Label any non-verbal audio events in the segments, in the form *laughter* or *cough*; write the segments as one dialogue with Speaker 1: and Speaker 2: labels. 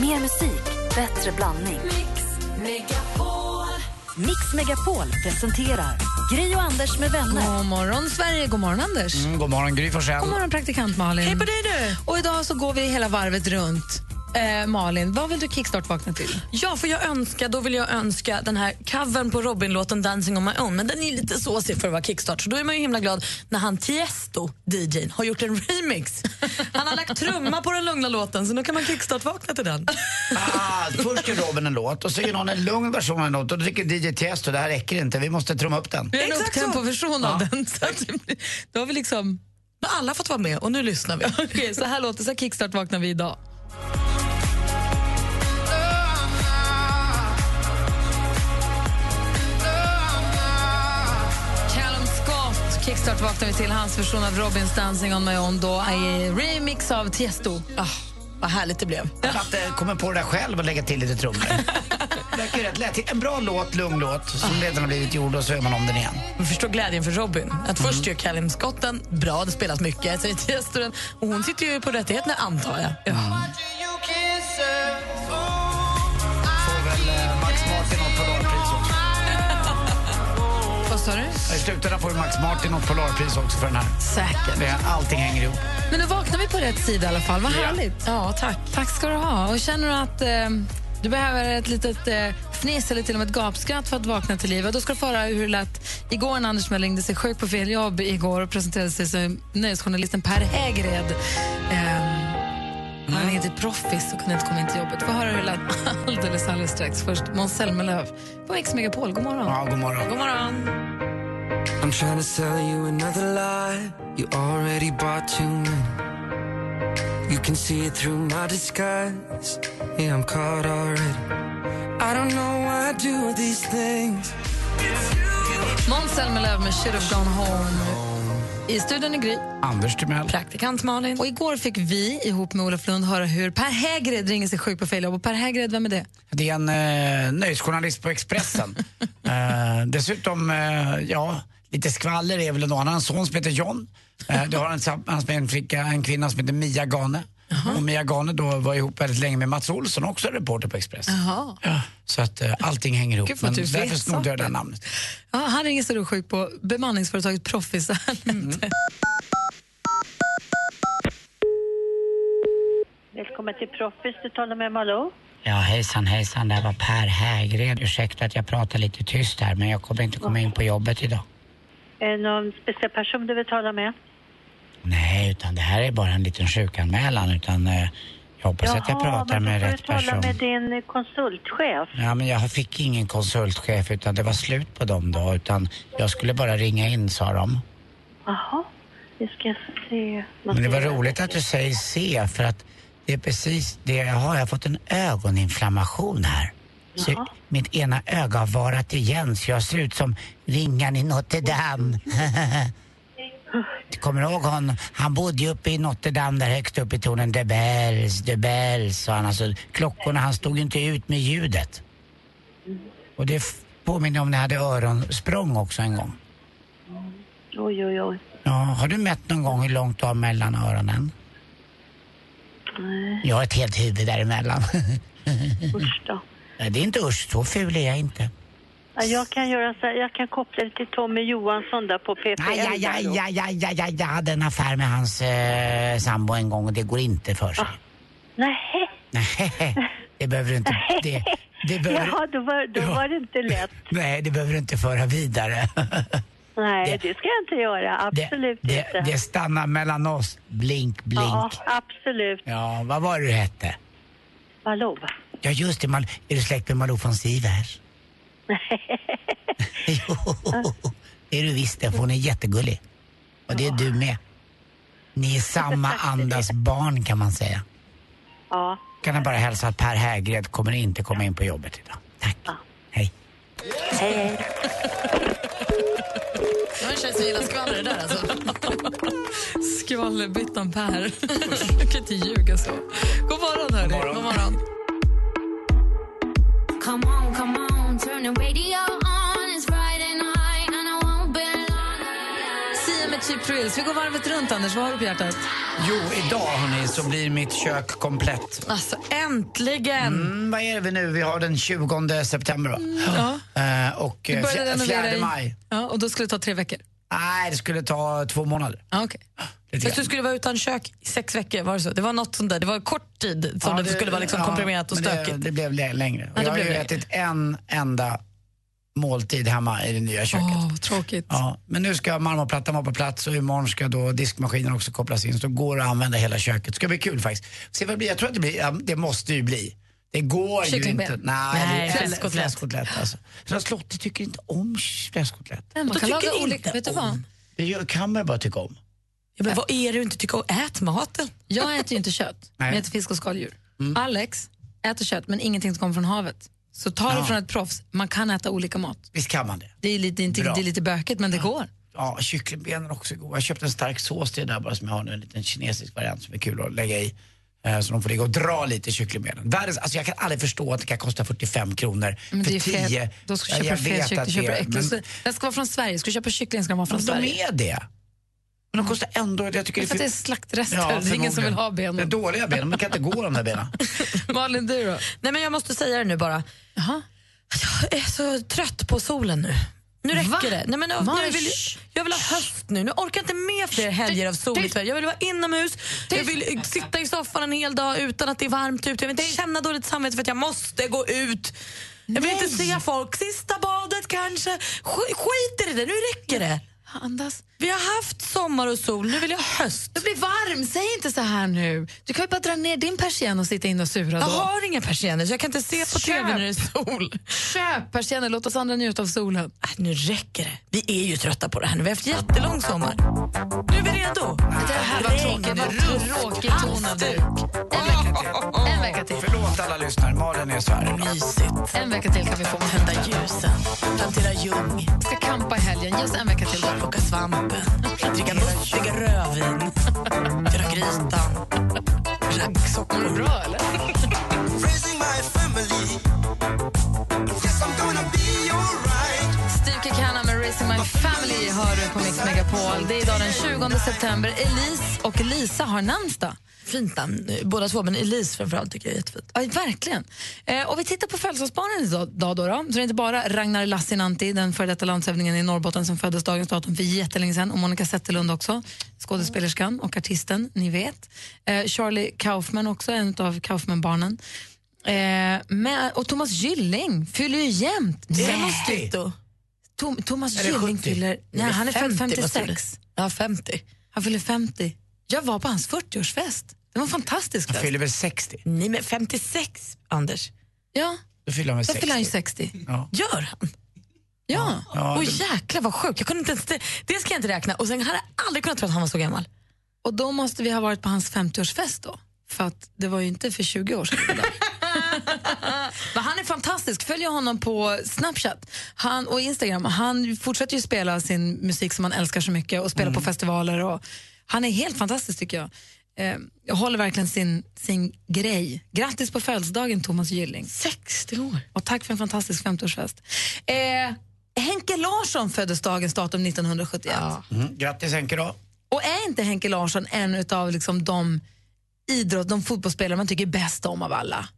Speaker 1: Mer musik, bättre blandning.
Speaker 2: Mix Megapol.
Speaker 1: Mix Megapol presenterar Gry och Anders med vänner.
Speaker 3: God morgon, Sverige. God morgon, Anders.
Speaker 4: Mm, god morgon, Gry Forssell.
Speaker 3: God morgon, praktikant Malin.
Speaker 5: Hej på dig du!
Speaker 3: Och idag så går vi hela varvet runt. Eh, Malin, vad vill du kickstart-vakna till?
Speaker 5: Ja, får jag önska, då vill jag önska den här covern på Robin-låten Dancing on my own, men den är lite såsig för att vara kickstart, så då är man ju himla glad när han Tiesto, DJn, har gjort en remix. Han har lagt trumma på den lugna låten, så nu kan man kickstart-vakna till den.
Speaker 4: Ah, först gör Robin en låt och så gör någon en lugn version av en låt och då tycker DJ Tiesto det här räcker inte, vi måste trumma upp den.
Speaker 3: Det är en
Speaker 5: Exakt så.
Speaker 3: upptempo-version av den. Så att, då har vi liksom...
Speaker 5: Nu har alla fått vara med och nu lyssnar vi.
Speaker 3: *laughs* Okej, så här låter det. Så här kickstart-vaknar vi idag. Callum Scott Kickstart vaknar vi till hans version av Robins Dancing on my own då i remix av Tiesto.
Speaker 5: Ah, vad härligt det blev.
Speaker 4: Jag att eh, kommer på det där själv och lägga till lite
Speaker 3: *laughs*
Speaker 4: trummor. Det Verkar ju rätt lätt. En bra låt, lugn låt, som redan har blivit gjord och så gör man om den igen.
Speaker 5: Man förstår glädjen för Robin. Att först gör Callum Scott den, bra, det spelas mycket, säger Tiesto den. Och hon sitter ju på rättigheterna, antar jag.
Speaker 4: Får väl eh, Max Martin något Polarpris också.
Speaker 3: Vad sa du?
Speaker 4: I slutändan får ju Max Martin något Polarpris också för den här.
Speaker 3: Säkert.
Speaker 4: Det, allting hänger ihop.
Speaker 3: Men nu vaknar vi på rätt sida i alla fall. Vad härligt.
Speaker 5: Ja, tack.
Speaker 3: Tack ska du ha. Och känner du att eh, du behöver ett litet eh, fniss eller till och med ett gapskratt för att vakna till liv, då ska du få höra hur det lät igår när Anders Mell ringde sig sjuk på fel jobb igår och presenterade sig som nöjesjournalisten Per Hägred. Eh, han ringde till Proffs och kunde inte komma in till jobbet. Få höra hur det lät *laughs* alldeles, alldeles strax. Först Måns Zelmerlöw på Mix Megapol. God morgon.
Speaker 4: Ja, god morgon.
Speaker 5: God morgon.
Speaker 6: I'm trying to sell you another lie. You already bought too many. You can see it through my disguise. Yeah, I'm caught already. I don't know why I do these things.
Speaker 3: Måns Zelmerlöw med Should have gone home. I studion i Gry.
Speaker 4: Anders Timell.
Speaker 5: Praktikant Malin.
Speaker 3: Och igår fick vi ihop med Olof Lund höra hur Per Hägred ringer sig sjuk på fel jobb. Och Per Hägred, vem är det?
Speaker 4: Det är en eh, nöjesjournalist på
Speaker 7: *laughs*
Speaker 4: Expressen. eh, dessutom, eh, ja, lite skvaller är väl ändå. Han har en son som heter John. Eh, du har en, sam- hans med en, flicka, en kvinna som heter Mia Gane. Och Mia Gane då var ihop väldigt länge med Mats Olsson, också reporter på Expressen.
Speaker 3: Jaha.
Speaker 4: Ja, så att eh, allting hänger ihop.
Speaker 3: Gud, vad
Speaker 4: Men
Speaker 3: du
Speaker 4: därför
Speaker 3: vet
Speaker 4: snodde jag det här
Speaker 3: saker.
Speaker 4: namnet.
Speaker 3: Ja, han ringer sig då sjuk på bemanningsföretaget Proffs. *laughs* Mm.
Speaker 7: Välkommen till Proffis, du talar med Malou.
Speaker 8: Ja, hejsan hejsan, det här var Per Hägred. Ursäkta att jag pratar lite tyst här, men jag kommer inte komma in på jobbet idag.
Speaker 7: Är det någon speciell person du vill tala med?
Speaker 8: Nej, utan det här är bara en liten sjukanmälan, utan eh, jag hoppas att jag pratar
Speaker 7: men då
Speaker 8: med
Speaker 7: får
Speaker 8: rätt
Speaker 7: du tala
Speaker 8: person.
Speaker 7: med din eh, konsultchef.
Speaker 8: Ja, men jag fick ingen konsultchef, utan det var slut på dem då, utan jag skulle bara ringa in, sa de.
Speaker 7: Jaha, vi ska se.
Speaker 8: Men det var roligt att du säger se, för att det är precis det jag har. Jag har fått en ögoninflammation här. Så mitt ena öga har varat igen, så jag ser ut som ringan i Notre Dame. *laughs* Du kommer ihåg honom? Han bodde ju uppe i Notre Dame där högst upp i tornen. De Bells, De Bells, sa han. Alltså, klockorna, han stod ju inte ut med ljudet. Och det f- påminner om när jag hade öronsprång också en gång.
Speaker 7: Oj, oj, oj.
Speaker 8: Ja, har du mätt någon gång hur långt du har mellan öronen?
Speaker 7: Nej,
Speaker 8: Jag har ett helt huvud däremellan.
Speaker 7: usch då.
Speaker 8: Nej, det är inte usch, så ful är jag inte.
Speaker 7: Ja, Jag kan, göra så här, jag kan koppla dig till Tommy Johansson där på PPL.
Speaker 8: Aj, aj, aj, aj,
Speaker 7: Malou.
Speaker 8: aj, aj, aj, jag hade en affär med hans eh, sambo en gång och det går inte för
Speaker 7: Ah,
Speaker 8: sig.
Speaker 7: Nej.
Speaker 8: Nej, det behöver
Speaker 7: *laughs*
Speaker 8: du inte... Det, det behöver,
Speaker 7: Jaha, då var, då
Speaker 8: Ja.
Speaker 7: var det inte lätt.
Speaker 8: Nej, det behöver du inte föra vidare.
Speaker 7: Nej,
Speaker 8: Det-
Speaker 7: det ska jag inte göra.
Speaker 8: Det,
Speaker 7: Absolut
Speaker 8: det,
Speaker 7: inte.
Speaker 8: det stannar mellan oss. Blink, blink.
Speaker 7: ja,
Speaker 8: Ja,
Speaker 7: absolut.
Speaker 8: vad var det du hette?
Speaker 7: Malou.
Speaker 8: Ja, just det. Mal, är du släkt med Malou von
Speaker 3: *laughs*
Speaker 8: Sivers? jo, det är du visst det, för hon är jättegullig. Och det är du med. Ni är samma andas barn kan man säga.
Speaker 7: Ja.
Speaker 8: Kan jag bara hälsa att Per Hägred kommer inte komma in på jobbet idag. Tack. Hej.
Speaker 7: Hej, hej.
Speaker 5: Det var en tjej som gillar skvaller det där alltså.
Speaker 3: Skvallerbyttan Per. *laughs* Du kan inte ljuga så. God morgon, hörni. God morgon. God morgon.
Speaker 2: Come on, come on, turn the radio on. It's Friday night and I won't be long.
Speaker 3: Sia med Cheap Thrills. Vi går varvet runt, Anders. Vad har du på hjärtat?
Speaker 8: Jo, idag hörni, så blir mitt kök komplett.
Speaker 5: Alltså äntligen!
Speaker 8: Mm, vad är det vi nu? Vi har den 20 september va?
Speaker 3: Ja.
Speaker 8: Eh, och eh,
Speaker 3: Började
Speaker 8: fj-
Speaker 3: renovera
Speaker 8: fjärde
Speaker 3: i-
Speaker 8: maj.
Speaker 3: Ja, och då skulle det ta tre veckor.
Speaker 8: Nej, det skulle ta två månader.
Speaker 3: Ja, okej.
Speaker 5: Ah,
Speaker 8: Lite
Speaker 5: Fast du
Speaker 8: grann.
Speaker 5: skulle vara utan kök i sex veckor, var det så? Det var något sånt där. Det var kort tid som
Speaker 8: Ja,
Speaker 5: det skulle vara liksom
Speaker 8: ja,
Speaker 5: komprimerat och
Speaker 8: men det-
Speaker 5: stökigt.
Speaker 8: Det, blev lä- längre.
Speaker 5: det
Speaker 8: jag har
Speaker 5: blev
Speaker 8: ju
Speaker 5: längre.
Speaker 8: ätit en enda måltid hemma i det nya köket.
Speaker 3: Åh, vad tråkigt.
Speaker 8: Ja, men nu ska marmorplattan vara på plats och imorgon ska då diskmaskinen också kopplas in. Så går det att använda hela köket. Ska bli kul faktiskt. Se vad det blir. Jag tror att det blir, ja, det måste ju bli. Det går ju
Speaker 3: Kycklingben.
Speaker 8: inte. Nej,
Speaker 5: Nej,
Speaker 8: det är-
Speaker 5: fläskkotlett.
Speaker 8: fläskkotlett alltså. Charlotte tycker inte om fläskkotlett.
Speaker 3: Man
Speaker 5: Då
Speaker 3: kan laga
Speaker 5: tycker
Speaker 3: olika...
Speaker 5: inte
Speaker 3: Vet du vad?
Speaker 8: Det gör- kan man ju bara tycka om.
Speaker 5: Ja, men vad är det du inte tycker om? Ät maten.
Speaker 3: Jag äter ju inte kött, men jag äter fisk och skaldjur.
Speaker 5: Mm.
Speaker 3: Alex äter kött, men ingenting som kommer från havet. Så ta det
Speaker 8: Ja.
Speaker 3: från ett proffs. Man kan äta olika mat.
Speaker 8: Visst kan man det?
Speaker 3: Det är lite, inte,
Speaker 8: Bra.
Speaker 3: det är lite bökigt, men det går.
Speaker 8: Ja, kycklingbenen också är goda. Jag köpte en stark sås till det där bara som jag har nu, en liten kinesisk variant som är kul att lägga i. Eh, Så de får ligga och dra lite i kycklingbenen. Världens, alltså jag kan aldrig förstå att det kan kosta 45 kronor
Speaker 3: Men
Speaker 8: för
Speaker 3: det är fel.
Speaker 8: 10.
Speaker 3: Då ska
Speaker 8: Ja,
Speaker 3: du köpa
Speaker 8: jag
Speaker 3: fel
Speaker 8: vet
Speaker 3: kött,
Speaker 8: att
Speaker 3: du
Speaker 8: det
Speaker 3: köper
Speaker 8: är-
Speaker 3: äckligt.
Speaker 8: men-
Speaker 3: Den ska vara från Sverige. Ska du köpa kyckling ska den vara från
Speaker 8: Men
Speaker 3: Sverige.
Speaker 8: de är det. Men de kostar ändå... Jag tycker
Speaker 3: Det är för att det är slaktrester. det är ingen som vill ha
Speaker 8: Det är
Speaker 3: ben.
Speaker 8: dåliga ben, man kan inte gå de där benen.
Speaker 3: *laughs* Malin, du då?
Speaker 5: Nej, men jag måste säga det nu bara.
Speaker 3: Jaha.
Speaker 5: Jag är så trött på solen nu. Nu räcker
Speaker 3: Va?
Speaker 5: det. Nej, men nu,
Speaker 3: Malin,
Speaker 5: nu vill,
Speaker 3: shh.
Speaker 5: jag vill ha höst nu. Nu orkar jag inte med fler helger av sol i Sverige. Jag vill vara inomhus. Jag vill sitta i soffan en hel dag utan att det är varmt ute. Jag vill inte känna dåligt samvete för att jag måste gå ut. Jag vill inte se folk. Sista badet kanske. Sk- Skit i det. Nu räcker det.
Speaker 3: Andas.
Speaker 5: Vi har haft sommar och sol. Nu vill jag ha höst.
Speaker 3: Du blir varm, säg inte så här nu. Du kan ju bara dra ner din persienn och sitta in och sura
Speaker 5: Jag
Speaker 3: då.
Speaker 5: har inga persienner så jag kan inte se på tv när det är sol.
Speaker 3: Köp persiennen, låt oss andra njuta av solen.
Speaker 5: Äh, nu räcker det. Vi är ju trötta på det här nu. Vi har haft jättelång sommar. Nu är vi redo.
Speaker 3: Det här var tråkigt. Vad tråkig tonad du. En vecka till. En vecka till.
Speaker 8: Förlåt alla lyssnare, Malin är så här ibland.
Speaker 5: Mysigt.
Speaker 3: En vecka till kan vi få.
Speaker 5: Tända ljusen, plantera ljung,
Speaker 3: Vi ska kampa i helgen. Ge oss en vecka till. då.
Speaker 5: plocka svampen, dricka mustiga rödvin, göra grytan,
Speaker 3: Mår du
Speaker 5: raggsockor.
Speaker 3: Mm, bra eller? Steve Kekana med Raising My Family hör du på Mix Megapol. Det är idag den 20 september. Elise och Lisa har namnsdag.
Speaker 5: Fint namn, eh, båda två, men Elise framförallt tycker jag är jättefint.
Speaker 3: Ja, verkligen. Eh, och vi tittar på födelsedagsbarnen idag. Då, då, då. Så det är inte bara Ragnar Lassinantti, den före detta landshövdingen i Norrbotten som föddes dagens datum för jättelänge sedan, och Monica Zetterlund också, skådespelerskan och artisten, ni vet. Eh, Charlie Kaufman också, en av Kaufman-barnen. Eh, men, och Thomas Gylling fyller ju jämt.
Speaker 5: Mosquito.
Speaker 3: Tom, Thomas
Speaker 8: Eller
Speaker 3: Gylling
Speaker 8: 70?
Speaker 3: fyller... Nej, han är född
Speaker 5: 50, vad sa du?
Speaker 3: 56.
Speaker 5: Ja, 50.
Speaker 3: Han fyller 50. Jag var på hans 40-årsfest. Det var en fantastisk
Speaker 8: Jag
Speaker 3: fest.
Speaker 8: fyller väl 60?
Speaker 5: Nej, men 56, Anders.
Speaker 3: Ja,
Speaker 8: Då fyller han väl
Speaker 3: då fyller han ju
Speaker 8: 60?
Speaker 3: 60.
Speaker 8: Ja.
Speaker 5: Gör han?
Speaker 3: Ja.
Speaker 8: Ja,
Speaker 5: Åh
Speaker 8: det-
Speaker 5: jäklar vad sjukt. Jag kunde inte ens, det, det ska jag inte räkna. Och sen hade jag aldrig kunnat tro att han var så gammal.
Speaker 3: Och då måste vi ha varit på hans 50-årsfest då. För att det var ju inte för 20 år sedan. Men han är fantastisk. Följ honom på Snapchat han, och Instagram. Han fortsätter ju spela sin musik som han älskar så mycket och spela på festivaler. Och, han är helt fantastisk tycker jag. Eh, jag håller verkligen sin, sin grej. Grattis på födelsedagen Thomas Gylling.
Speaker 5: 60 år.
Speaker 3: Och tack för en fantastisk 50-årsfest. Eh, Henke Larsson föddes dagens datum 1971.
Speaker 8: Mm. Grattis Henke då.
Speaker 3: Och är inte Henke Larsson en av liksom de idrott, de fotbollsspelare man tycker bäst om av alla?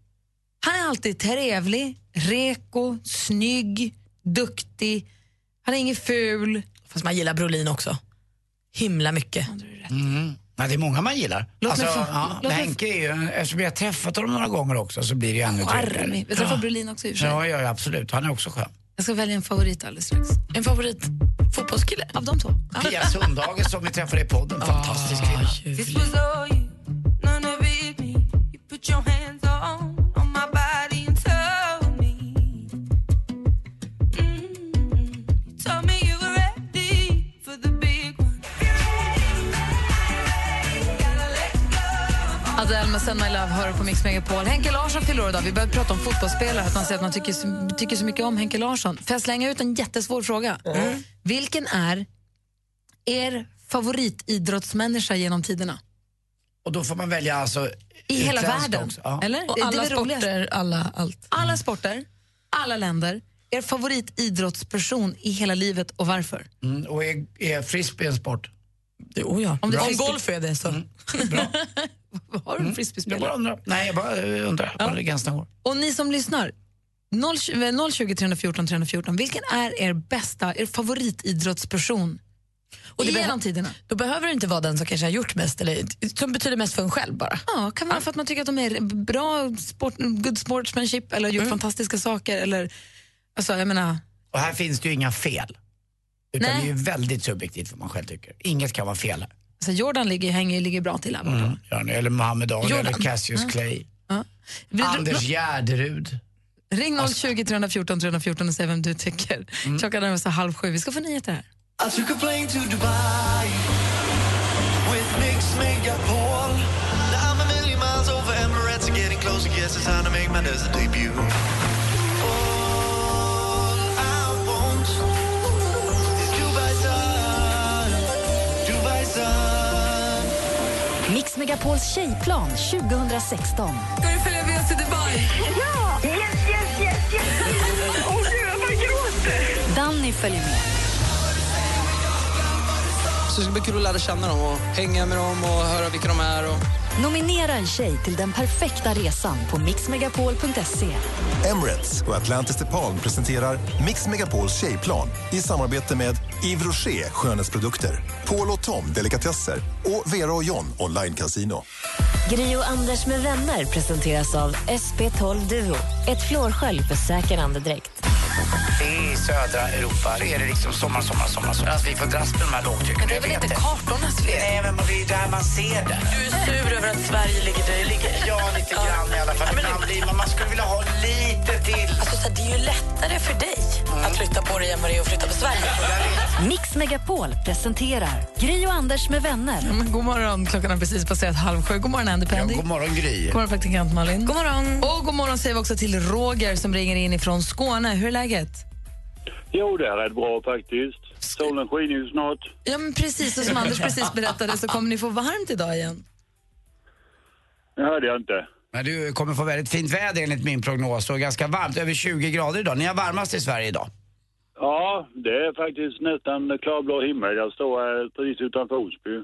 Speaker 3: Han är alltid trevlig, reko, snygg, duktig. Han är ingen ful.
Speaker 5: Fast man gillar Brolin också. Himla mycket.
Speaker 8: Mm. Ja, det är många man gillar.
Speaker 3: Låt
Speaker 8: alltså,
Speaker 3: mig få-
Speaker 8: ja,
Speaker 3: låt mig
Speaker 8: Henke är ju, eftersom vi har träffat honom några gånger också så blir det ju ännu
Speaker 3: Charmig. Vi träffade
Speaker 8: Ja.
Speaker 3: Brolin också i och för sig.
Speaker 8: Ja, ja, ja, absolut. Han är också skön.
Speaker 3: Jag ska välja en favorit alldeles strax.
Speaker 5: En favorit fotbollskille.
Speaker 3: Av de två. Ja.
Speaker 8: Pia Sundhage som vi träffade i podden, fantastisk kvinna.
Speaker 9: This was all you, none of it me. You put your hands on on my body and told me, mm, you told me you were ready for the big one.
Speaker 3: Adele med Send My Love hör på Mix Megapol. Henke Larsson fyller år idag. Vi började prata om fotbollsspelare, att man säger att man tycker så, tycker så mycket om Henke Larsson. Får jag slänga ut en jättesvår fråga?
Speaker 8: Mm.
Speaker 3: Vilken är er favoritidrottsmänniska genom tiderna?
Speaker 8: Och då får man välja alltså...
Speaker 3: I hela
Speaker 8: utländsk
Speaker 3: världen?
Speaker 8: också. Ja.
Speaker 3: Eller?
Speaker 5: Och
Speaker 3: Det är
Speaker 5: alla
Speaker 3: det roligaste.
Speaker 5: sporter, alla allt.
Speaker 3: alla sporter, alla länder. Er favoritidrottsperson i hela livet och varför?
Speaker 8: Mm, och är, är frisbee en sport? Mm,
Speaker 6: Jo, oh ja.
Speaker 3: Om
Speaker 6: Om,
Speaker 3: det finns-
Speaker 6: golf är det
Speaker 3: *laughs*
Speaker 6: så.
Speaker 8: Bra. Mm.
Speaker 3: Har du
Speaker 8: Jag
Speaker 3: en
Speaker 8: bara
Speaker 3: frisbeespelare?
Speaker 8: undrar. Nej, jag bara eh, undrar. Bara gränserna går.
Speaker 3: Och ni som lyssnar, eh, 020 020 314 314, vilken är er bästa, er favoritidrottsperson och
Speaker 6: det
Speaker 3: genom
Speaker 6: behö-
Speaker 3: tiderna?
Speaker 6: Då behöver det inte vara den som kanske har gjort mest, eller som betyder mest för en själv bara.
Speaker 3: Ja, kan vara för att man tycker att de är bra, sport, good sportsmanship eller har gjort fantastiska saker eller alltså jag menar,
Speaker 8: Och här finns det ju inga fel. Utan
Speaker 3: Nej.
Speaker 8: det är ju väldigt subjektivt vad man själv tycker. Inget kan vara fel här. Mm.
Speaker 3: alltså Jordan ligger, hänger, ligger bra till här borta.
Speaker 8: Ja, Eller Muhammed Ali
Speaker 3: Jordan.
Speaker 8: eller Cassius Clay.
Speaker 3: Vi-
Speaker 8: Anders Gärderud. Alltså-
Speaker 3: Ring 020 314 314 och säg vem du tycker.
Speaker 8: Mm.
Speaker 3: Klockan är så halv sju. Vi ska få nyheter här.
Speaker 10: I took a plane to Dubai with Nick Megapol. Now I'm a million miles over Emirates and getting closer. Guess it's time to make my desert debut. All I want is Dubai sun, Dubai sun.
Speaker 11: Mix Megapols tjejplan 2016.
Speaker 6: Ska du följa med oss till Dubai?
Speaker 11: Danny följer med.
Speaker 12: Så det ska bli kul att lära känna dem och hänga med dem och höra vilka de är. Och...
Speaker 11: Nominera en tjej till den perfekta resan på mixmegapol.se.
Speaker 13: Emirates och Atlantis DePaul presenterar Mix Megapols tjejplan i samarbete med Yves Rocher skönhetsprodukter, Paul och Tom delikatesser och Vera och John online casino.
Speaker 11: Gri och Anders med vänner presenteras av SP12 Duo. Ett flårskölj för säker andedräkt.
Speaker 8: I södra Europa är det liksom sommar, sommar, sommar. sommar. Alltså vi får dras med de här lågtrycken. Men det är väl inte kartornas fel? Nej, men det är ju där man ser det.
Speaker 6: Du är sur över att Sverige ligger där det ligger.
Speaker 8: Ja, lite grann i alla fall. Ibland blir man, man skulle vilja ha lite till. Mm.
Speaker 6: Alltså, så här, det är ju lättare för dig att flytta på dig än vad det är att flytta på Sverige.
Speaker 11: Mix Megapol presenterar Gri och Anders med vänner.
Speaker 3: Mm, Men god morgon, klockan har precis passerat halv sju. God morgon Andy Pendy.
Speaker 8: God morgon, Gry.
Speaker 3: God morgon praktikant Malin.
Speaker 6: God morgon.
Speaker 3: Och god morgon säger vi också till Roger som ringer in ifrån Skåne. Hur är läget?
Speaker 10: Jo, det här är bra faktiskt. Solen skiner ju snart.
Speaker 3: Ja, men precis. Och som *laughs* Anders precis berättade så kommer ni få varmt idag igen.
Speaker 10: Det hörde jag inte.
Speaker 8: Men du kommer få väldigt fint väder enligt min prognos och ganska varmt, över 20 grader idag. Ni har varmast i Sverige idag.
Speaker 10: Ja, det är faktiskt nästan klarblå himmel. Jag står här precis utanför Osby.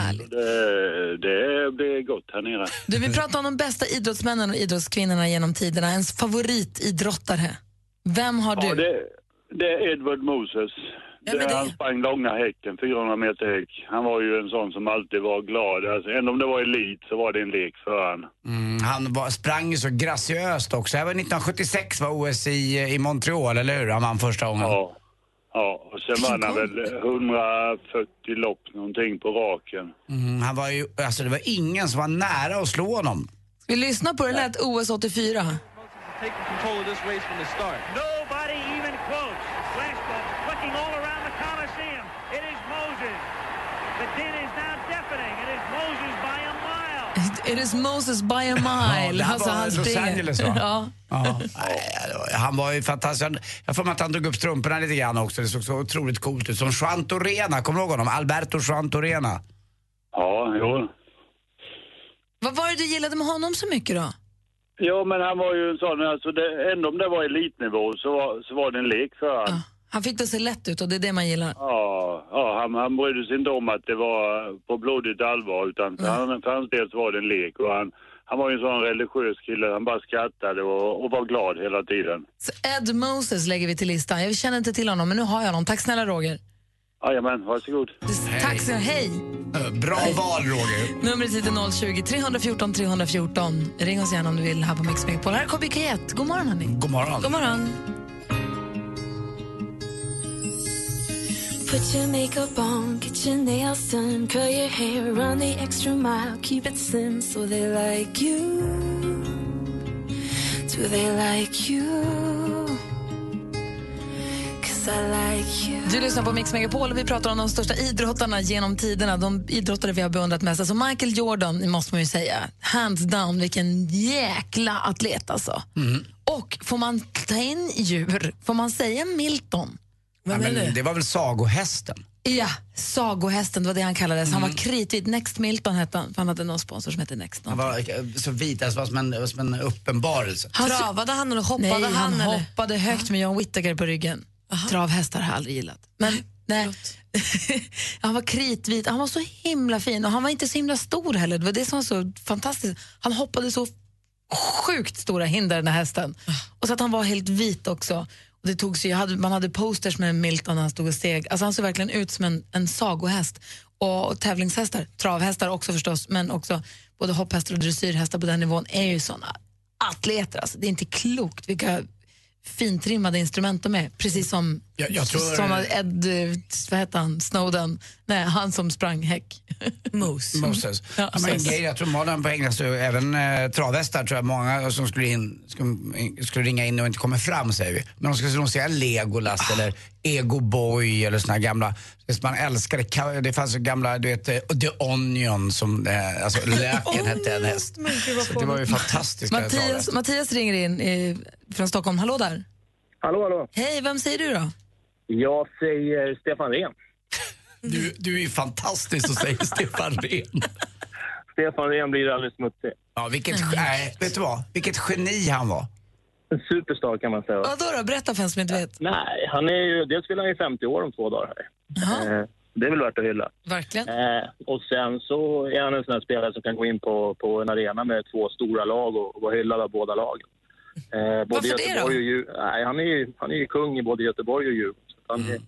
Speaker 3: härligt.
Speaker 10: Det, det blir gott här nere.
Speaker 3: Du, vi pratar om de bästa idrottsmännen och idrottskvinnorna genom tiderna. Ens favoritidrottare. Vem har
Speaker 10: Ja,
Speaker 3: du?
Speaker 10: det, det är Edward Moses.
Speaker 6: men
Speaker 10: det,
Speaker 6: det-
Speaker 10: Han sprang långa häcken, 400 meter häck. Han var ju en sån som alltid var glad. Alltså, även om det var elit så var det en lek för han.
Speaker 8: Mm, han var, sprang ju så graciöst också. Det här var 1976 var OS i, eh, i Montreal, eller hur? Han vann första gången.
Speaker 10: Ja. Ja, och sen vann han väl 140 lopp någonting på raken.
Speaker 8: Mm, han var ju, alltså det var ingen som var nära att slå honom.
Speaker 3: Vi lyssnar på hur det lät OS 84.
Speaker 10: Nobody even close. Flashbulb flicking all around the Coliseum. It is Moses. The din is now deafening. It is Moses by a mile.
Speaker 3: It is Moses by a mile.
Speaker 8: det här
Speaker 3: alltså,
Speaker 8: var
Speaker 3: han
Speaker 8: Los
Speaker 3: springer.
Speaker 8: Angeles, va?
Speaker 3: *laughs* ja.
Speaker 8: Ja. Nej, det var- Han var ju fantastisk. Han- Jag får mig att han drog upp strumporna lite grann också. Det såg så otroligt coolt ut. Som Juantorena, kommer du ihåg honom? Alberto Juantorena.
Speaker 10: Ja, jo.
Speaker 3: Vad var det du gillade med honom så mycket då?
Speaker 10: Ja, men han var ju en sån, alltså det, ändå om det var elitnivå så var, så var det en lek för han.
Speaker 3: Ja. Han fick det att se lätt ut och det är det man gillar.
Speaker 10: Ja, ja han, han brydde sig inte om att det var på blodigt allvar utan för, han, för hans del så var det en lek och han, han var ju en sån religiös kille, han bara skrattade och, och var glad hela tiden.
Speaker 3: Så Ed Moses lägger vi till listan. Jag känner inte till honom men nu har jag honom. Tack snälla Roger.
Speaker 10: Jajamän, varsågod.
Speaker 3: Tack så hej.
Speaker 8: Eh, Bra val, Roger.
Speaker 3: Numret hit är 020 314 314. Ring oss gärna om du vill här på Mix Megapol. Här är KBK1. God morgon hörni.
Speaker 8: God morgon.
Speaker 6: God morgon.
Speaker 5: Put your makeup on, get your nails done, curl your hair, run the extra mile, keep it slim so they like you. Do they like you? Cause I like you.
Speaker 3: Du lyssnar på Mix Megapol och vi pratar om de största idrottarna genom tiderna. De idrottare vi har beundrat mest. Alltså Michael Jordan måste man ju säga. Hands down, vilken jäkla atlet alltså.
Speaker 8: Mm.
Speaker 3: Och får man ta in djur? Får man säga Milton?
Speaker 8: Ja, men det var väl sagohästen?
Speaker 3: Ja, sagohästen, det var det han kallades.
Speaker 8: Mm.
Speaker 3: Han var kritvit. Next Milton hette han, för han hade någon sponsor som hette Next.
Speaker 8: Han
Speaker 3: Någon.
Speaker 8: var eh, så vit, alltså var som en, som en uppenbarelse.
Speaker 3: Han så-
Speaker 6: Travade han eller
Speaker 3: Nej,
Speaker 6: hoppade
Speaker 3: han,
Speaker 6: han? eller?
Speaker 3: hoppade högt med John Whittaker på ryggen. Travhästar har jag aldrig gillat. Men Nej. *laughs* han var kritvit, han var så himla fin och han var inte så himla stor heller. Det var det som var så fantastiskt. Han hoppade så sjukt stora hinder den här hästen.
Speaker 6: Ah.
Speaker 3: Och så att han var helt vit också. Och det tog sig, jag hade, man hade posters med Milton när han stod och steg. Alltså han såg verkligen ut som en, en sagohäst. Och, och tävlingshästar, travhästar också förstås, men också både hopphästar och dressyrhästar på den nivån är ju såna atleter. Alltså, det är inte klokt vilka fintrimmade instrument de är. Precis som
Speaker 8: Jag- jag tror-
Speaker 3: såna Ed, eh, vad heter han, Snowden, nej han som sprang häck. Mose.
Speaker 8: *laughs* Moses.
Speaker 3: Ja,
Speaker 8: Ja, men en
Speaker 3: precis.
Speaker 8: grej, jag tror Malin på England, så även eh, travhästar tror jag många som skulle, in, skulle, skulle ringa in och inte kommer fram säger vi. Men de skulle nog säga Legolas eller Ego Boy eller såna här gamla, det man älskade, ka- det fanns ju gamla, du vet eh, The Onion som, eh,
Speaker 3: *laughs*
Speaker 8: alltså Löken hette en häst. Så det var ju fantastiskt. med
Speaker 3: Mattias,
Speaker 8: travhästar.
Speaker 3: Mattias ringer in eh, från Stockholm. Hallå där.
Speaker 14: Hallå, hallå.
Speaker 3: Hej, vem säger du då?
Speaker 14: Jag säger Stefan Rehn.
Speaker 8: Du, du är ju fantastisk och säger Stefan Rehn.
Speaker 14: Stefan Rehn blir alldeles smutsig.
Speaker 8: Ja,
Speaker 3: Mm.
Speaker 8: vilket, nej, vet du vad? Vilket geni han var.
Speaker 14: En superstar kan man säga.
Speaker 3: Vadå då? Berätta för en som inte vet.
Speaker 14: Nej, han är ju, dels fyller han ju 50 år om två dagar här. Eh, Det är väl värt att hylla.
Speaker 3: Verkligen.
Speaker 14: Eh, och sen så är han en sån här spelare som kan gå in på, på en arena med två stora lag och, och vara hyllad av båda lagen. Eh, både
Speaker 3: Varför det
Speaker 14: Göteborg
Speaker 3: då?
Speaker 14: Och Djur, nej, han, är ju, han är ju kung i både Göteborg och Djurgården. Så Han,
Speaker 3: Mm.
Speaker 14: är,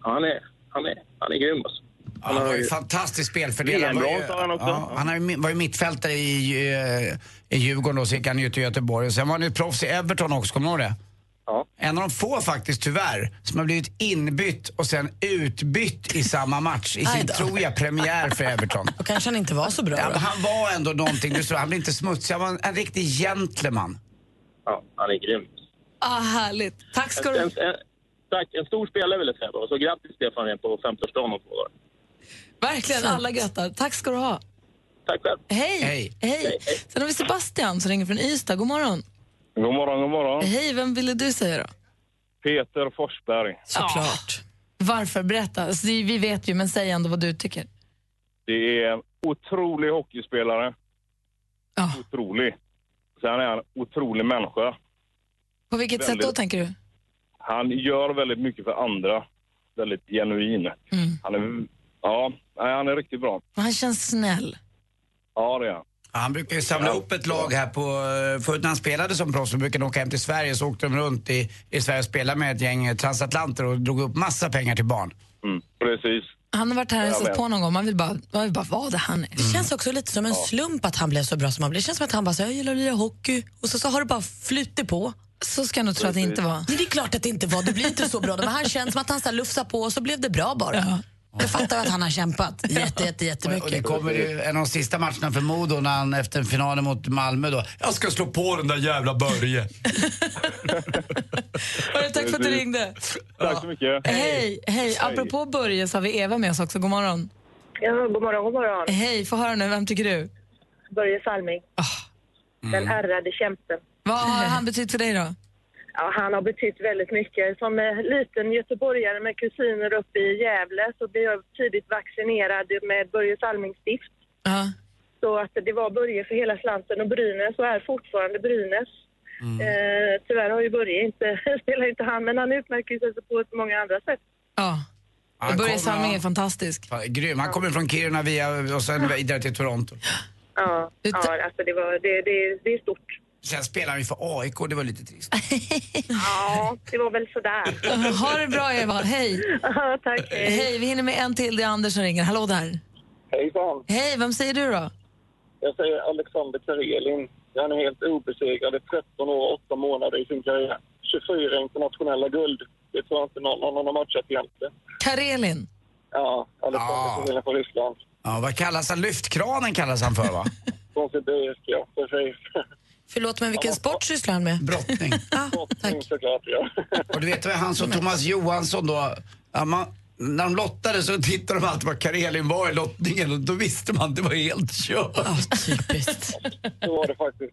Speaker 14: han, är, han, är, han är grym alltså.
Speaker 8: Han, var ju fantastisk spelfördelare. Han var ju-
Speaker 14: VM-brons har han också.
Speaker 8: Ja, han har ju mi- var ju mittfältare i, eh, i Djurgården och så gick han ju till Göteborg. Och sen var han ju proffs i Everton också, kommer du ihåg det?
Speaker 14: Ja.
Speaker 8: En av de få faktiskt, tyvärr, som har blivit inbytt och sen utbytt i samma match. I
Speaker 5: Aj
Speaker 8: sin,
Speaker 5: då.
Speaker 8: tror jag, premiär för
Speaker 5: *laughs*
Speaker 8: Everton.
Speaker 5: Då kanske han inte var så bra.
Speaker 8: Ja,
Speaker 5: då.
Speaker 8: men han var ändå någonting, du sa, han blev inte smutsig, han var en, en riktig gentleman.
Speaker 14: Ja, han är grym.
Speaker 3: Ah, härligt. Tack ska
Speaker 14: En,
Speaker 3: du
Speaker 14: en, tack, en stor spelare vill jag säga bara. Så grattis Stefan Rehn på 50-årsdagen om två dagar.
Speaker 3: Verkligen, alla göttar. Tack ska du ha.
Speaker 14: Tack själv.
Speaker 3: Hej.
Speaker 14: Hej.
Speaker 3: Hej. Sen har vi Sebastian som ringer från Ystad. God morgon.
Speaker 15: God morgon, god morgon.
Speaker 3: Hej, vem ville du säga då?
Speaker 15: Peter Forsberg.
Speaker 3: Såklart. Varför? Berätta. Alltså, det- vi vet ju, men säg ändå vad du tycker.
Speaker 15: Det är en otrolig hockeyspelare. Otrolig. Sen är han en otrolig människa.
Speaker 3: På vilket
Speaker 15: Väldigt.
Speaker 3: sätt då, tänker du?
Speaker 15: Han gör väldigt mycket för andra. Väldigt genuin.
Speaker 3: Mm.
Speaker 15: Han är, ja, nej, han är riktigt bra.
Speaker 3: Men Han känns snäll.
Speaker 15: Ja, det är han.
Speaker 8: Han brukar ju Eh, samla upp ett lag här på... eh, Förut när han spelade som proffs så brukade han åka hem till Sverige så åkte de runt i, i Sverige och spelade med ett gäng eh, transatlanter och drog upp massa pengar till barn.
Speaker 15: Mm, precis.
Speaker 3: Han har varit här och hälsat
Speaker 8: men-
Speaker 3: på någon gång. Man vill bara, man vill bara vad det han är.
Speaker 5: Det känns också lite som en slump att han blev så bra som han blev. Det känns som att han bara sa, jag gillar att lira hockey och så, så har det bara flutit på.
Speaker 3: Så ska jag nog tro att det inte var.
Speaker 5: Nej, det är klart att det inte var. Det blir inte så bra. då, Men han känns som att han så här lufsar på och så blev det bra bara. Jag fattar att han har kämpat jätte, jätte, jättemycket.
Speaker 8: Och det kommer ju en av de sista matcherna för Modo när han efter finalen mot Malmö då. Jag ska slå på den där jävla
Speaker 3: *laughs*
Speaker 8: Börje.
Speaker 3: Tack för att du ringde.
Speaker 15: Tack så mycket.
Speaker 3: Hej, hej. Apropå Börje så har vi Eva med oss också. God morgon.
Speaker 16: Ja, god morgon, god morgon.
Speaker 3: Hej, få höra nu. Vem tycker du?
Speaker 16: Börje Salming.
Speaker 3: Ah. Mm.
Speaker 16: Den ärrade kämpen.
Speaker 3: Vad
Speaker 16: *laughs*
Speaker 3: har han betytt för dig då?
Speaker 16: Ja, han har betytt väldigt mycket. Som eh, liten göteborgare med kusiner uppe i Gävle så blev jag tidigt vaccinerad med Börje Salmings stift. Så att det var Börje för hela slanten och Brynäs och är fortfarande Brynäs.
Speaker 8: Mm.
Speaker 16: Eh, tyvärr har ju Börje inte, *laughs* spelar inte han, men han utmärker sig på ett många andra sätt.
Speaker 3: Ja.
Speaker 8: Han
Speaker 3: Börje
Speaker 8: kommer-
Speaker 3: Salming är fantastisk.
Speaker 8: Fan, Grym. Han kommer från Kiruna via, och sen vidare till Toronto.
Speaker 16: Ja, ja alltså det, var, det, det, det är stort.
Speaker 8: Sen spelar han ju för AIK, det var lite trist.
Speaker 16: Ja, det var väl sådär.
Speaker 3: Ha det bra, Eva. Hej.
Speaker 16: Tack.
Speaker 3: Hej. vi hinner med en till. Det är Anders som ringer. Hallå där.
Speaker 17: Hejsan!
Speaker 3: Hej, vem säger du då?
Speaker 17: Jag säger Alexander Karelin. Han är helt obesegrad i 13 år och 8 månader i sin karriär. 24 internationella guld. Det tror jag inte någon, någon har matchat egentligen.
Speaker 3: Karelin.
Speaker 17: Ja, Alexander
Speaker 8: Ja.
Speaker 17: Karelin från Ryssland.
Speaker 8: Ja, vad kallas han? Lyftkranen kallas han för va?
Speaker 17: Från Sibirisk, ja. Precis.
Speaker 5: Förlåt, men vilken sport sysslar han med?
Speaker 8: Brottning.
Speaker 17: Tack. Såklart, ja.
Speaker 8: Och du vet, det var han som Thomas Johansson då. ja, man, när de lottade så tittade de alltid vad Karelin var i lottningen och då visste man att det var helt kört.
Speaker 17: Så
Speaker 3: *laughs*
Speaker 17: var det faktiskt.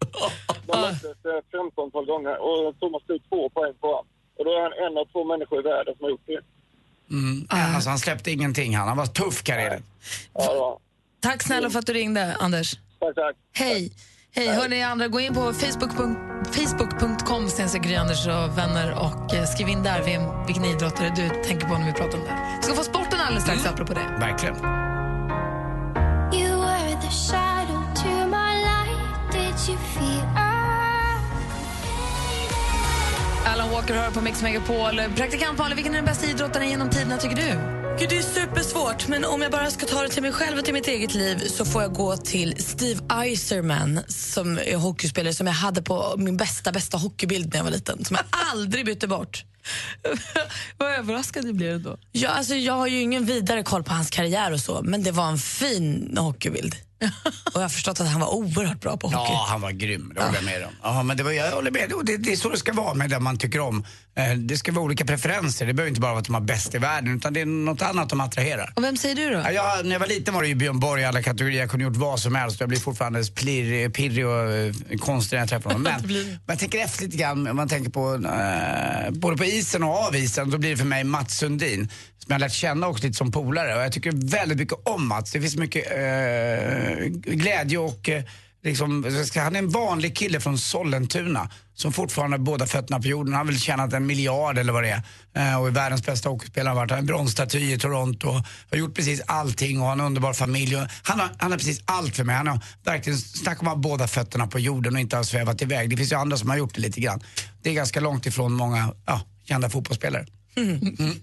Speaker 17: De möttes eh, 15 gånger och Thomas tog två poäng på honom. Och då är han en av två människor i världen som har gjort det.
Speaker 8: Mm. Alltså, han släppte ingenting han. Han var tuff Karelin.
Speaker 3: Tack snälla för att du ringde, Anders.
Speaker 17: Tack, tack.
Speaker 3: Hej. Hej, hörni andra, gå in på facebook.com facebook.com snedstreck Gry Anders och vänner och eh, skriv in där vem, vilken idrottare du tänker på när vi pratar om det här. Vi ska få sporten alldeles strax
Speaker 8: Mm.
Speaker 3: apropå det.
Speaker 8: Verkligen.
Speaker 6: You were the shadow to my light. Did you feel us?
Speaker 3: Alan Walker hör på Mix Megapol. Praktikant Malin, vilken är den bästa idrottaren genom tiderna tycker du?
Speaker 5: Gud, det är supersvårt, men om jag bara ska ta det till mig själv och till mitt eget liv så får jag gå till Steve Eiserman som är hockeyspelare som jag hade på min bästa, bästa hockeybild när jag var liten, som jag aldrig bytte bort.
Speaker 3: *laughs* Vad överraskad du blir då.
Speaker 5: Jag, alltså, jag har ju ingen vidare koll på hans karriär och så, men det var en fin hockeybild. Och jag har förstått att han var oerhört bra på hockey.
Speaker 8: Ja, han var grym. Det håller jag med om. Ja, men det var, jag håller med. Det, det är så det ska vara med det man tycker om. Eh, Det ska vara olika preferenser. Det behöver inte bara vara att de har bäst i världen, utan det är något annat de attraherar.
Speaker 3: Och vem säger du då?
Speaker 8: Ja, jag, när jag var liten var det ju Björn Borg i alla kategorier. Jag kunde gjort vad som helst. Jag blir fortfarande plirrig, pirrig och eh, konstig när jag
Speaker 5: *laughs*
Speaker 8: träffar honom. Men, men jag tänker efter lite grann. Om man tänker på eh, både på isen och av isen, då blir det för mig Mats Sundin. Som jag har lärt känna också lite som polare. Och jag tycker väldigt mycket om Mats. Det finns mycket eh, glädje och eh, Liksom, vad ska- han är en vanlig kille från Sollentuna som fortfarande har båda fötterna på jorden. Han har väl tjänat en miljard eller vad det är. Eh, och är världens bästa hockeyspelare. Han har varit Han har en bronsstaty i Toronto och har gjort precis allting och har en underbar familj. Och han, har, han har precis allt för mig. Han har verkligen, snacka om att ha båda fötterna på jorden och inte har svävat iväg. Det finns ju andra som har gjort det lite grann. Det är ganska långt ifrån många ja, kända fotbollsspelare. Mm-hmm.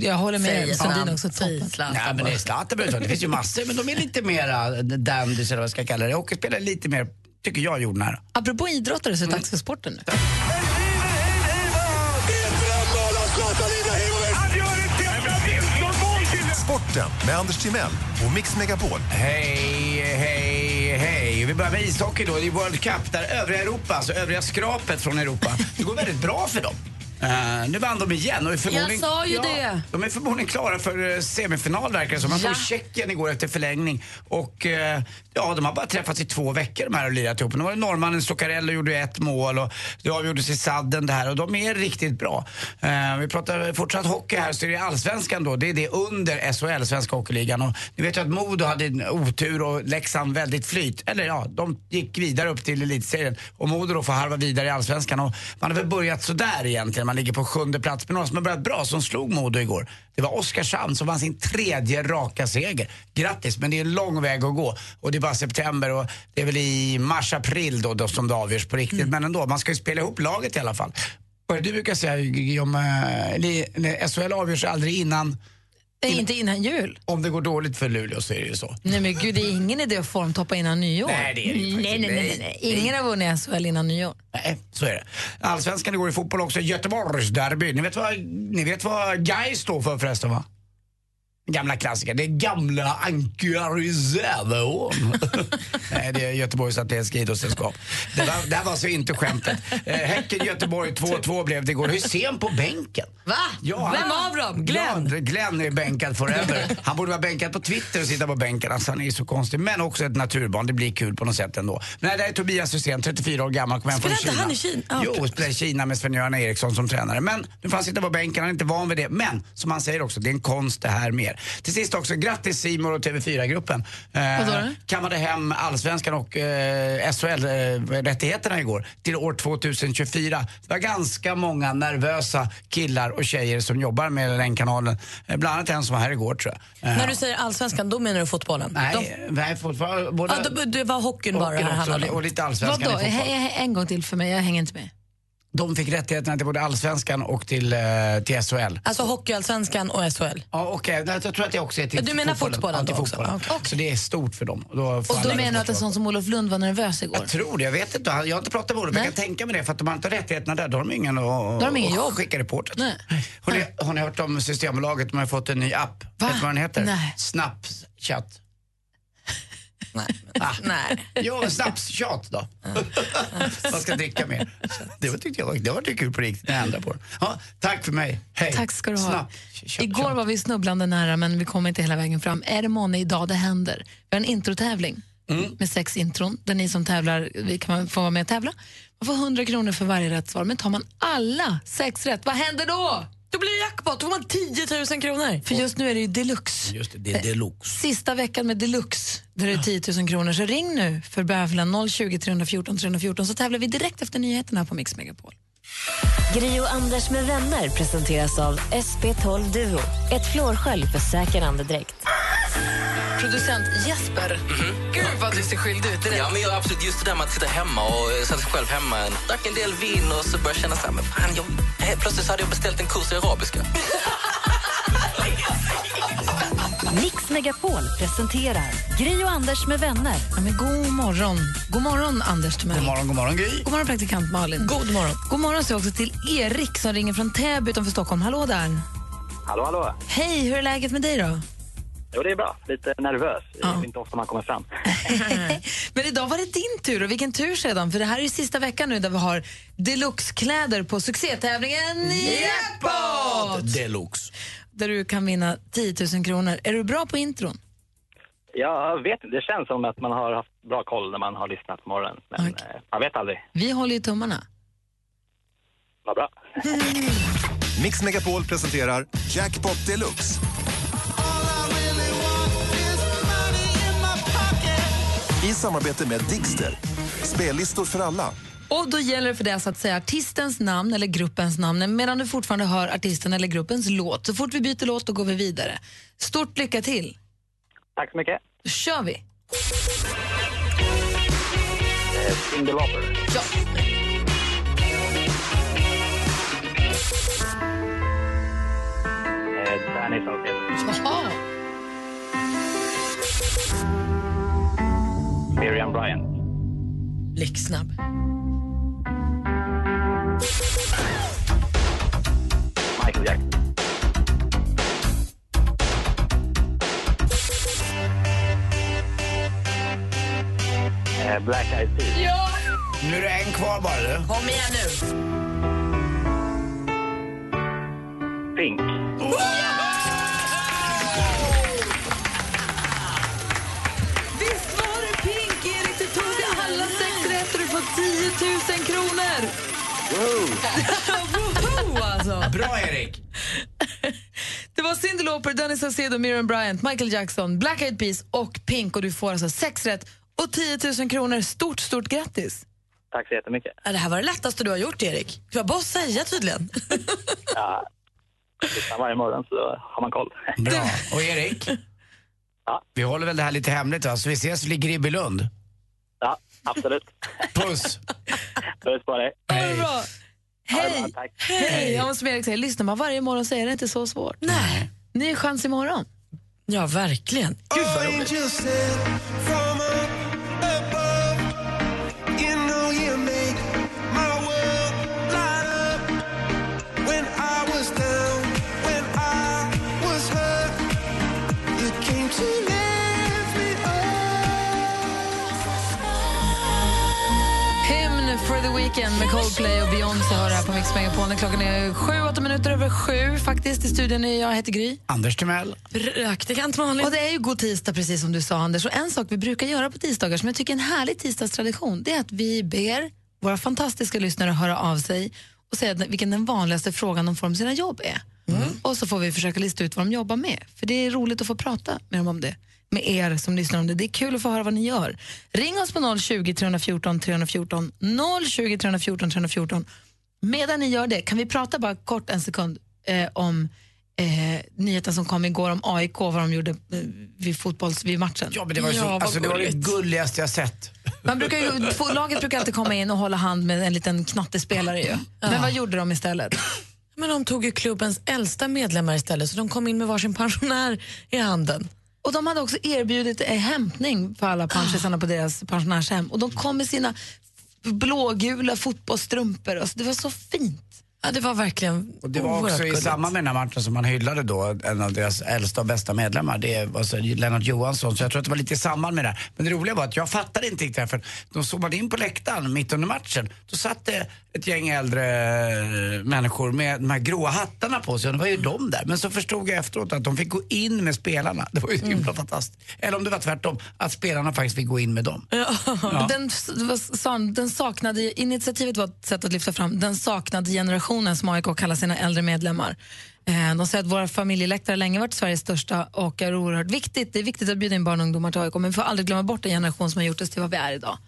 Speaker 3: Jag håller med.
Speaker 8: Säg
Speaker 3: Sundin
Speaker 8: Zlatan.
Speaker 3: också. Toppen.
Speaker 8: Nej, men det är Zlatan behöver inte- Det finns ju massor, men de är lite mera dandys eller vad jag ska kalla det. Hockeyspelare är lite mer, tycker jag, jordnära.
Speaker 3: Apropå idrottare så är det dags för sporten nu.
Speaker 13: Sporten med Anders Timell och Mix Megapol.
Speaker 8: Hej, hej, hej. Vi börjar med ishockey då. Det är World Cup där övriga Europa, alltså övriga skrapet från Europa, det går väldigt bra för dem. Eh, nu vann de igen och är förmodligen...
Speaker 5: Jag sa ju det.
Speaker 8: De är förmodligen klara för eh, semifinal verkar det som. Man
Speaker 5: Ja.
Speaker 8: tog Tjeckien igår efter förlängning och eh, ja, de har bara träffats i två veckor de här och lirat ihop. Nu var det norrmannen Zuccarello gjorde ett mål och det avgjordes i sadden det här och de är riktigt bra. Eh, vi pratar fortsatt hockey här så är det allsvenskan då. Det är det under SHL, Svenska Hockeyligan. Och ni vet ju att Modo hade en otur och Leksand väldigt flyt. Eller ja, de gick vidare upp till elitserien och Modo då får harva vidare i allsvenskan. Och man har väl börjat sådär egentligen. Man ligger på sjunde plats. Men några som har börjat bra som slog Modo igår. Det var Oskarshamn som vann sin tredje raka seger. Grattis, men det är en lång väg att gå. Och det är bara september och det är väl i mars-april då, då som det avgörs på
Speaker 3: Mm.
Speaker 8: riktigt. Men ändå, man ska ju spela ihop laget i alla fall. Och du brukar säga Gigi, om eh, li- nej, SHL avgörs aldrig innan...
Speaker 3: inte innan jul.
Speaker 8: Om det går dåligt för Luleå så är det ju så.
Speaker 3: Nej men gud, det är ingen idé att formtoppa innan nyår.
Speaker 8: Nej, det är det ju
Speaker 3: nej, nej,
Speaker 8: faktiskt.
Speaker 3: nej, nej, nej.
Speaker 8: Nej,
Speaker 3: Ingen har vunnit SHL innan nyår.
Speaker 8: Nej, så är det. Allsvenskan igår i fotboll också, Göteborgsderby. Ni vet vad, ni vet vad Gais står för förresten va? Gamla klassiker. Det är gamla Ankaresäveån. Nej, det är Göteborgs Atlétiska Idrottssällskap. Det, var- det här var alltså inte skämtet. Eh, Häcken-Göteborg 2-2 blev det igår. Hussein på bänken.
Speaker 5: Va?
Speaker 8: Ja,
Speaker 5: Vem
Speaker 8: han-
Speaker 5: av dem? Glenn?
Speaker 8: Ja, Glenn är bänkad forever. Han borde vara bänkad på Twitter och sitta på bänken. Alltså, han är ju så konstig. Men också ett naturbarn. Det blir kul på något sätt ändå. Men nej, det här är Tobias Hysén, 34 år gammal, kom hem från Kina.
Speaker 5: Spelar inte han i Kina? Ja,
Speaker 8: Jo,
Speaker 5: okej.
Speaker 8: spelar i Kina med Sven-Göran Eriksson som tränare. Men nu får han sitta på bänken. Han är inte van vid det. Men som han säger också, det är en konst det här mer. Till sist också, grattis Simon och TV4-gruppen.
Speaker 3: Vadå
Speaker 8: Eh,
Speaker 3: då?
Speaker 8: kammade hem allsvenskan och eh, SHL-rättigheterna igår till år 2024. Det var ganska många nervösa killar och tjejer som jobbar med den kanalen. Eh, Bland annat en som var här igår tror jag. Eh,
Speaker 5: När du säger allsvenskan, då menar du fotbollen?
Speaker 8: Nej, nej fotboll,
Speaker 5: De,
Speaker 8: både...
Speaker 5: ja, då- det var hockeyn bara
Speaker 8: Hockeyn
Speaker 5: det här
Speaker 8: också,
Speaker 5: handlade om.
Speaker 8: och lite allsvenskan i
Speaker 3: Vadå?
Speaker 8: fotboll.
Speaker 3: He- he- En gång till för mig, jag hänger inte med.
Speaker 8: De fick rättigheterna till både allsvenskan och till, eh, till SHL.
Speaker 5: Alltså hockeyallsvenskan och SHL.
Speaker 8: Ja, okej. Jag tror att det också är till
Speaker 5: Du menar fotbollen då
Speaker 8: Alltid
Speaker 5: också?
Speaker 8: fotbollen. Så det är stort för dem. Och då, får
Speaker 3: Och
Speaker 8: alla
Speaker 3: då menar du att en
Speaker 8: fotboll.
Speaker 3: sån som Olof Lund var nervös igår?
Speaker 8: Jag tror det. Jag vet inte. Jag har inte pratat med Olof. men Jag kan tänka mig det. För att de har inte rättigheterna där. Då har de ingen att
Speaker 3: har de ingen
Speaker 8: att
Speaker 3: jobb.
Speaker 8: skicka reportrar till.
Speaker 3: Nej.
Speaker 8: Har, ni, har ni hört om Systembolaget? De har fått en ny app. Vet du vad den heter?
Speaker 3: Nej.
Speaker 8: Snapchat. Nej. *laughs* Ah.
Speaker 5: Nej.
Speaker 8: Jo, snapstjat
Speaker 3: *laughs*
Speaker 8: då. Man ska dricka mer. Det var, tyckte jag var, det var lite kul på riktigt när jag ändrade på den. Ja, tack för mig. Hej.
Speaker 3: Tack ska du ha.
Speaker 8: Snapp.
Speaker 3: Igår var vi snubblande nära men vi kom inte hela vägen fram. Är det månne idag det händer? Vi har en introtävling
Speaker 10: Mm.
Speaker 3: med sex intron där ni som tävlar vi kan få vara med och tävla. Man får 100 kronor för varje rätt svar men tar man alla sex rätt, vad händer då?
Speaker 5: Då blir det jackpot, då får man 10 000 kronor. För just nu är det ju deluxe.
Speaker 10: Just det, det är deluxe.
Speaker 3: Eh, Sista veckan med deluxe, där det är 10 000 kronor. Så ring nu för bövelen 020 314 314 så tävlar vi direkt efter nyheterna här på Mix Megapol.
Speaker 1: Gri och Anders med vänner presenteras av SP12 Duo. Ett flårskölj för säker andedräkt.
Speaker 3: Producent Jesper, gud vad du ser skyldig ut direkt.
Speaker 18: Ja, men jag, absolut. Just det där med att sitta hemma och eh, sätta sig själv hemma. Drack en del vin och så började jag känna så här, men fan, jag, helt plötsligt så hade jag beställt en kurs i arabiska.
Speaker 1: Mix Megapol presenterar Gri och Anders med vänner.
Speaker 3: Ja, men god morgon. God morgon, Anders Timell. God
Speaker 8: morgon, god morgon, Gry.
Speaker 3: God morgon, praktikant Malin. God morgon. God morgon säger jag också till Erik som ringer från Täby utanför Stockholm. Hallå där.
Speaker 19: Hallå, hallå.
Speaker 3: Hej, hur är läget med dig då?
Speaker 19: Jo, det är bra. Lite nervös. Det är inte ofta man kommer fram.
Speaker 3: Men idag var det din tur och vilken tur sedan för det här är ju sista veckan nu där vi har deluxe-kläder på succétävlingen Jackpot!
Speaker 10: Deluxe.
Speaker 3: Där du kan vinna 10 000 kronor. Är du bra på intron?
Speaker 19: Jag vet inte. Det känns som att man har haft bra koll när man har lyssnat på morgonen. Men eh, man vet aldrig.
Speaker 3: Vi håller ju *laughs* tummarna.
Speaker 19: Vad bra.
Speaker 13: Mix Megapol presenterar Jackpot Deluxe. I samarbete med Digster. Spellistor för alla.
Speaker 3: Och då gäller det för dig alltså att säga artistens namn eller gruppens namn medan du fortfarande hör artisten eller gruppens låt. Så fort vi byter låt då går vi vidare. Stort lycka till!
Speaker 19: Tack så mycket.
Speaker 3: Då kör vi!
Speaker 19: Eh, Cyndi Lauper.
Speaker 3: Ja.
Speaker 19: Eh, Danny Saucedo.
Speaker 3: Jaha.
Speaker 19: Miriam Bryant.
Speaker 5: Blixtsnabb.
Speaker 19: Michael Jackson. Eh, Black Eyed Peas.
Speaker 5: Ja!
Speaker 8: Nu är det en kvar bara du.
Speaker 5: Kom igen nu.
Speaker 19: Pink.
Speaker 3: Visst var det Pink, Erik? Du tog alla sex rätt och du får 10 000 kronor! *laughs* Woho, alltså.
Speaker 8: Bra Erik!
Speaker 3: Det var Cyndi Lauper, Danny Saucedo, Miriam Bryant, Michael Jackson, Black Eyed Peas och Pink och du får alltså sex rätt och 10 000 kronor. Stort, stort grattis!
Speaker 19: Tack så jättemycket.
Speaker 5: Ja, Det här var det lättaste du har gjort, Erik. Du var bara att säga tydligen.
Speaker 19: Ja, lyssnar varje morgon så har man koll.
Speaker 8: Bra. Och Erik? Vi håller väl det här lite hemligt va? Så vi ses vid Gribbylund.
Speaker 19: Ja, absolut.
Speaker 8: Puss!
Speaker 19: Puss på dig.
Speaker 3: Hej. Bra. Hej! Hej! Ja, men som Erik säger, lyssnar man varje morgon så är det inte så svårt. Nej. Ny chans imorgon.
Speaker 5: Ja, verkligen.
Speaker 6: Gud, vad roligt.
Speaker 3: Hymn for the Weekend med Coldplay och Beyoncé har det här på Mix Megapol. När Klockan är sju, åtta minuter över sju faktiskt. I studion är jag, heter Gry.
Speaker 8: Anders Timell.
Speaker 3: Praktikant Malin. Och det är ju god tisdag precis som du sa Anders. Och en sak vi brukar göra på tisdagar som jag tycker är en härlig tisdagstradition det är att vi ber våra fantastiska lyssnare höra av sig och säga att- vilken den vanligaste frågan de får om sina jobb är. Och så får vi försöka lista ut vad de jobbar med. För det är roligt att få prata med dem om det. Med er som lyssnar om det. Det är kul att få höra vad ni gör. Ring oss på 020 314 314. 020 314 314. Medan ni gör det, kan vi prata bara kort en sekund eh, om eh, nyheten som kom igår om AIK, vad de gjorde eh, vid fotbolls, vid matchen?
Speaker 8: Ja, men det var ju så, alltså, det var det gulligaste jag sett.
Speaker 3: Man brukar ju, två, laget brukar alltid komma in och hålla hand med en liten knattespelare ju. Men vad gjorde de istället?
Speaker 5: Men de tog ju klubbens äldsta medlemmar istället så de kom in med varsin pensionär i handen.
Speaker 3: Och de hade också erbjudit eh, hämtning för alla pensionärsarna på deras pensionärshem. Och de kom med sina f- blågula fotbollsstrumpor. Alltså, det var så fint.
Speaker 5: Ja, det var verkligen
Speaker 8: Och det var också i samband med den här matchen som man hyllade då en av deras äldsta och bästa medlemmar, det var alltså Lennart Johansson. Så jag tror att det var lite i samband med det här. Men det roliga var att jag fattade inte riktigt det här för de zoomade in på läktaren mitt under matchen. Då satt det ett gäng äldre eh, människor med de här gråa hattarna på sig och det var ju de där. Men så förstod jag efteråt att de fick gå in med spelarna. Det var ju
Speaker 5: Mm.
Speaker 8: himla fantastiskt. Eller om det var tvärtom, att spelarna faktiskt fick gå in med dem.
Speaker 3: Den, s- vad sa han? den saknade, initiativet var ett sätt att lyfta fram den saknade generationen. Familjeläkarsektionen som AIK kallar sina äldre medlemmar. Eh, De säger att våra familjeläktare har länge varit Sveriges största och är oerhört viktigt. Det är viktigt att bjuda in barn och ungdomar till AIK men vi får aldrig glömma bort den generation som har gjort oss till vad vi är idag.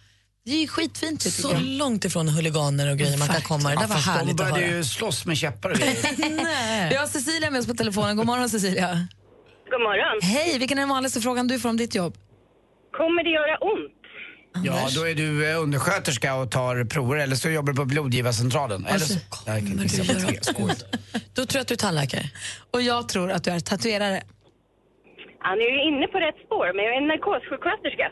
Speaker 3: Det är ju skitfint tycker
Speaker 5: Så
Speaker 3: jag.
Speaker 5: långt ifrån huliganer och grejer man kan komma. Det där var
Speaker 8: fast
Speaker 5: härligt
Speaker 8: de
Speaker 5: att
Speaker 8: började
Speaker 5: höra.
Speaker 8: ju slåss med käppar och grejer.
Speaker 3: Nej. *laughs* Vi har Cecilia med oss på telefonen. God morgon Cecilia.
Speaker 10: God morgon.
Speaker 3: Hej, vilken är den vanligaste frågan du får om ditt jobb?
Speaker 10: Kommer det göra ont?
Speaker 8: Ja, då är du eh, undersköterska och tar prover eller så jobbar du på blodgivarcentralen. Eller så... Nej, jag kan inte säga vad det är. Skoj.
Speaker 5: Då tror jag att du är tandläkare.
Speaker 3: Och jag tror att du är tatuerare.
Speaker 10: Han är ju inne på rätt spår, men jag är en narkossjuksköterska.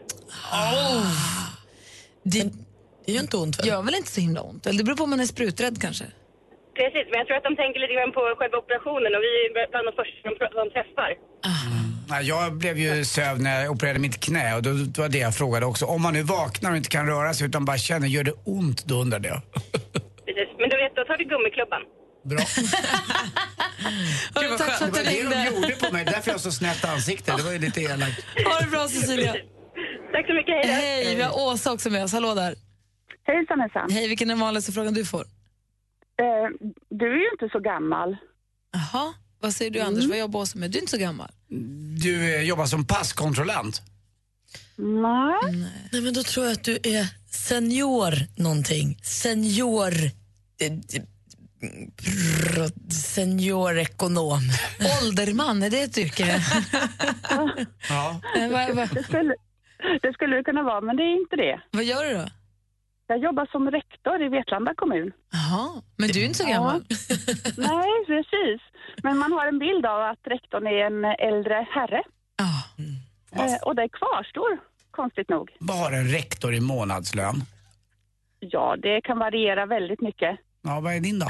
Speaker 5: Det, det gör inte ont väl?
Speaker 3: Ah. Gör väl inte så himla ont? Eller det beror på om man är spruträdd kanske.
Speaker 10: Precis, men jag tror att de tänker lite grann på själva operationen och vi är bland de första de, de träffar.
Speaker 8: Mm. Nej, jag blev ju sövd när jag opererade mitt knä och då, då var det jag frågade också. Om man nu vaknar och inte kan röra sig utan bara känner, gör det ont? Då undrade jag.
Speaker 10: Precis. Men du vet, då tar du gummiklubban.
Speaker 8: Gud, vad
Speaker 10: tack
Speaker 8: skönt.
Speaker 10: för att
Speaker 8: det var
Speaker 10: du
Speaker 8: det
Speaker 10: ringde.
Speaker 8: de gjorde på mig, därför jag har så snett ansikte. Det var ju lite elakt.
Speaker 3: Ha det bra Cecilia.
Speaker 10: *laughs* Tack så mycket, hej
Speaker 3: Hej, vi har Åsa också med oss. Hallå där.
Speaker 20: Hejsan hejsan.
Speaker 3: Hej, vilken är den vanligaste frågan du får?
Speaker 20: Eh, du är ju inte så gammal. Mm.
Speaker 3: Jaha, vad säger du Anders? Vad jobbar Åsa med? Du är inte så gammal.
Speaker 8: Du eh, jobbar som passkontrollant.
Speaker 5: Nej. Mm. Nej, men då tror jag att du är senior någonting. Senior... eh, eh, pr- Seniorekonom.
Speaker 3: Ålderman, är det ett yrke?
Speaker 8: Ja.
Speaker 3: Eh,
Speaker 20: Det, skulle, det skulle det kunna vara, men det är inte det.
Speaker 3: Vad gör du då?
Speaker 20: Jag jobbar som rektor i Vetlanda kommun.
Speaker 3: Jaha, men du är inte så gammal.
Speaker 20: *laughs* Nej, precis. Men man har en bild av att rektorn är en äldre herre.
Speaker 3: Mm.
Speaker 20: Eh, och det kvarstår, konstigt nog.
Speaker 8: Vad har en rektor i månadslön?
Speaker 20: Ja, det kan variera väldigt mycket.
Speaker 8: Ja, vad är din då?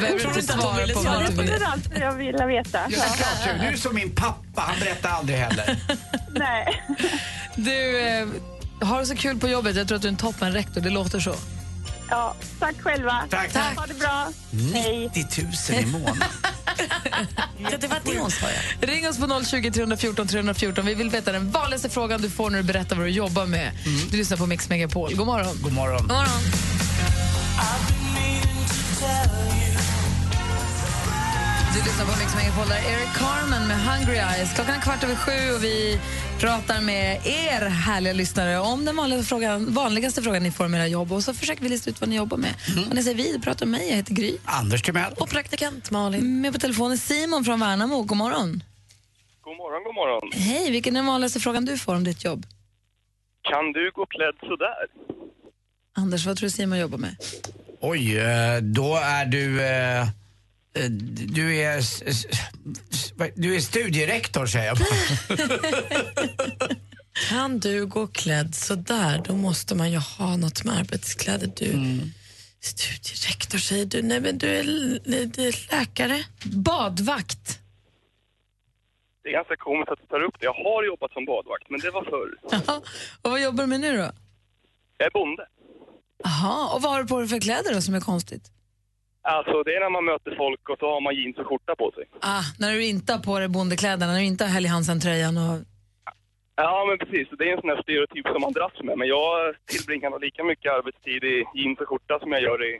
Speaker 3: Behöver du inte svara på vad du
Speaker 20: Det
Speaker 3: vill?
Speaker 20: är allt jag ville veta.
Speaker 8: Ja, klart, du är som min pappa, han berättar aldrig heller.
Speaker 20: Nej.
Speaker 3: Du, eh, har det så kul på jobbet. Jag tror att du är en toppenrektor. Det låter så.
Speaker 20: Ja, tack själva.
Speaker 8: Tack. Tack.
Speaker 20: Ha det bra.
Speaker 8: 90 000 i månaden.
Speaker 5: *laughs* Ja, det var det hon sa, ja.
Speaker 3: Ring oss på 020 314 314. Vi vill veta den vanligaste frågan du får när du berättar vad du jobbar med. Du lyssnar på Mix Megapol. God morgon.
Speaker 8: Mm. God morgon.
Speaker 3: God morgon. Du lyssnar på Mix Megapol, där Eric Carmen med Hungry Eyes. Klockan är kvart över sju och vi pratar med er härliga lyssnare om den vanligaste frågan, vanligaste frågan ni får om era jobb och så försöker vi lista ut vad ni jobbar med. Och när säger vi, pratar med mig, jag heter Gry. Mm,
Speaker 8: Anders Timell.
Speaker 5: Mm. Och praktikant Malin.
Speaker 3: Med på telefonen Simon från Värnamo, god morgon.
Speaker 21: God morgon, god morgon.
Speaker 3: Hej, vilken är den vanligaste frågan du får om ditt jobb?
Speaker 21: Kan du gå klädd sådär?
Speaker 3: Anders, vad tror du Simon jobbar med? *laughs*
Speaker 8: Oj, eh, då är du... eh, eh, Du är, s- s- s- vad- du är studierektor säger jag
Speaker 5: *laughs*
Speaker 3: *laughs*
Speaker 5: Kan du gå klädd så där, då måste man ju ha något med arbetskläder. Du
Speaker 3: Mm.
Speaker 5: studierektor säger du, nej men du är, l- du är läkare.
Speaker 3: Badvakt.
Speaker 21: Det är ganska komiskt att du tar upp det. Jag har jobbat som badvakt, men det var förr.
Speaker 3: och vad jobbar du med nu då?
Speaker 21: Jag är bonde.
Speaker 3: Aha, och vad har du på dig för kläder då som är konstigt?
Speaker 21: Alltså, det är när man möter folk och så har man jeans och skjorta på sig.
Speaker 3: Ah, när du inte har på dig bondekläderna, när du inte har Helly Hansen-tröjan och...
Speaker 21: Ja, men precis. Det är en sån här stereotyp som man dras med. Men jag tillbringar nog lika mycket arbetstid i jeans och skjorta som jag gör i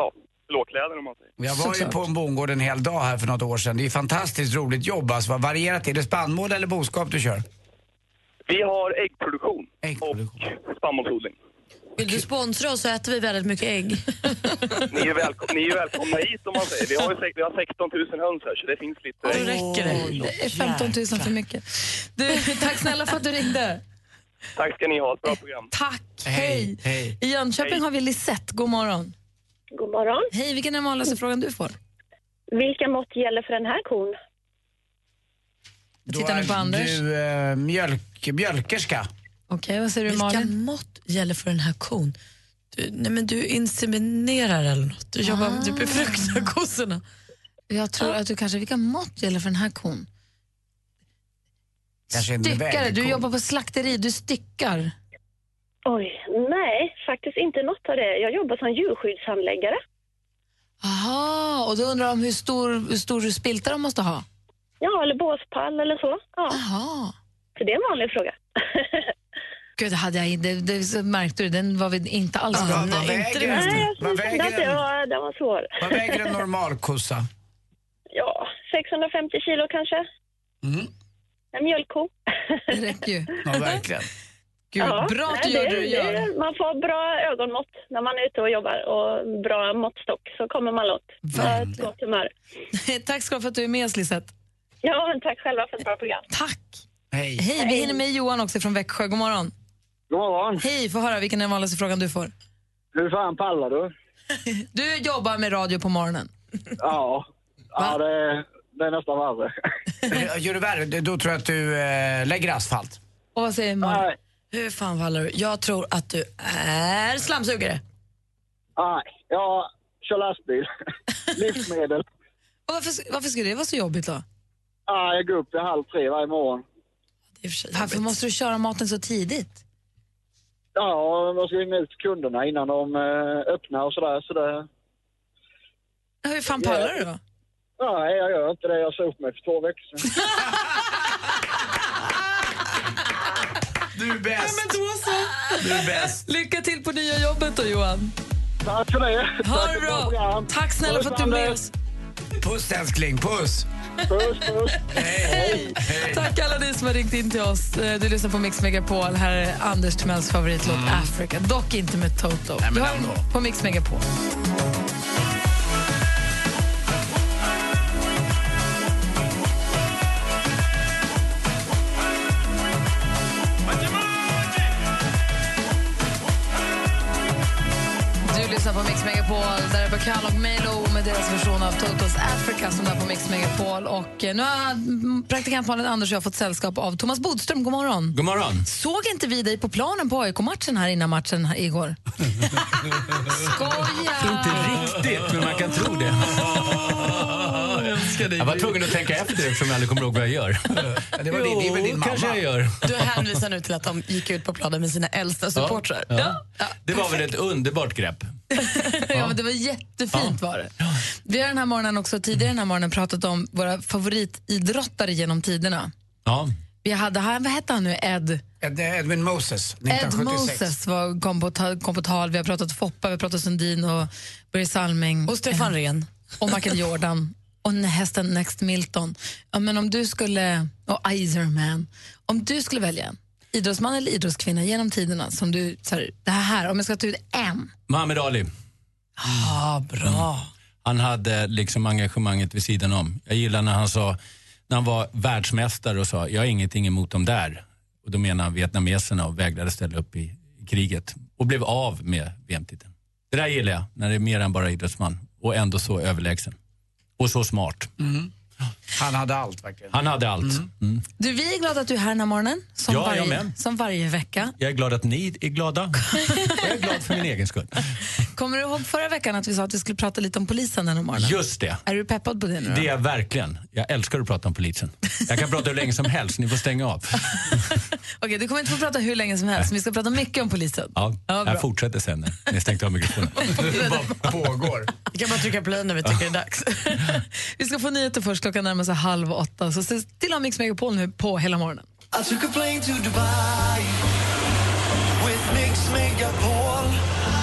Speaker 21: ja, lågkläder, om man säger.
Speaker 8: Jag var ju på en bondgård en hel dag här för något år sedan. Det är fantastiskt roligt jobb alltså. Vad varierat är det? Spannmål eller boskap du kör?
Speaker 21: Vi har äggproduktion, och spannmålsodling.
Speaker 5: Vill du sponsra oss så äter vi väldigt mycket ägg.
Speaker 21: Ni är, välkom- ni är välkomna hit, om man säger. Vi har, ju, sek- vi har 16 000 höns här, så det finns lite...
Speaker 3: Då räcker det. Det är 15 000 för mycket. Du, tack snälla för att du ringde.
Speaker 21: Tack ska ni ha. Ett bra program.
Speaker 3: Tack. Hej. I Jönköping har vi Lisette. God morgon.
Speaker 22: God morgon. Mm.
Speaker 3: Hej, vilken är den vanligaste frågan du får?
Speaker 22: Vilka mått gäller för den här
Speaker 3: *laughs*
Speaker 22: kon?
Speaker 8: Då
Speaker 3: tittar nu på
Speaker 8: är
Speaker 3: Anders.
Speaker 8: du eh, mjölk, mjölkerska.
Speaker 3: Okej, vad säger du
Speaker 5: Vilka
Speaker 3: Malin?
Speaker 5: mått gäller för den här kon? Du, nej men du inseminerar eller något. Du jobbar,
Speaker 3: Ah.
Speaker 5: du befruktar kossorna.
Speaker 3: Jag tror att du kanske... Vilka mått gäller för den här kon?
Speaker 8: Kanske en
Speaker 3: Styckare, du
Speaker 8: väderkon.
Speaker 3: jobbar på slakteri, du styckar.
Speaker 22: Oj, nej, faktiskt inte något av det. Jag jobbar som djurskyddshandläggare.
Speaker 3: Aha, och då undrar de hur stor, hur stor spilta de måste ha?
Speaker 22: Ja, eller båspall eller så. Ja.
Speaker 3: Aha.
Speaker 22: *laughs* Så det är en vanlig fråga.
Speaker 3: Gud, hade jag, det, det, så märkte du, den var vi inte alls bra på.
Speaker 22: Nej, jag
Speaker 8: Vad
Speaker 22: kände
Speaker 8: väger
Speaker 22: att det
Speaker 8: den?
Speaker 22: var, den var svår.
Speaker 8: Vad väger en normal kossa?
Speaker 22: Ja, 650 kilo kanske.
Speaker 8: Mm.
Speaker 22: En mjölkko.
Speaker 3: Det räcker ju.
Speaker 8: Ja, verkligen.
Speaker 3: Gud, bra att du gör det du gör.
Speaker 22: Man får bra ögonmått när man är ute och jobbar och bra måttstock så kommer man långt. Ha ett gott humör.
Speaker 3: *laughs* Tack ska du ha för att du är med oss, Lisette.
Speaker 22: Ja, men tack själva för ett bra program.
Speaker 3: Tack!
Speaker 8: Hej.
Speaker 3: Hej, vi hinner med Johan också från Växjö. God morgon.
Speaker 7: God morgon.
Speaker 3: Hej, få höra vilken är den vanligaste frågan du får.
Speaker 7: Hur fan pallar du?
Speaker 3: Du jobbar med radio på morgonen.
Speaker 7: Ja, ja det, det är nästan värre.
Speaker 8: Eh, Gör du värre, det- då tror jag att du eh, lägger asfalt.
Speaker 3: Och vad säger Malin?
Speaker 5: Hur fan vallar du? Jag tror att du är slamsugare.
Speaker 7: Nej, jag
Speaker 19: *laughs*
Speaker 7: kör lastbil. Livsmedel.
Speaker 3: Och varför, varför skulle det vara så jobbigt då?
Speaker 7: Ja, jag går upp vid halv tre varje morgon.
Speaker 3: Varför måste du köra maten så tidigt?
Speaker 7: Ja, man ska ringa ut till kunderna innan de eh, öppnar och sådär. Så det,
Speaker 3: Hur fan pallar du då?
Speaker 7: nej, jag gör inte det. Jag sa upp mig för två
Speaker 3: *laughs*
Speaker 7: veckor sedan.
Speaker 8: Du är bäst.
Speaker 3: men då så.
Speaker 8: Du är bäst.
Speaker 3: Lycka till på nya jobbet då, Johan.
Speaker 7: Tack för det.
Speaker 3: Ha det bra. Tack snälla för att du är med oss.
Speaker 8: Puss älskling, puss.
Speaker 7: Puss, puss.
Speaker 8: Hej.
Speaker 3: Tack alla ni som har ringt in till oss. Eh, Du lyssnar på Mix Megapol. Här är Anders Timells favoritlåt Africa. Dock inte med Toto.
Speaker 8: Nej, men
Speaker 3: Du har
Speaker 8: ändå.
Speaker 3: på Mix Megapol. Du lyssnar på Mix Megapol. Där är Bacall och Melo med deras version av Totos Africa som är på Mix Megapol. Och eh, nu har mm, praktikant Malin Anders och jag fått sällskap av Thomas Bodström. God morgon.
Speaker 23: God morgon.
Speaker 3: Såg inte vi dig på planen på AIK-matchen här innan matchen här igår? Skoja!
Speaker 23: Inte riktigt, men man kan tro det. Jag var tvungen att tänka efter eftersom jag aldrig kommer ihåg vad jag gör.
Speaker 8: Det var din- det är väl din
Speaker 23: jo,
Speaker 8: mamma?
Speaker 23: kanske jag gör.
Speaker 5: Du hänvisar nu till att de gick ut på planen med sina äldsta supportrar.
Speaker 23: Ja. Det var väl ett underbart grepp.
Speaker 3: *laughs* ja, men det var jättefint var det. Vi har den här morgonen också tidigare den här morgonen pratat om våra favoritidrottare genom tiderna.
Speaker 23: Ja.
Speaker 3: Vi hade, här, vad hette han nu, Ed?
Speaker 8: Ed, Edwin Moses,
Speaker 3: Ed
Speaker 8: 1976.
Speaker 3: Moses var, kom, på, ta- kom på tal, vi har pratat Foppa, vi har pratat Sundin och Börje Salming. Och
Speaker 5: Stefan
Speaker 3: Rehn. Och *laughs* Michael Jordan. Och n- hästen Next Milton. Ja, men om du skulle, och Iserman. Om du skulle välja en idrottsman eller idrottskvinna genom tiderna som du, så här, det här, om jag ska ta ut en.
Speaker 23: Muhammad Ali. Mm.
Speaker 5: Ah, bra.
Speaker 23: Han hade liksom engagemanget vid sidan om. Jag gillar när han sa, när han var världsmästare och sa, jag har ingenting emot dem där. Och då menar han vietnameserna och vägrade ställa upp i kriget och blev av med VM-titeln. Det där gillar jag, när det är mer än bara idrottsman och ändå så överlägsen. Och så smart.
Speaker 8: Mm. Han hade allt verkligen.
Speaker 23: Han hade allt. Mm.
Speaker 3: Du, vi är glada att du är här den här morgonen, som,
Speaker 23: Ja, jag
Speaker 3: varje,
Speaker 23: med.
Speaker 3: som varje vecka.
Speaker 23: Jag är glad att ni är glada.
Speaker 5: *laughs*
Speaker 23: Och jag är glad för min egen skull.
Speaker 3: Kommer du ihåg förra veckan att vi sa att vi skulle prata lite om polisen den här morgonen?
Speaker 23: Just det.
Speaker 3: Är du peppad på det nu? då?
Speaker 23: Det är jag verkligen. Jag älskar att prata om polisen. Jag kan prata hur länge som helst, ni får stänga av.
Speaker 3: Okej, du kommer inte få prata hur länge som helst, men vi ska prata mycket om polisen.
Speaker 23: Ja,
Speaker 3: bra.
Speaker 23: jag fortsätter sen när ni har stängt av mikrofonen.
Speaker 8: Pågår.
Speaker 5: Vi kan bara trycka play när vi tycker det är dags.
Speaker 3: Vi ska få nyheter först, klockan närmar sig halv åtta. Så se till att ha Mix Megapol nu på hela morgonen.
Speaker 24: I took a plane to Dubai with Mix Megapol.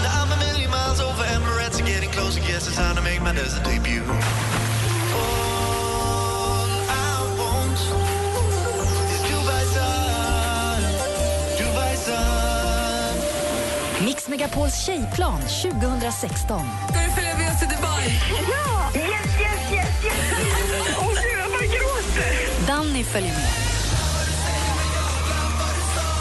Speaker 24: Now I'm a million miles over Emirates and getting closer. Guess it's time to make my desert debut. All I want is Dubai sun, Dubai sun.
Speaker 1: Mix Megapols tjejplan 2016.
Speaker 3: Ska du följa med oss till Dubai?
Speaker 6: Ja! Yes, yes, yes, yes! Åh, gud, jag bara gråter! Danny följer med.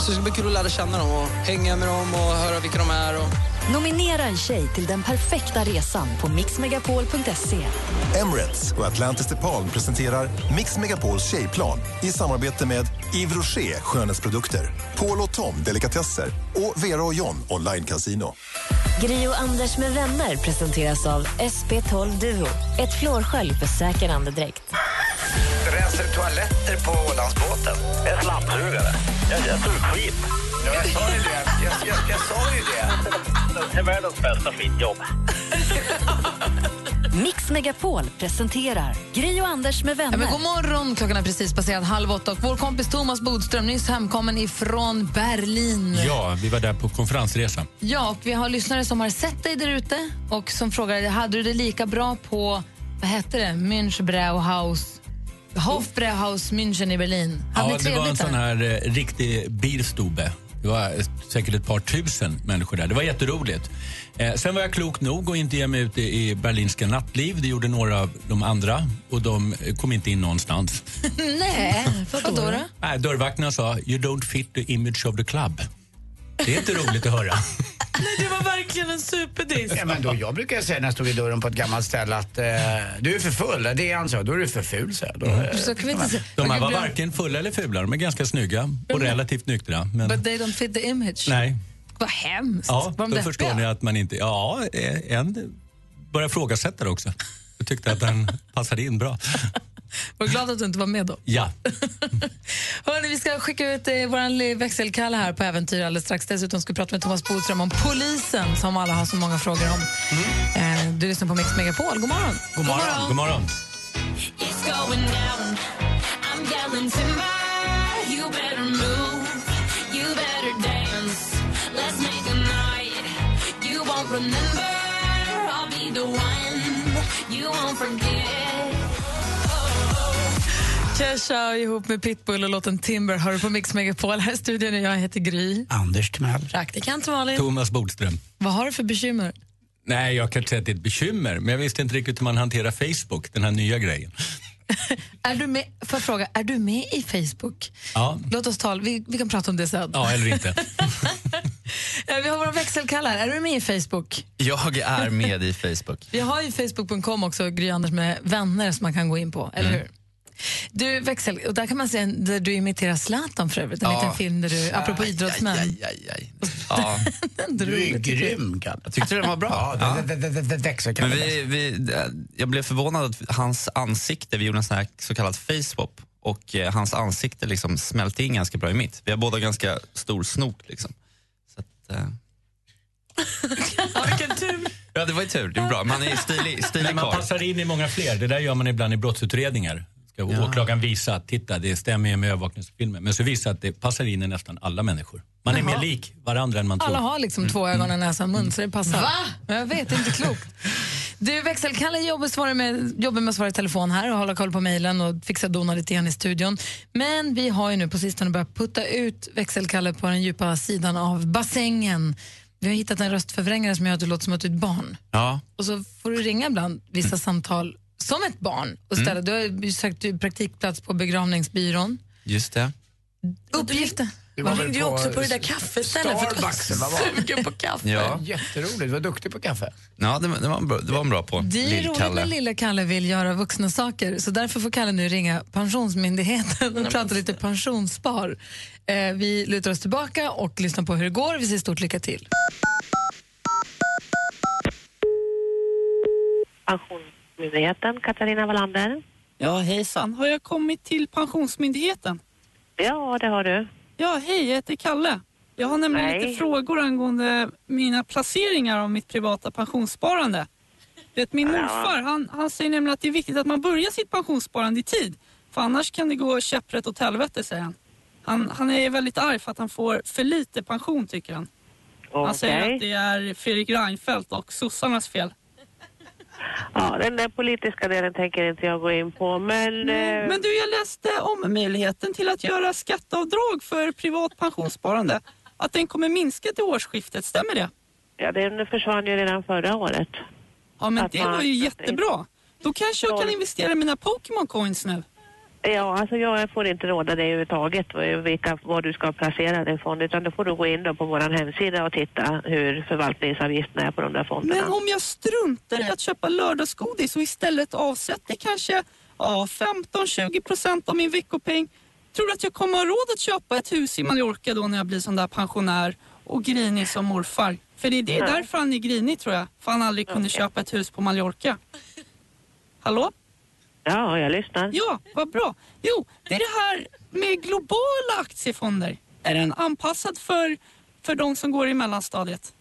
Speaker 12: Så det ska bli kul att lära känna dem och hänga med dem och höra vilka de är. Och...
Speaker 1: Nominera en tjej till den perfekta resan på mixmegapol.se.
Speaker 13: Emirates och Atlantis DePaul presenterar Mix Megapols tjejplan i samarbete med Yves Rocher skönhetsprodukter, Paul och Tom delikatesser och Vera och John online casino.
Speaker 1: Gri och Anders med vänner presenteras av SP12 Duo. Ett flårskölj för säker andedräkt.
Speaker 25: Rensar du toaletter på Ålandsbåten? Jag är slamsugare. Jag, jag tog skit. Ja, jag sa ju det. Jag, jag, jag sa ju det. Det är världens bästa skitjobb.
Speaker 1: Mix Megapol presenterar Gri och Anders med vänner.
Speaker 3: Ja, men god morgon, klockan är precis passerat halv åtta och vår kompis Thomas Bodström nyss hemkommen ifrån Berlin.
Speaker 23: Ja, vi var där på konferensresa.
Speaker 3: Ja, och vi har lyssnare som har sett dig där ute och som frågar, hade du det lika bra på, vad hette det, Münchbrauhaus? Hofbrauhaus München i Berlin. Hade
Speaker 23: ja,
Speaker 3: ni
Speaker 23: det var en
Speaker 3: trevligt
Speaker 23: sån
Speaker 3: där?
Speaker 23: här eh, riktig bilstube. Det var eh, säkert ett par tusen människor där. Det var jätteroligt. Eh, sen var jag klok nog att inte ge mig ut i i berlinska nattliv. Det gjorde några av de andra och de eh, kom inte in någonstans.
Speaker 3: *laughs* Nej, vadå
Speaker 23: *laughs*
Speaker 3: då?
Speaker 23: Nej, dörrvakterna sa “You don't fit the image of the club”. Det är inte roligt att höra.
Speaker 8: Det var verkligen en superdiss. Ja, men då, jag brukar säga när jag stod i dörren på ett gammalt ställe att eh, du är för full. Det är han, så. Då är du för ful, så. *laughs* Då, eh,
Speaker 3: Så kan vi inte säga-
Speaker 23: De här var
Speaker 3: Okej,
Speaker 23: varken fulla eller fula. De är ganska snygga och relativt nyktra. Men,
Speaker 3: But they don't fit the image.
Speaker 23: nej.
Speaker 3: Vad hemskt.
Speaker 23: Ja,
Speaker 3: var de
Speaker 23: då
Speaker 3: deppiga?
Speaker 23: förstår ni att man inte... Ja, eh, en började ifrågasätta det också. Jag tyckte att den
Speaker 3: *laughs*
Speaker 23: passade in bra.
Speaker 3: Var glad att du inte var med då.
Speaker 23: Ja.
Speaker 3: Hörrni, vi ska skicka ut eh, vår växelkalle här på äventyr alldeles strax. Dessutom ska vi prata med Thomas Bodström om polisen som alla har så många frågor om.
Speaker 23: Mm.
Speaker 3: Eh, du lyssnar på Mix Megapol. God morgon!
Speaker 23: God morgon. God morgon.
Speaker 6: It's going down. I'm yelling timber. You better move. You better dance. Let's make a night. You won't remember. I'll be the one. You won't forget.
Speaker 3: Kesha ihop med Pitbull och låten Timber hör du på Mix Megapol. Här i studion är jag, heter Gry.
Speaker 8: Anders Timell.
Speaker 3: Praktikant Malin.
Speaker 23: Thomas Bodström.
Speaker 3: Vad har du för bekymmer?
Speaker 23: Nej, jag kan inte säga att det är ett bekymmer, men jag visste inte riktigt hur man hanterar Facebook, den här nya grejen.
Speaker 3: *laughs* Är du med, får jag fråga, är du med i Facebook?
Speaker 23: Ja,
Speaker 3: Låt oss tala, vi, vi kan prata om det sen.
Speaker 23: ja
Speaker 3: *laughs*
Speaker 23: eller inte.
Speaker 3: Eh, Vi har våra växelkallar. Är du med i Facebook?
Speaker 26: *laughs* Jag är med i Facebook.
Speaker 3: Vi har ju facebook.com också, Gry Anders med vänner som man kan gå in på,
Speaker 26: Mm.
Speaker 3: eller hur? Du, växel, och där kan man se en, där du imiterar Zlatan för övrigt, en
Speaker 26: Ja.
Speaker 3: liten film där du, apropå
Speaker 26: Aj,
Speaker 3: idrottsmän. *laughs*
Speaker 26: Ja.
Speaker 8: Du är grym, Kalle.
Speaker 26: Tyckte du den var bra?
Speaker 8: Ja, det- det- det- det- det- växelkalle.
Speaker 26: Men vi, vi, jag blev förvånad att hans ansikte, vi gjorde en sån här så kallad facewap och eh, hans ansikte liksom smälte in ganska bra i mitt. Vi har båda ganska stor snok. Liksom. Så att, eh,
Speaker 3: vilken tur!
Speaker 26: *laughs* ja, det var ju tur. Det var bra. Man är stilig, stilig
Speaker 23: Men man
Speaker 26: karl.
Speaker 23: passar in i många fler. Det där gör man ibland i brottsutredningar. Ska
Speaker 26: Ja.
Speaker 23: åklagaren visa att titta, det stämmer ju med övervakningsfilmen. Men så visar att det passar in i nästan alla människor. Man är
Speaker 3: Jaha.
Speaker 23: mer lik varandra än man tror. Mm.
Speaker 3: Alla har liksom två ögon, en näsa och en mun, så det passar. Va? Jag vet, det är inte klokt. Du, växelkalle jobbar, svarar med, jobbar med att svara i telefon här och hålla koll på mejlen och fixa och dona lite grann i studion. Men vi har ju nu på sistone börjat putta ut växelkalle på den djupa sidan av bassängen. Vi har hittat en röstförvrängare som gör att du låter som att du är ett barn.
Speaker 26: Ja.
Speaker 3: Och så får du ringa ibland vissa
Speaker 23: Mm.
Speaker 3: samtal som ett barn och ställa. Du har ju sökt praktikplats på begravningsbyrån.
Speaker 26: Just det.
Speaker 3: Uppgifter.
Speaker 8: Du var väl
Speaker 5: ringde ju också på det där kaffestället för att du var
Speaker 8: Starbucks, eller vad var det?
Speaker 5: sugen på kaffe.
Speaker 26: Ja.
Speaker 8: Jätteroligt. Du var duktig på kaffe.
Speaker 26: Ja, det, var- det, var en bra, det var en bra på.
Speaker 3: Det är roligt när
Speaker 26: Lill-Kalle.
Speaker 3: lilla Kalle vill göra vuxna saker så därför får Kalle nu ringa Pensionsmyndigheten och prata lite pensionsspar. Eh, vi lutar oss tillbaka och lyssnar på hur det går. Vi säger stort lycka till.
Speaker 27: Pensionsmyndigheten, Katarina Wallander.
Speaker 9: Ja, hejsan. Har jag kommit till Pensionsmyndigheten?
Speaker 27: Ja, det har du.
Speaker 9: Ja, hej, jag heter Kalle. Jag har nämligen
Speaker 27: Hej.
Speaker 9: lite frågor angående mina placeringar om mitt privata pensionssparande. Vet, min
Speaker 27: Ja.
Speaker 9: morfar han, han säger nämligen att det är viktigt att man börjar sitt pensionssparande i tid. För annars kan det gå käpprätt åt helvete, säger han. han. Han är väldigt arg för att han får för lite pension, tycker han. Han säger
Speaker 27: Okej.
Speaker 9: att det är Fredrik Reinfeldt och sossarnas fel.
Speaker 27: Ja, den där politiska delen tänker inte jag gå in på, men... eh,
Speaker 9: Mm. Men du, jag läste om möjligheten till att göra skatteavdrag för privat pensionssparande. Att den kommer minska till årsskiftet, stämmer det?
Speaker 27: Ja, den försvann ju redan förra året.
Speaker 9: Ja, men
Speaker 27: Att
Speaker 9: det
Speaker 27: man-
Speaker 9: var ju jättebra. Då kanske jag kan investera i mina Pokémon coins nu.
Speaker 27: Ja, alltså jag får inte råda dig överhuvudtaget vad- vilka, vad du ska placera din fond, utan då får du gå in då på vår hemsida och titta hur förvaltningsavgifterna är på de där fonderna.
Speaker 9: Men om jag struntar i att köpa lördagsgodis och istället avsätter kanske ja, 15-20 procent av min veckopeng. Tror du att jag kommer ha råd att köpa ett hus i Mallorca då när jag blir sån där pensionär och grinig som morfar? För det är det
Speaker 27: Nej.
Speaker 9: därför han är grinig tror jag. För han aldrig
Speaker 27: Mm.
Speaker 9: kunde köpa ett hus på Mallorca. Hallå?
Speaker 27: Ja, jag lyssnar.
Speaker 9: Ja, vad bra. Jo, det är det här med globala aktiefonder. Är den anpassad för, för de som går i mellanstadiet?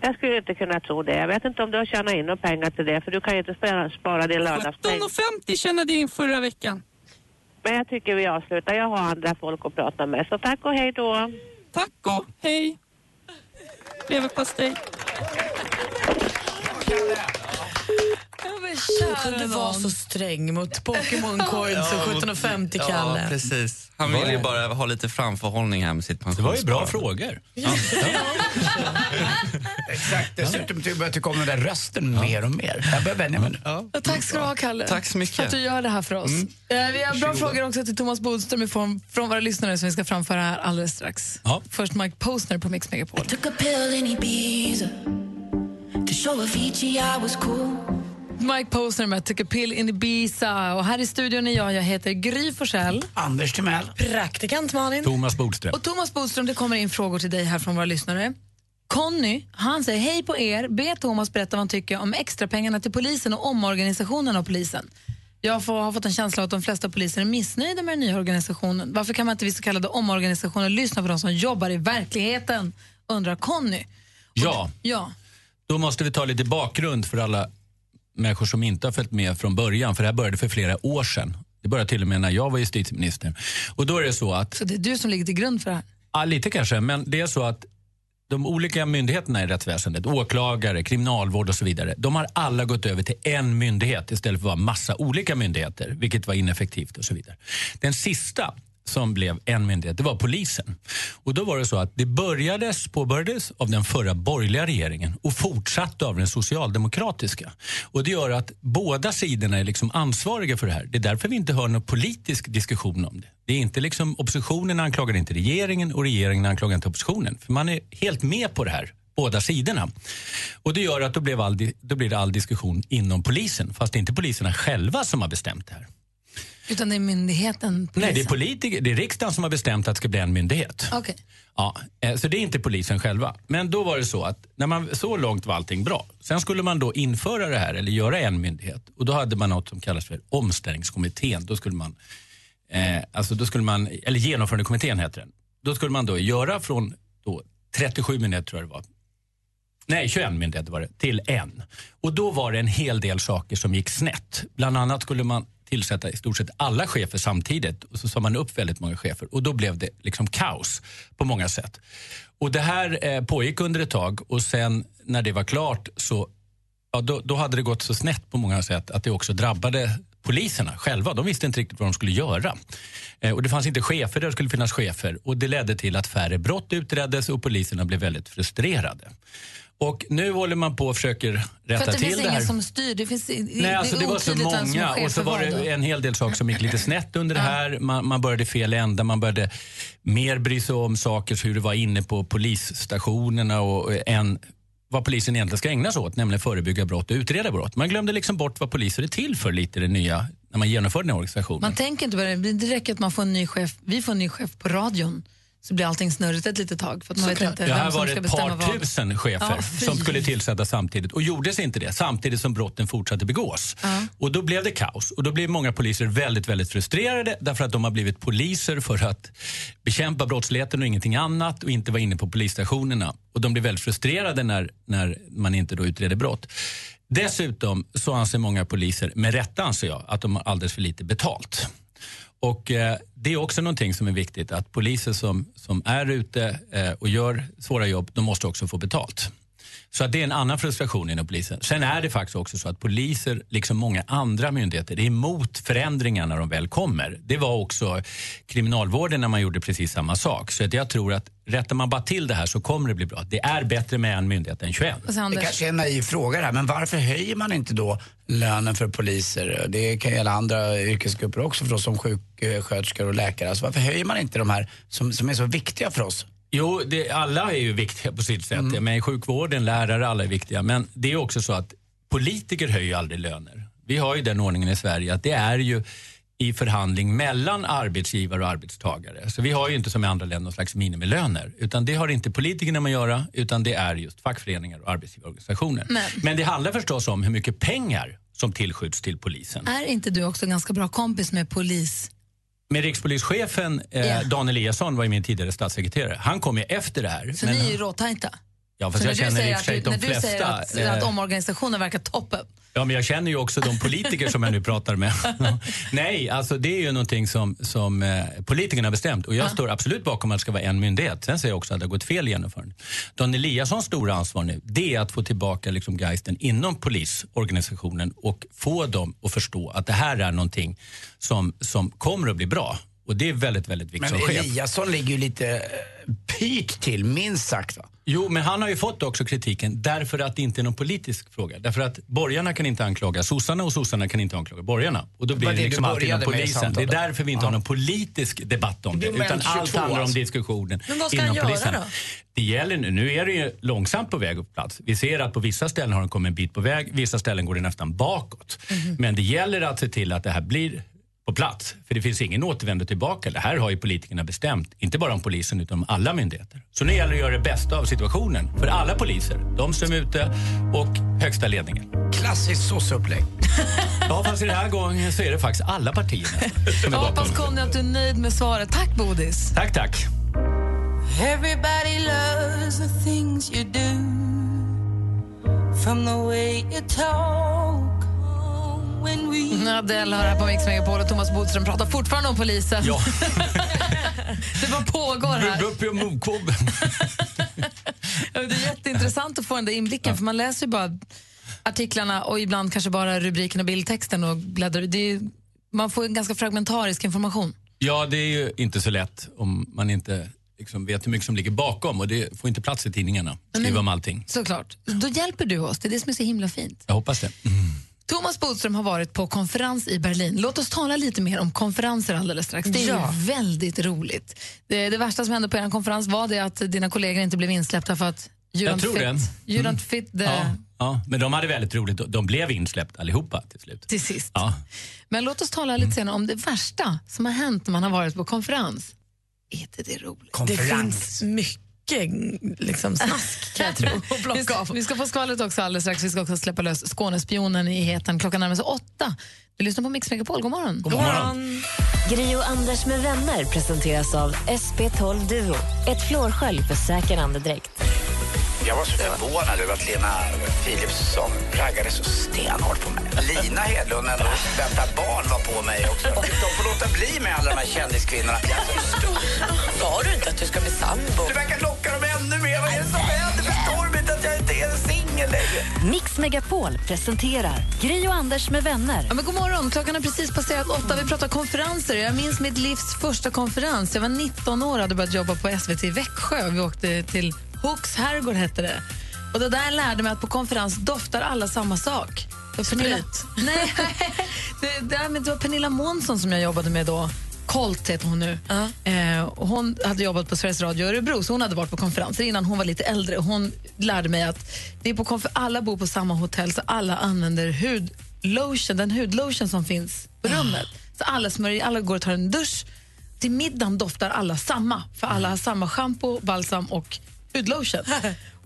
Speaker 27: Jag skulle inte kunna tro det. Jag vet inte om du har tjänat in några pengar till det, för du kan ju inte spara, spara din lördagspeng.
Speaker 9: 17,50 tjänade jag in förra veckan.
Speaker 27: Men jag tycker vi avslutar. Jag har andra folk att prata med. Så tack och hej då.
Speaker 9: Tack och hej. Leverpastej.
Speaker 5: Du kunde vara så sträng mot Pokémon Coins och 1750 Kalle.
Speaker 26: Ja, precis. Han vill ju bara ha lite framförhållning här med sitt pensionssparande.
Speaker 23: Det var ju bra frågor.
Speaker 8: Exakt, dessutom börjar jag tycka om den där rösten mer och mer. Jag börjar vänja mig nu.
Speaker 3: Ja, Tack ska du ha, Kalle.
Speaker 8: Tack så mycket.
Speaker 3: För att du gör det här för oss.
Speaker 8: Mm.
Speaker 3: Eh, vi har bra
Speaker 8: Varsågoda.
Speaker 3: frågor också till Thomas Bodström i form från våra lyssnare som vi ska framföra här alldeles strax. Först Mike Posner på Mix Megapol. Mike Posner med Took a pill in Ibiza. Och här i studion är jag, jag heter Gry Forssell.
Speaker 8: Anders Timell.
Speaker 5: Praktikant Malin.
Speaker 23: Thomas Bodström.
Speaker 3: Och Thomas Bodström, det kommer in frågor till dig här från våra lyssnare. Conny, han säger hej på er. Be Thomas berätta vad han tycker om extrapengarna till polisen och omorganisationen av polisen. Jag får, har fått en känsla av att de flesta poliser är missnöjda med den nya organisationen. Varför kan man inte vid så kallade omorganisationer lyssna på de som jobbar i verkligheten? Undrar Conny.
Speaker 23: Ja,
Speaker 3: Ja,
Speaker 23: då måste vi ta lite bakgrund för alla människor som inte har följt med från början. För det här började för flera år sedan. Det började till och med när jag var justitieminister. Och då är det så att
Speaker 3: så det är du som ligger till grund för det här.
Speaker 23: Ja, lite kanske. Men det är så att de olika myndigheterna i rättsväsendet, åklagare, kriminalvård och så vidare, de har alla gått över till en myndighet istället för att vara massa olika myndigheter, vilket var ineffektivt och så vidare. Den sista som blev en myndighet, det var polisen. Och då var det så att det börjades, påbörjades av den förra borgerliga regeringen och fortsatte av den socialdemokratiska. Och det gör att båda sidorna är liksom ansvariga för det här. Det är därför vi inte hör någon politisk diskussion om det. Det är inte liksom oppositionen anklagar inte regeringen och regeringen anklagar inte oppositionen. För man är helt med på det här, båda sidorna. Och det gör att då, blev all, di- då blir det all diskussion inom polisen. Fast det är inte poliserna själva som har bestämt det här.
Speaker 3: Utan det är myndigheten.
Speaker 23: Nej, det är politiker, det är riksdagen som har bestämt att det ska bli en myndighet.
Speaker 3: Okej.
Speaker 23: Ja, eh, så det är inte polisen själva. Men då var det så att när man, så långt var allting bra. Sen skulle man då införa det här eller göra en myndighet. Och då hade man något som kallas för omställningskommittén. Då skulle man, eh, alltså då skulle man eller genomförandekommittén heter den. Då skulle man då göra från då 37 myndigheter tror jag det var. Nej, 21 myndigheter var det, till en. Och då var det en hel del saker som gick snett. Bland annat skulle man tillsätta i stort sett alla chefer samtidigt och så sa man upp väldigt många chefer och då blev det liksom kaos på många sätt. Och det här eh, pågick under ett tag och sen när det var klart så ja, då, då hade det gått så snett på många sätt att det också drabbade poliserna själva. De visste inte riktigt vad de skulle göra. Eh, och det fanns inte chefer där det skulle finnas chefer och det ledde till att färre brott utreddes och poliserna blev väldigt frustrerade. Och nu håller man på och försöker rätta
Speaker 3: För att
Speaker 23: till
Speaker 3: det finns
Speaker 23: det här.
Speaker 3: ingen som styr. Det, finns, det,
Speaker 23: Nej, alltså det var så
Speaker 3: otydligt vem som är
Speaker 23: många
Speaker 3: chef
Speaker 23: och så
Speaker 3: för
Speaker 23: var
Speaker 3: vad.
Speaker 23: det en hel del saker som gick lite snett under det här. Man, man började i fel ända, man började mer bry sig om saker, hur det var inne på polisstationerna och eh, en vad polisen egentligen ska ägna sig åt, nämligen förebygga brott och utreda brott. Man glömde liksom bort vad poliser är till för lite i det nya, när man genomför den här organisationen.
Speaker 3: Man tänker inte på det. Det räcker att man får en ny chef. Vi får en ny chef på radion så blir allting snurrigt ett litet tag. För att man vet inte
Speaker 23: Ja,
Speaker 3: vem
Speaker 23: här
Speaker 3: som
Speaker 23: var det
Speaker 3: ska
Speaker 23: ett
Speaker 3: bestämma
Speaker 23: par
Speaker 3: vad.
Speaker 23: tusen chefer
Speaker 3: Ja, fy.
Speaker 23: som skulle tillsättas samtidigt och gjordes inte det samtidigt som brotten fortsatte begås. Och då blev det kaos och då blev många poliser väldigt, väldigt frustrerade därför att de har blivit poliser för att bekämpa brottsligheten och ingenting annat och inte vara inne på polisstationerna. Och de blev väldigt frustrerade när, när man inte då utreder brott. Dessutom så anser många poliser, med rätta anser jag, att de har alldeles för lite betalt. Och eh, Det är också någonting som är viktigt att poliser som, som är ute eh, och gör svåra jobb, de måste också få betalt. Så att det är en annan frustration inom polisen. Sen är det faktiskt också så att poliser, liksom många andra myndigheter, är emot förändringar när de väl kommer. Det var också kriminalvården när man gjorde precis samma sak. Så att jag tror att rättar man bara till det här så kommer det bli bra. Det är bättre med en myndighet än 21.
Speaker 8: Det kanske är en naiv fråga det här, men varför höjer man inte då lönen för poliser? Det kan gälla andra yrkesgrupper också för oss som sjuksköterskor och läkare. Alltså varför höjer man inte de här som, som är så viktiga för oss?
Speaker 23: Jo, det, alla är ju viktiga på sitt sätt. Men i sjukvården, lärare, alla är viktiga. Men det är också så att politiker höjer ju aldrig löner. Vi har ju den ordningen i Sverige att det är ju i förhandling mellan arbetsgivare och arbetstagare. Så vi har ju inte som i andra länder någon slags minimilöner. Utan det har inte politikerna med att göra, utan det är just fackföreningar och arbetsgivarorganisationer. Men,
Speaker 3: Men-
Speaker 23: det handlar förstås om hur mycket pengar som tillskjuts till polisen.
Speaker 3: Är inte du också en ganska bra kompis med polis?
Speaker 23: Men rikspolischefen eh, Dan Eliasson var ju min tidigare statssekreterare. Han kom ju efter det här.
Speaker 3: Så
Speaker 23: men
Speaker 3: ni är ju råtajta.
Speaker 23: Ja, fast
Speaker 3: Så
Speaker 23: jag
Speaker 3: när
Speaker 23: känner
Speaker 3: du
Speaker 23: i
Speaker 3: säger
Speaker 23: och för sig
Speaker 3: att,
Speaker 23: de
Speaker 3: när du säger
Speaker 23: flesta,
Speaker 3: att,
Speaker 23: eh,
Speaker 3: att omorganisationen verkar toppen.
Speaker 23: Ja, men jag känner ju också de politiker som jag nu pratar
Speaker 3: *laughs*
Speaker 23: med. Nej, alltså det är ju någonting som, som eh, politikerna har bestämt. Och jag står absolut bakom att det ska vara en myndighet. Sen säger jag också att det har gått fel i genomförandet. Dan Eliassons stora ansvar nu, det är att få tillbaka liksom geisten inom polisorganisationen och få dem att förstå att det här är någonting som, som kommer att bli bra. Och det är väldigt, väldigt viktigt
Speaker 8: Men
Speaker 23: som Liksom chef.
Speaker 8: Eliasson ligger ju lite eh, pyrt till, minst sagt. Va?
Speaker 23: Jo, men han har ju fått också kritiken därför att det inte är någon politisk fråga. Därför att borgarna kan inte anklaga sossarna och sossarna kan inte anklaga borgarna. Och då
Speaker 8: Det
Speaker 23: blir
Speaker 8: var
Speaker 23: det,
Speaker 8: det du
Speaker 23: liksom alltid inom
Speaker 8: började med i
Speaker 23: polisen. Det är
Speaker 8: samtalet.
Speaker 23: därför vi inte har någon politisk debatt om
Speaker 8: Det
Speaker 23: det.
Speaker 8: är
Speaker 23: Utan
Speaker 8: moment
Speaker 23: allt
Speaker 8: 22
Speaker 23: handlar om
Speaker 8: alltså.
Speaker 23: diskussionen
Speaker 8: Men vad ska
Speaker 23: inom
Speaker 8: han göra
Speaker 23: polisen.
Speaker 8: då?
Speaker 23: Det gäller nu. Nu är det ju långsamt på väg upp plats. Vi ser att på vissa ställen har den kommit en bit på väg. Vissa ställen går det nästan bakåt.
Speaker 8: Mhm.
Speaker 23: Men det gäller att se till att det här blir på plats. För det finns ingen återvändo tillbaka. Det här har ju politikerna bestämt. Inte bara om polisen utan om alla myndigheter. Så nu gäller det att göra det bästa av situationen. För alla poliser, de som är ute och högsta ledningen.
Speaker 8: Klassiskt sosseupplägg.
Speaker 23: *laughs* Ja, fast i den här gången så är det faktiskt alla partier som är
Speaker 3: Jag hoppas
Speaker 23: bakom.
Speaker 3: Conny att du är nöjd med svaret. Tack Bodis.
Speaker 23: Tack, tack.
Speaker 6: Everybody loves the things you do. From the way you talk when we...
Speaker 3: Adele har här på Mix Megapol och Thomas Bodström pratar fortfarande om polisen.
Speaker 23: Ja.
Speaker 3: *laughs* det bara pågår här.
Speaker 23: upp i
Speaker 5: *laughs*
Speaker 23: mokobben.
Speaker 3: Ja, Det är jätteintressant att få den där inblicken för man läser ju bara artiklarna och ibland kanske bara rubriken och bildtexten och bläddrar. Det är, ju- man får en ganska fragmentarisk information.
Speaker 23: Ja, det är ju inte så lätt om man inte liksom vet hur mycket som ligger bakom och det får inte plats i tidningarna. Skriva om allting.
Speaker 3: Såklart. Då hjälper du oss, det är det som är så himla fint.
Speaker 23: Jag hoppas det. Mm.
Speaker 3: Thomas Bodström har varit på konferens i Berlin. Låt oss tala lite mer om konferenser alldeles strax. Det är
Speaker 5: Ja.
Speaker 3: ju väldigt roligt. Det, det värsta som hände på er konferens var det att dina kollegor inte blev insläppta för att you
Speaker 23: Jag
Speaker 3: don't
Speaker 23: tror
Speaker 3: fit,
Speaker 23: det.
Speaker 3: You
Speaker 23: Mm.
Speaker 3: don't fit the,
Speaker 23: Ja, ja, men de hade väldigt roligt. De blev insläppta allihopa till slut.
Speaker 3: till sist.
Speaker 23: Ja.
Speaker 3: Men låt oss tala
Speaker 5: Mm.
Speaker 3: lite senare om det värsta som har hänt när man har varit på konferens. Är inte det roligt?
Speaker 5: Det finns mycket liksom, snask kan jag tro. att
Speaker 3: *laughs* Vi
Speaker 5: plocka
Speaker 3: ska,
Speaker 5: av.
Speaker 3: vi ska få skvallret också alldeles strax. Vi ska också släppa lös Skånespionen i heten. Klockan närmar sig åtta. Du lyssnar på Mix Megapol. God morgon.
Speaker 1: God morgon. Gri och Anders med vänner presenteras av SP12 Duo. Ett flårskölj för säker andedräkt.
Speaker 25: Jag var så förvånad över att Lena Philipsson raggade så stenhårt på mig. Lina Hedlund, en vänta barn, var på mig också. Och de får låta bli med alla de här kändiskvinnorna.
Speaker 6: Sa du inte att du ska bli sambo?
Speaker 25: Du verkar locka dem ännu mer. Vad är det som händer? Förstår de inte att jag inte är singel längre?
Speaker 1: Mix Megapol presenterar Gri och Anders med vänner.
Speaker 3: Ja, men god morgon. Klockan har precis passerat åtta. Vi pratar konferenser. Jag minns mitt livs första konferens. Jag var 19 år och hade börjat jobba på SVT i Växjö. Vi åkte till Hooks herrgård, hette det. Och det där lärde mig att på konferens doftar alla samma sak. Det var Pernilla... Nej, det, det, men det var Pernilla Månsson som jag jobbade med då. Colt heter hon nu. Eh, och hon hade jobbat på Sveriges Radio i Örebro, så hon hade varit på konferenser innan hon var lite äldre. Hon lärde mig att det är på konfer- alla bor på samma hotell, så alla använder hudlotion, den hudlotion som finns på rummet. Så alla smörjer, alla går och tar en dusch. Till middagen doftar alla samma, för alla har samma shampoo, balsam och *laughs* hudlotion.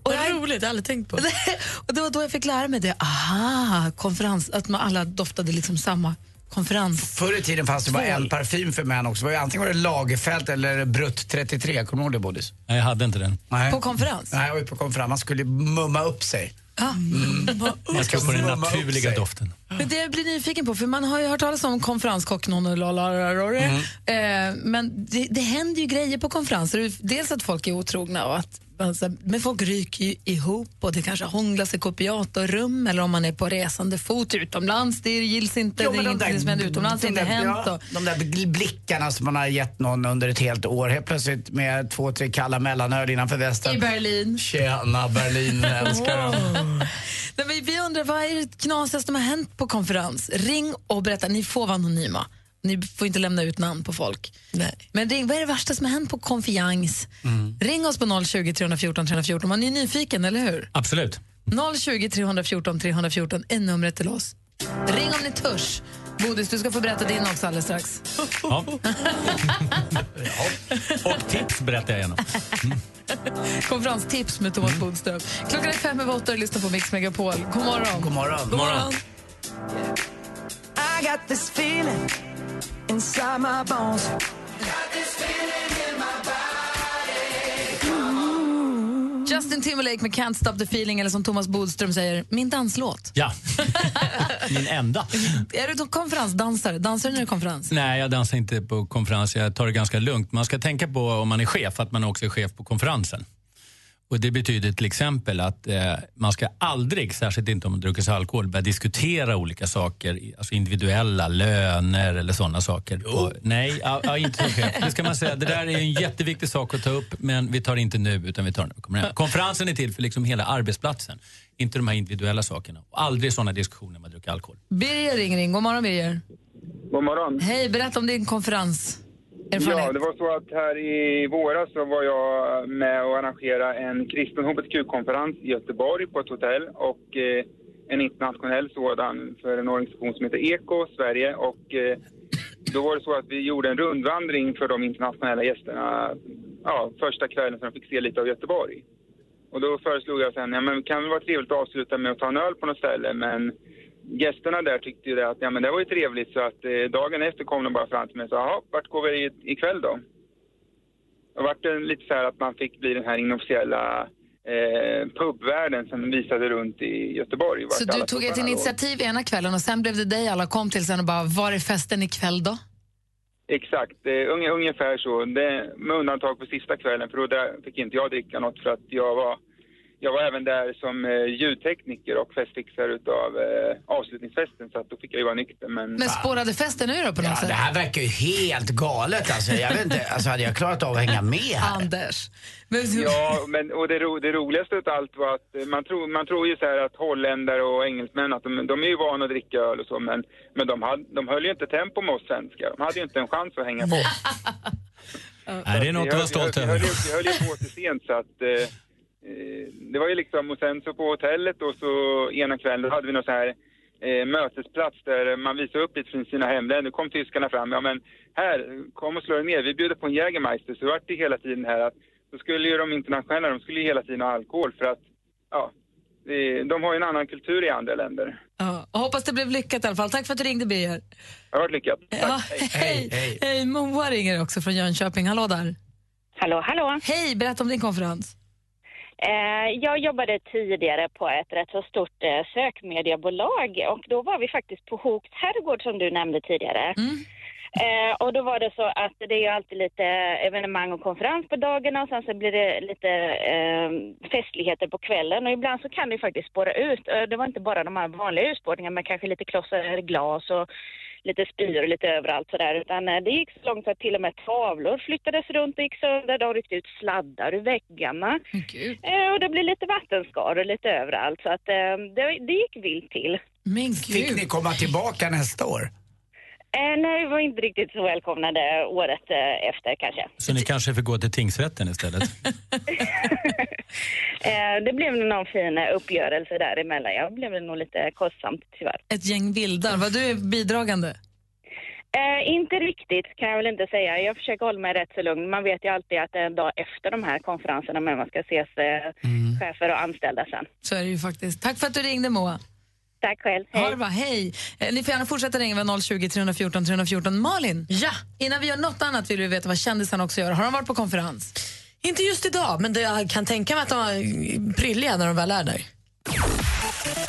Speaker 3: Och det roligt, det har jag aldrig *laughs* tänkt på. och det var då jag fick lära mig det. Aha, konferens, att man alla doftade liksom samma konferens.
Speaker 8: Förr i tiden fanns det bara en parfym för män också. Det var ju Antingen var det Lagerfeld eller Brutt 33. Kommer du ihåg det, Bodis?
Speaker 23: Nej, jag hade inte den.
Speaker 8: Nej.
Speaker 3: På konferens?
Speaker 8: Nej, jag var ju på konferens. Man skulle mumma upp sig.
Speaker 6: Mm.
Speaker 23: Jag ska på den naturliga doften.
Speaker 3: Men det jag blir nyfiken på, för man har ju hört talas om konferenskocken och lalararare,
Speaker 8: Mm.
Speaker 3: eh, men det, det händer ju grejer på konferenser. Dels att folk är otrogna och att man så här- men folk ryker ju ihop och det kanske hånglas i kopiatorrum eller om man är på resande fot utomlands. Det gills inte, det är ingenting som händer utomlands, det har inte hänt.
Speaker 8: ja,
Speaker 3: Och,
Speaker 8: de där bl- blickarna som man har gett någon under ett helt år. Helt plötsligt med två, tre kalla mellanöl innanför västen.
Speaker 3: I Berlin.
Speaker 8: Tjena
Speaker 5: *laughs*
Speaker 8: Berlin, älskar dem.
Speaker 3: Nej, men vi undrar, vad är det knasigaste som har hänt på konferens? Ring och berätta, ni får vara anonyma. Ni får inte lämna ut namn på folk. Nej. Men ring, vad är det värsta som har hänt på konferens? Ring oss på 020 314 314. Man är ju nyfiken, eller hur?
Speaker 23: Absolut.
Speaker 3: 020 314 314 är numret till oss. Ring om ni törs. Bodis, du ska få berätta din också alldeles strax. *laughs*
Speaker 23: Ja. Och tips berättar jag gärna.
Speaker 3: Konferenstips med Thomas Bodström. Klockan är fem över åtta och lyssnar på Mix Megapol. God morgon.
Speaker 8: God morgon.
Speaker 3: God morgon.
Speaker 6: I got this feeling inside my bones.
Speaker 3: Justin Timberlake med Can't Stop The Feeling eller som Thomas Bodström säger, min danslåt. *laughs*
Speaker 23: Ja, min enda.
Speaker 3: Är du då konferensdansare? Dansar du när det är konferens?
Speaker 23: Nej, jag dansar inte på konferens. Jag tar det ganska lugnt. Man ska tänka på om man är chef att man också är chef på konferensen. Och Det betyder till exempel att eh, man ska aldrig, särskilt inte om man druckit alkohol, börja diskutera olika saker, i- alltså individuella löner eller sådana saker. Och, nej, ja, ja, inte som chef. Det ska man säga. Det där är en jätteviktig sak att ta upp, men vi tar det inte nu utan vi tar det när vi kommer hem. Konferensen är till för liksom hela arbetsplatsen, inte de här individuella sakerna. Och aldrig sådana diskussioner när man dricker alkohol.
Speaker 3: Birger ringer in. God morgon, Birger.
Speaker 28: God morgon.
Speaker 3: Hej, berätta om din konferens.
Speaker 28: Ja, det var så att här i våras så var jag med och arrangera en kristen hbtq-konferens i Göteborg på ett hotell och eh, en internationell sådan för en organisation som heter Eko Sverige och eh, då var det så att vi gjorde en rundvandring för de internationella gästerna ja, första kvällen så de fick se lite av Göteborg. Och då föreslog jag sen, ja men kan det vara trevligt att avsluta med att ta en öl på något ställe men gästerna där tyckte ju det att ja, men det var ju trevligt så att eh, dagen efter kom de bara fram till mig och sa jaha, vart går vi i- ikväll då? Och vart det lite så här att man fick bli den här inofficiella eh, pubvärlden som visade runt i Göteborg. vart
Speaker 3: Så
Speaker 28: alla
Speaker 3: du tog ett
Speaker 28: pubarna låg.
Speaker 3: initiativ ena kvällen och sen blev det dig alla kom till sen och bara, var är festen ikväll då?
Speaker 28: Exakt, eh, unge- ungefär så. Det, med undantag för sista kvällen för då där fick inte jag dricka något för att jag var, jag var även där som eh, ljudtekniker och festfixare utav eh, avslutningsfesten så att då fick jag ju vara nykter. Men,
Speaker 3: Men spårade festen nu då på något
Speaker 28: Ja,
Speaker 3: sätt?
Speaker 28: det här
Speaker 8: verkar ju helt galet alltså. Jag vet inte, alltså hade jag klarat av att hänga med här?
Speaker 3: Anders.
Speaker 28: Ja, men, och det, ro, det roligaste av allt var att eh, man tror, man tror ju så här att holländare och engelsmän att de, de är ju vana att dricka öl och så men, men de, hade, de höll ju inte tempo med oss svenskar. De hade ju inte en chans att hänga på.
Speaker 23: Nej, det är något att
Speaker 28: Vi
Speaker 23: vara
Speaker 28: höll-
Speaker 23: stolt
Speaker 28: vi höll-
Speaker 23: över.
Speaker 28: Vi *laughs* höll ju på till sent så att eh, eh, det var ju liksom och sen så på hotellet och så ena kvällen då hade vi någon så här eh, mötesplats där man visar upp lite från sina hemländer. Kom tyskarna fram, ja men här, kom och slå er ner, vi bjuder på en Jägermeister. Så vart det hela tiden här att då skulle ju de internationella, de skulle ju hela tiden ha alkohol för att ja, eh, de har ju en annan kultur i andra länder.
Speaker 3: Ja, och hoppas det blev lyckat i alla fall. Tack för att du ringde, Birger.
Speaker 28: Det har varit lyckat.
Speaker 3: Ja, hej, hej. Moa ringer också från Jönköping. Hallå där.
Speaker 14: Hallå, hallå.
Speaker 3: Hej, berätta om din konferens.
Speaker 14: Eh, jag jobbade tidigare på ett rätt så stort eh, sökmediebolag och då var vi faktiskt på Hooks herrgård som du nämnde tidigare. Eh, och då var det så att det är ju alltid lite evenemang och konferens på dagarna och sen så blir det lite eh, festligheter på kvällen och ibland så kan det ju faktiskt spåra ut. Eh, Det var inte bara de här vanliga urspårningarna men kanske lite klossar glas och lite spyor och lite överallt sådär utan eh, det gick så långt att till och med tavlor flyttades runt och gick sönder. De ryckte ut sladdar ur väggarna. Eh, och det blev lite vattenskador lite överallt så att eh, det, det gick vilt till.
Speaker 3: Men
Speaker 8: Fick ni komma tillbaka nästa år?
Speaker 14: Eh, nej, vi var inte riktigt så välkomnade året eh, efter kanske.
Speaker 23: Så ni kanske får gå till tingsrätten istället?
Speaker 14: Eh, det blev nog någon fin eh, uppgörelse däremellan. Jag blev det nog lite kostsamt tyvärr.
Speaker 3: Ett gäng vildar. Var du bidragande?
Speaker 14: Eh, inte riktigt kan jag väl inte säga. Jag försöker hålla mig rätt så lugn. Man vet ju alltid att det är en dag efter de här konferenserna men man ska ses eh, chefer och anställda sen.
Speaker 3: Så är det ju faktiskt. Tack för att du ringde, Moa.
Speaker 14: Tack själv.
Speaker 3: Hej. Ha det bra, hej. Eh, Ni får gärna fortsätta ringa vid 020 314 314. Malin,
Speaker 5: ja.
Speaker 3: innan vi gör något annat vill vi veta vad kändisarna också gör. Har de varit på konferens?
Speaker 5: Inte just idag, men det, jag kan tänka mig att de var prylliga när de väl är där.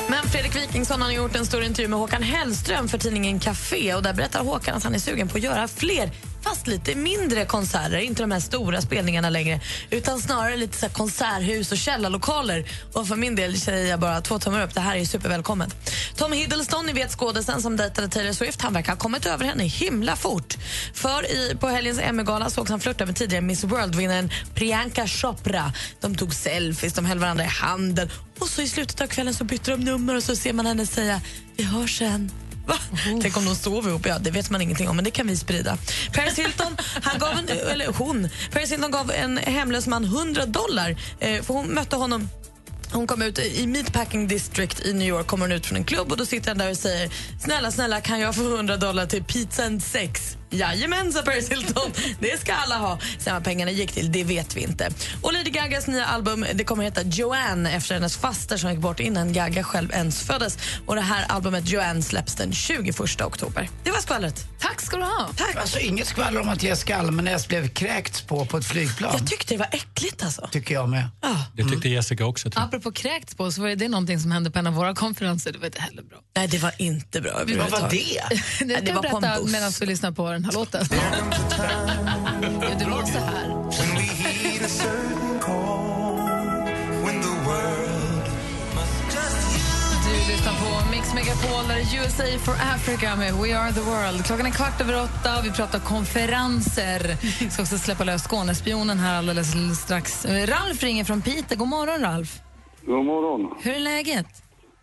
Speaker 5: Men Fredrik Wikingsson har gjort en stor intervju med Håkan Hellström för tidningen Café och där berättar Håkan att han är sugen på att göra fler fast lite mindre konserter, inte de här stora spelningarna längre utan snarare lite så här konserthus och källarlokaler. Och för min del säger jag bara två tummar upp, det här är supervälkommet. Tom Hiddleston, ni vet skådisen som dejtade Taylor Swift, han verkar ha kommit över henne himla fort. För i, på helgens Emmy-gala sågs han flörta med tidigare Miss World-vinnaren Priyanka Chopra. De tog selfies, de höll varandra i handen och så i slutet av kvällen så bytte de nummer och så ser man henne säga vi hörs sen. Va? Tänk om de sover ihop? Ja, det vet man ingenting om, men det kan vi sprida. Paris Hilton, han gav en, eller hon, Paris Hilton gav en hemlös man 100 dollar eh, för hon mötte honom hon kom ut i Meatpacking District i New York kommer hon ut från en klubb och då sitter han där och säger snälla, snälla kan jag få 100 dollar till pizza and sex? Jajamensan Paris Hilton, det ska alla ha. Sen vad pengarna gick till, det vet vi inte. Och Lady Gagas nya album det kommer heta Joanne efter hennes faster som gick bort innan Gaga själv ens föddes. Och Det här albumet Joanne släpps den 21 oktober. Det var skvallret. Tack ska du ha. Tack.
Speaker 8: Alltså inget skvaller om att Jessica Almenäs blev kräkts på på ett flygplan. Jag
Speaker 5: tyckte det var äckligt alltså.
Speaker 8: Tycker jag med.
Speaker 23: Det
Speaker 3: Mm.
Speaker 23: tyckte Jessica också. Tror
Speaker 3: Apropå kräkts på så var det någonting som hände på en av våra konferenser. Det var inte heller bra.
Speaker 5: Nej, det var inte bra
Speaker 3: Vad var det? *laughs* det kan
Speaker 5: det
Speaker 3: jag
Speaker 5: var på en
Speaker 3: berätta
Speaker 5: buss.
Speaker 3: medan du lyssnar på den här låten.
Speaker 5: *laughs*
Speaker 3: Jo, det var så här. Du lyssnar på Mix Megapol, där det är USA for Africa med We Are The World. Klockan är kvart över åtta och vi pratar konferenser. Vi ska också släppa lös Skånespionen här alldeles strax. Eh, Ralf ringer från Piteå. God morgon, Ralf.
Speaker 15: God morgon.
Speaker 3: Hur är läget?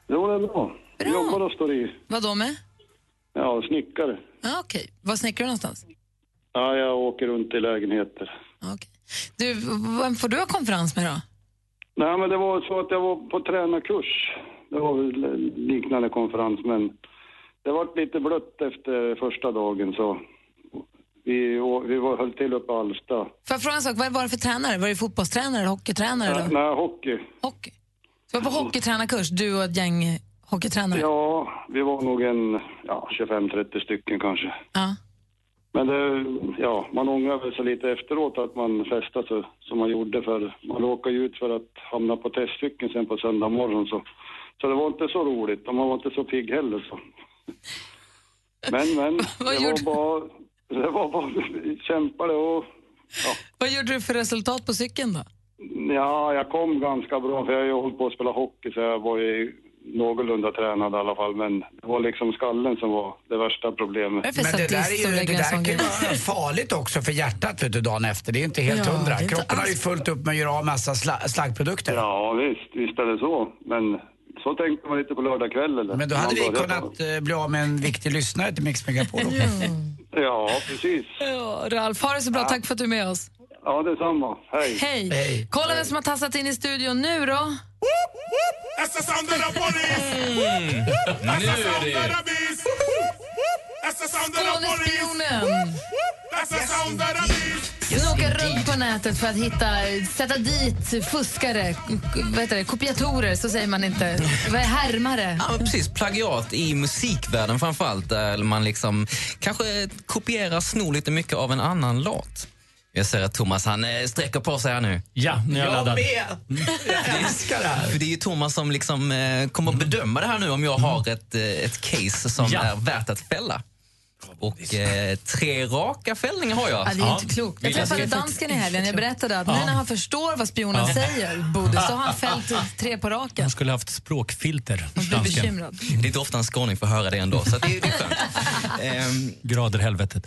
Speaker 15: Jo, det är bra. Jobbar och står i.
Speaker 3: Vad då med?
Speaker 15: Ja, snickare.
Speaker 3: Ja, Okej. Vad snickrar du någonstans?
Speaker 15: Ja, jag åker runt i lägenheter.
Speaker 3: Du, vem får du ha konferens med då?
Speaker 15: Nej, men det var så att jag var på tränarkurs. Det var väl en liknande konferens, men det var lite blött efter första dagen så vi, å- vi var, höll till uppe i Alsta.
Speaker 3: Får jag fråga en sak? Vad var det för tränare? Var det fotbollstränare eller hockeytränare? Då?
Speaker 15: Nej, hockey.
Speaker 3: Så du var på hockeytränarkurs, du och ett gäng eh, hockeytränare?
Speaker 15: Ja, vi var nog en ja, 25-30 stycken kanske.
Speaker 3: Ja.
Speaker 15: Men det, ja, man ångrar väl sig lite efteråt att man festade så, som man gjorde för man råkade ju ut för att hamna på testcykeln sen på söndag morgon så, så det var inte så roligt och man var inte så pigg heller så. Men, men,
Speaker 3: *laughs*
Speaker 15: det var bara, det var bara kämpade och
Speaker 3: Vad gjorde du för resultat på cykeln då?
Speaker 15: ja, jag kom ganska bra för jag har ju hållit på att spela hockey så jag var ju någorlunda tränad i alla fall men det var liksom skallen som var det värsta problemet.
Speaker 8: Men det där, är ju, det där kan ju vara farligt också för hjärtat vet du, dagen efter. Det är inte helt
Speaker 15: Ja,
Speaker 8: hundra.
Speaker 15: det är inte
Speaker 8: Kroppen har ju fullt upp med att göra av massa sla- slaggprodukter.
Speaker 15: Ja, visst, visst är det så. Men så tänkte man lite på lördag kväll eller?
Speaker 8: Men då hade
Speaker 15: Man
Speaker 8: vi
Speaker 15: började-
Speaker 8: kunnat eh, bli av med en viktig lyssnare till Mix Megapol.
Speaker 15: Ja, precis.
Speaker 3: Ja, Ralf, ha det så bra. Tack för att du är med oss.
Speaker 15: Ja, detsamma. Hej.
Speaker 3: Hej. Kolla vem som har tassat in i studion nu då.
Speaker 6: Mm. Nu är det...
Speaker 3: Skånespionen! Snokar runt på nätet för att hitta, sätta dit fuskare, k- vad heter det, kopiatorer, så säger man inte. Vad är härmare?
Speaker 16: Ja, men precis. Plagiat i musikvärlden framförallt där man liksom kanske kopierar, snor lite mycket av en annan låt. Jag ser att Thomas han eh, sträcker på sig här nu.
Speaker 23: Ja, nu är jag Jag laddad. Mm.
Speaker 16: med! Jag älskar det här. För det är ju Thomas som liksom, eh, kommer att bedöma det här nu om jag har ett, eh, ett case som
Speaker 23: Ja.
Speaker 16: är värt att fälla. Och eh, tre raka fällningar har jag.
Speaker 3: Ja, det är inte klokt. Jag träffade dansken i helgen. Jag berättade att nu
Speaker 16: Ja.
Speaker 3: när han förstår vad spionen
Speaker 23: Ja.
Speaker 3: säger, Bodil, så har han fällt tre på raken.
Speaker 23: Han skulle haft språkfilter.
Speaker 3: blir bekymrad.
Speaker 16: Det är inte ofta en skåning får höra det ändå. Så att det, är- det är skönt. Ehm,
Speaker 23: Grader helvetet.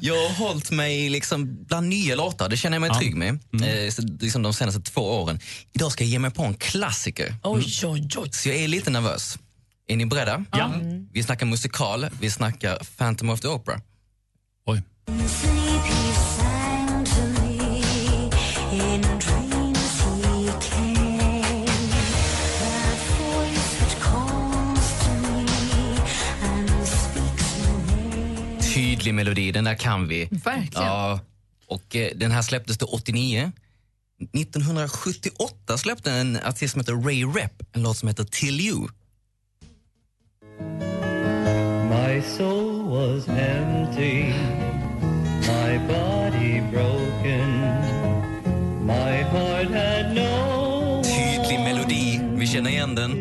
Speaker 16: Jag har hållit mig liksom bland nya låtar, det känner jag mig trygg med. Eh, så, liksom de senaste två åren. Idag ska jag ge mig på en klassiker.
Speaker 5: Oj, oj, oj.
Speaker 16: Så jag är lite nervös. Är ni beredda? Ja. Vi snackar musikal, vi snackar Phantom of the Opera. Oj. Tydlig melodi, den där kan vi.
Speaker 3: Verkligen.
Speaker 16: Ja, och eh, den här släpptes då 89. 1978 släppte en artist som heter Ray Rep en låt som heter Till You.
Speaker 17: My soul was empty, my body broken, my heart had no
Speaker 16: Tydlig melodi, vi känner igen den.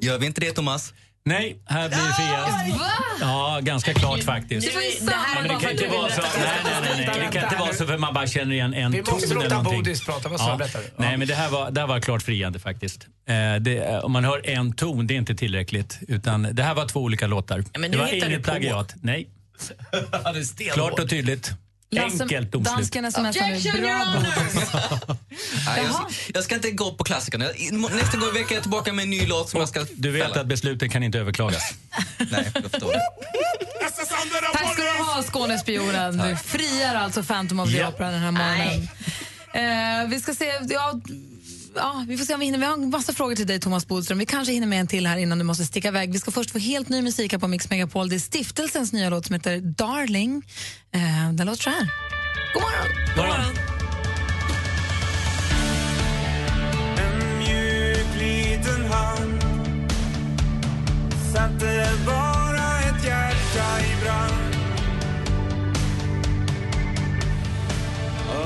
Speaker 16: Gör vi inte det, Thomas?
Speaker 23: Nej, här blir Fia. Ja, ganska klart faktiskt.
Speaker 6: Det var ju samma
Speaker 23: Ja, men det kan inte vara så. Nej, nej, nej, nej. Det kan inte vara så för man bara känner igen en
Speaker 8: Vi måste
Speaker 23: ton eller
Speaker 8: låta
Speaker 23: någonting.
Speaker 8: Bodis prata. Vad sa du? Berätta du.
Speaker 23: Nej, men det här var, det här var klart friande faktiskt. Eh, det, eh, om man hör en ton, det är inte tillräckligt. Utan det här var två olika låtar.
Speaker 3: men
Speaker 23: det
Speaker 3: nu
Speaker 23: var
Speaker 3: hittar du
Speaker 23: inget
Speaker 3: på.
Speaker 23: plagiat.
Speaker 8: *laughs*
Speaker 23: Nej. Klart och tydligt. Enkelt domslut.
Speaker 3: Dansken smsar nu. Bra, Bodil.
Speaker 16: Nej, jag, ska, Ah, jag ska inte gå på klassikerna. Jag- i- Nästa gång i veckan är jag tillbaka med en ny låt som jag ska
Speaker 23: Du vet att besluten kan inte överklagas.
Speaker 3: Tack ska du ha, Skånespionen. Du friar alltså Phantom of the
Speaker 23: Ja.
Speaker 3: Opera den här morgonen. Eh, vi ska se... Ja, ja, vi får se om vi hinner. Vi har en massa frågor till dig, Thomas Bodström. Vi kanske hinner med en till här innan du måste sticka iväg. Vi ska först få helt ny musik här på Mix Megapol. Det är stiftelsens nya låt som heter Darling. Eh, den låter så här. God morgon!
Speaker 6: God morgon.
Speaker 24: En mjuk liten hand satte bara ett hjärta i brand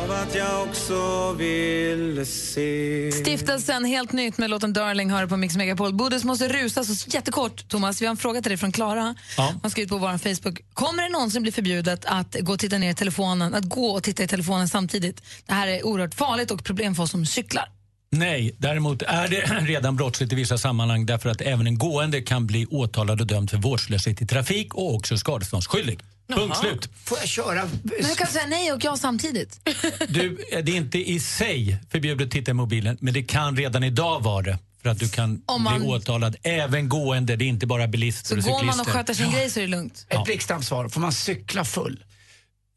Speaker 24: av att jag också ville se
Speaker 3: Stiftelsen, helt nytt med låten Darling, hör du på Mix Megapol. Bodis måste rusa, så jättekort Thomas, vi har en fråga till dig från Klara.
Speaker 23: Ja.
Speaker 3: Hon skrev ut på vår Facebook. Kommer det någonsin bli förbjudet att gå och titta ner i telefonen, att gå och titta i telefonen samtidigt? Det här är oerhört farligt och problem för oss som cyklar.
Speaker 23: Nej, däremot är det *clears throat* redan brottsligt i vissa sammanhang därför att även en gående kan bli åtalad och dömd för vårdslöshet i trafik och också skadeståndsskyldig. Punkt slut.
Speaker 8: Får jag köra?
Speaker 3: Men hur kan du säga nej och jag samtidigt?
Speaker 23: Du, eh, det är inte i sig förbjudet att titta i mobilen, men det kan redan idag vara det. För att du kan
Speaker 3: Om man-
Speaker 23: bli åtalad även gående, det är inte bara bilister och
Speaker 3: Går
Speaker 23: cyklister.
Speaker 3: man och sköter sin grej så är det lugnt.
Speaker 23: Ett blixtsnabbt svar. Får man cykla full?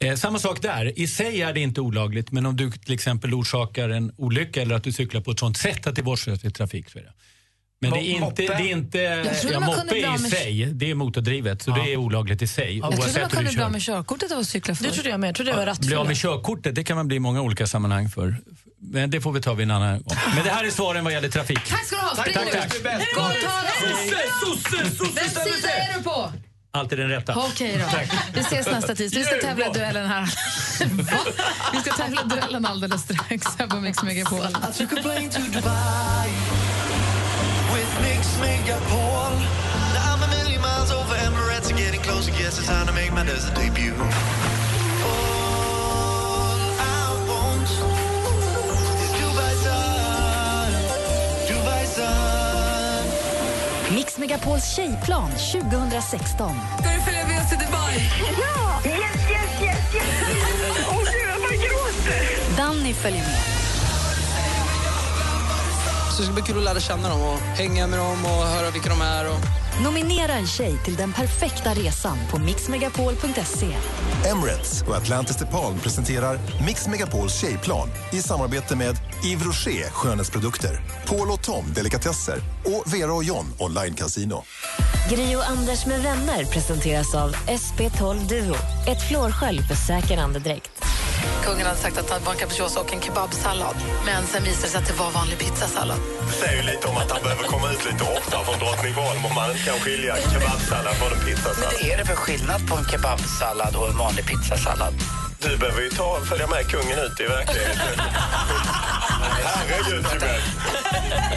Speaker 23: Eh, samma sak där. I sig är det inte olagligt, men om du till exempel orsakar en olycka eller att du cyklar på ett sånt sätt att det är vårdslöst i trafik så är det. Men det är
Speaker 8: Mo-
Speaker 23: inte... Det
Speaker 8: moppe?
Speaker 23: är inte
Speaker 8: Jag trodde
Speaker 23: ja,
Speaker 8: man
Speaker 23: moppe
Speaker 8: kunde bli
Speaker 23: i
Speaker 8: av med-
Speaker 23: sig, det är motordrivet, så det är olagligt i sig.
Speaker 3: Jag trodde man
Speaker 23: oavsett hur
Speaker 3: kunde
Speaker 23: du
Speaker 3: bli av
Speaker 23: kör.
Speaker 3: med körkortet av att cykla för. Det trodde jag med. Jag trodde det var
Speaker 23: Bli av med körkortet, det kan man bli i många olika sammanhang för. Men det får vi ta vid en annan gång. Men det här är svaren vad gäller trafik.
Speaker 3: Tack ska du ha, spring
Speaker 23: Tack,
Speaker 3: nu!
Speaker 23: tack, tack.
Speaker 3: God tag!
Speaker 23: Sosse,
Speaker 3: Vem sida är du på?
Speaker 23: Alltid den rätta.
Speaker 3: Okej då. Vi ses nästa tisdag. Vi ska tävla i duellen här. Va? Vi ska tävla i duellen alldeles strax här på Mix Megapol.
Speaker 24: I took a plane to Dubai with Mix Megapol. Now I'm a million miles over Emirates and getting closer. Guess it's time to make my desert debut. All I want is Dubai sun, Dubai sun.
Speaker 1: Mix Megapols tjejplan 2016.
Speaker 3: Ska du följa med oss till Dubai?
Speaker 6: Ja! Yes, yes, yes, yes! Åh oh, gud, jag bara gråter!
Speaker 1: Danny följer med.
Speaker 12: Så det ska bli kul att lära känna dem och hänga med dem och höra vilka de är. Och...
Speaker 1: Nominera en tjej till den perfekta resan på mixmegapol.se.
Speaker 13: Emirates och Atlantis DePaul presenterar Mix Megapols tjejplan i samarbete med Yves Rocher skönhetsprodukter, Paul och Tom delikatesser och Vera och John online casino.
Speaker 1: Gri och Anders med vänner presenteras av SP12 Duo. Ett flårskölj för säker andedräkt.
Speaker 3: Kungen hade sagt att han var en capricciosa och en kebabsallad. Men sen visade det sig att det var vanlig pizzasallad.
Speaker 10: Det säger ju lite om att han behöver komma ut lite oftare från Drottningholm om man inte kan skilja kebabsallad från en pizzasallad.
Speaker 25: Vad är det för skillnad på en kebabsallad och en vanlig pizzasallad?
Speaker 10: Du behöver ju ta, följa med kungen ut i verkligheten. Herregud, Tibet.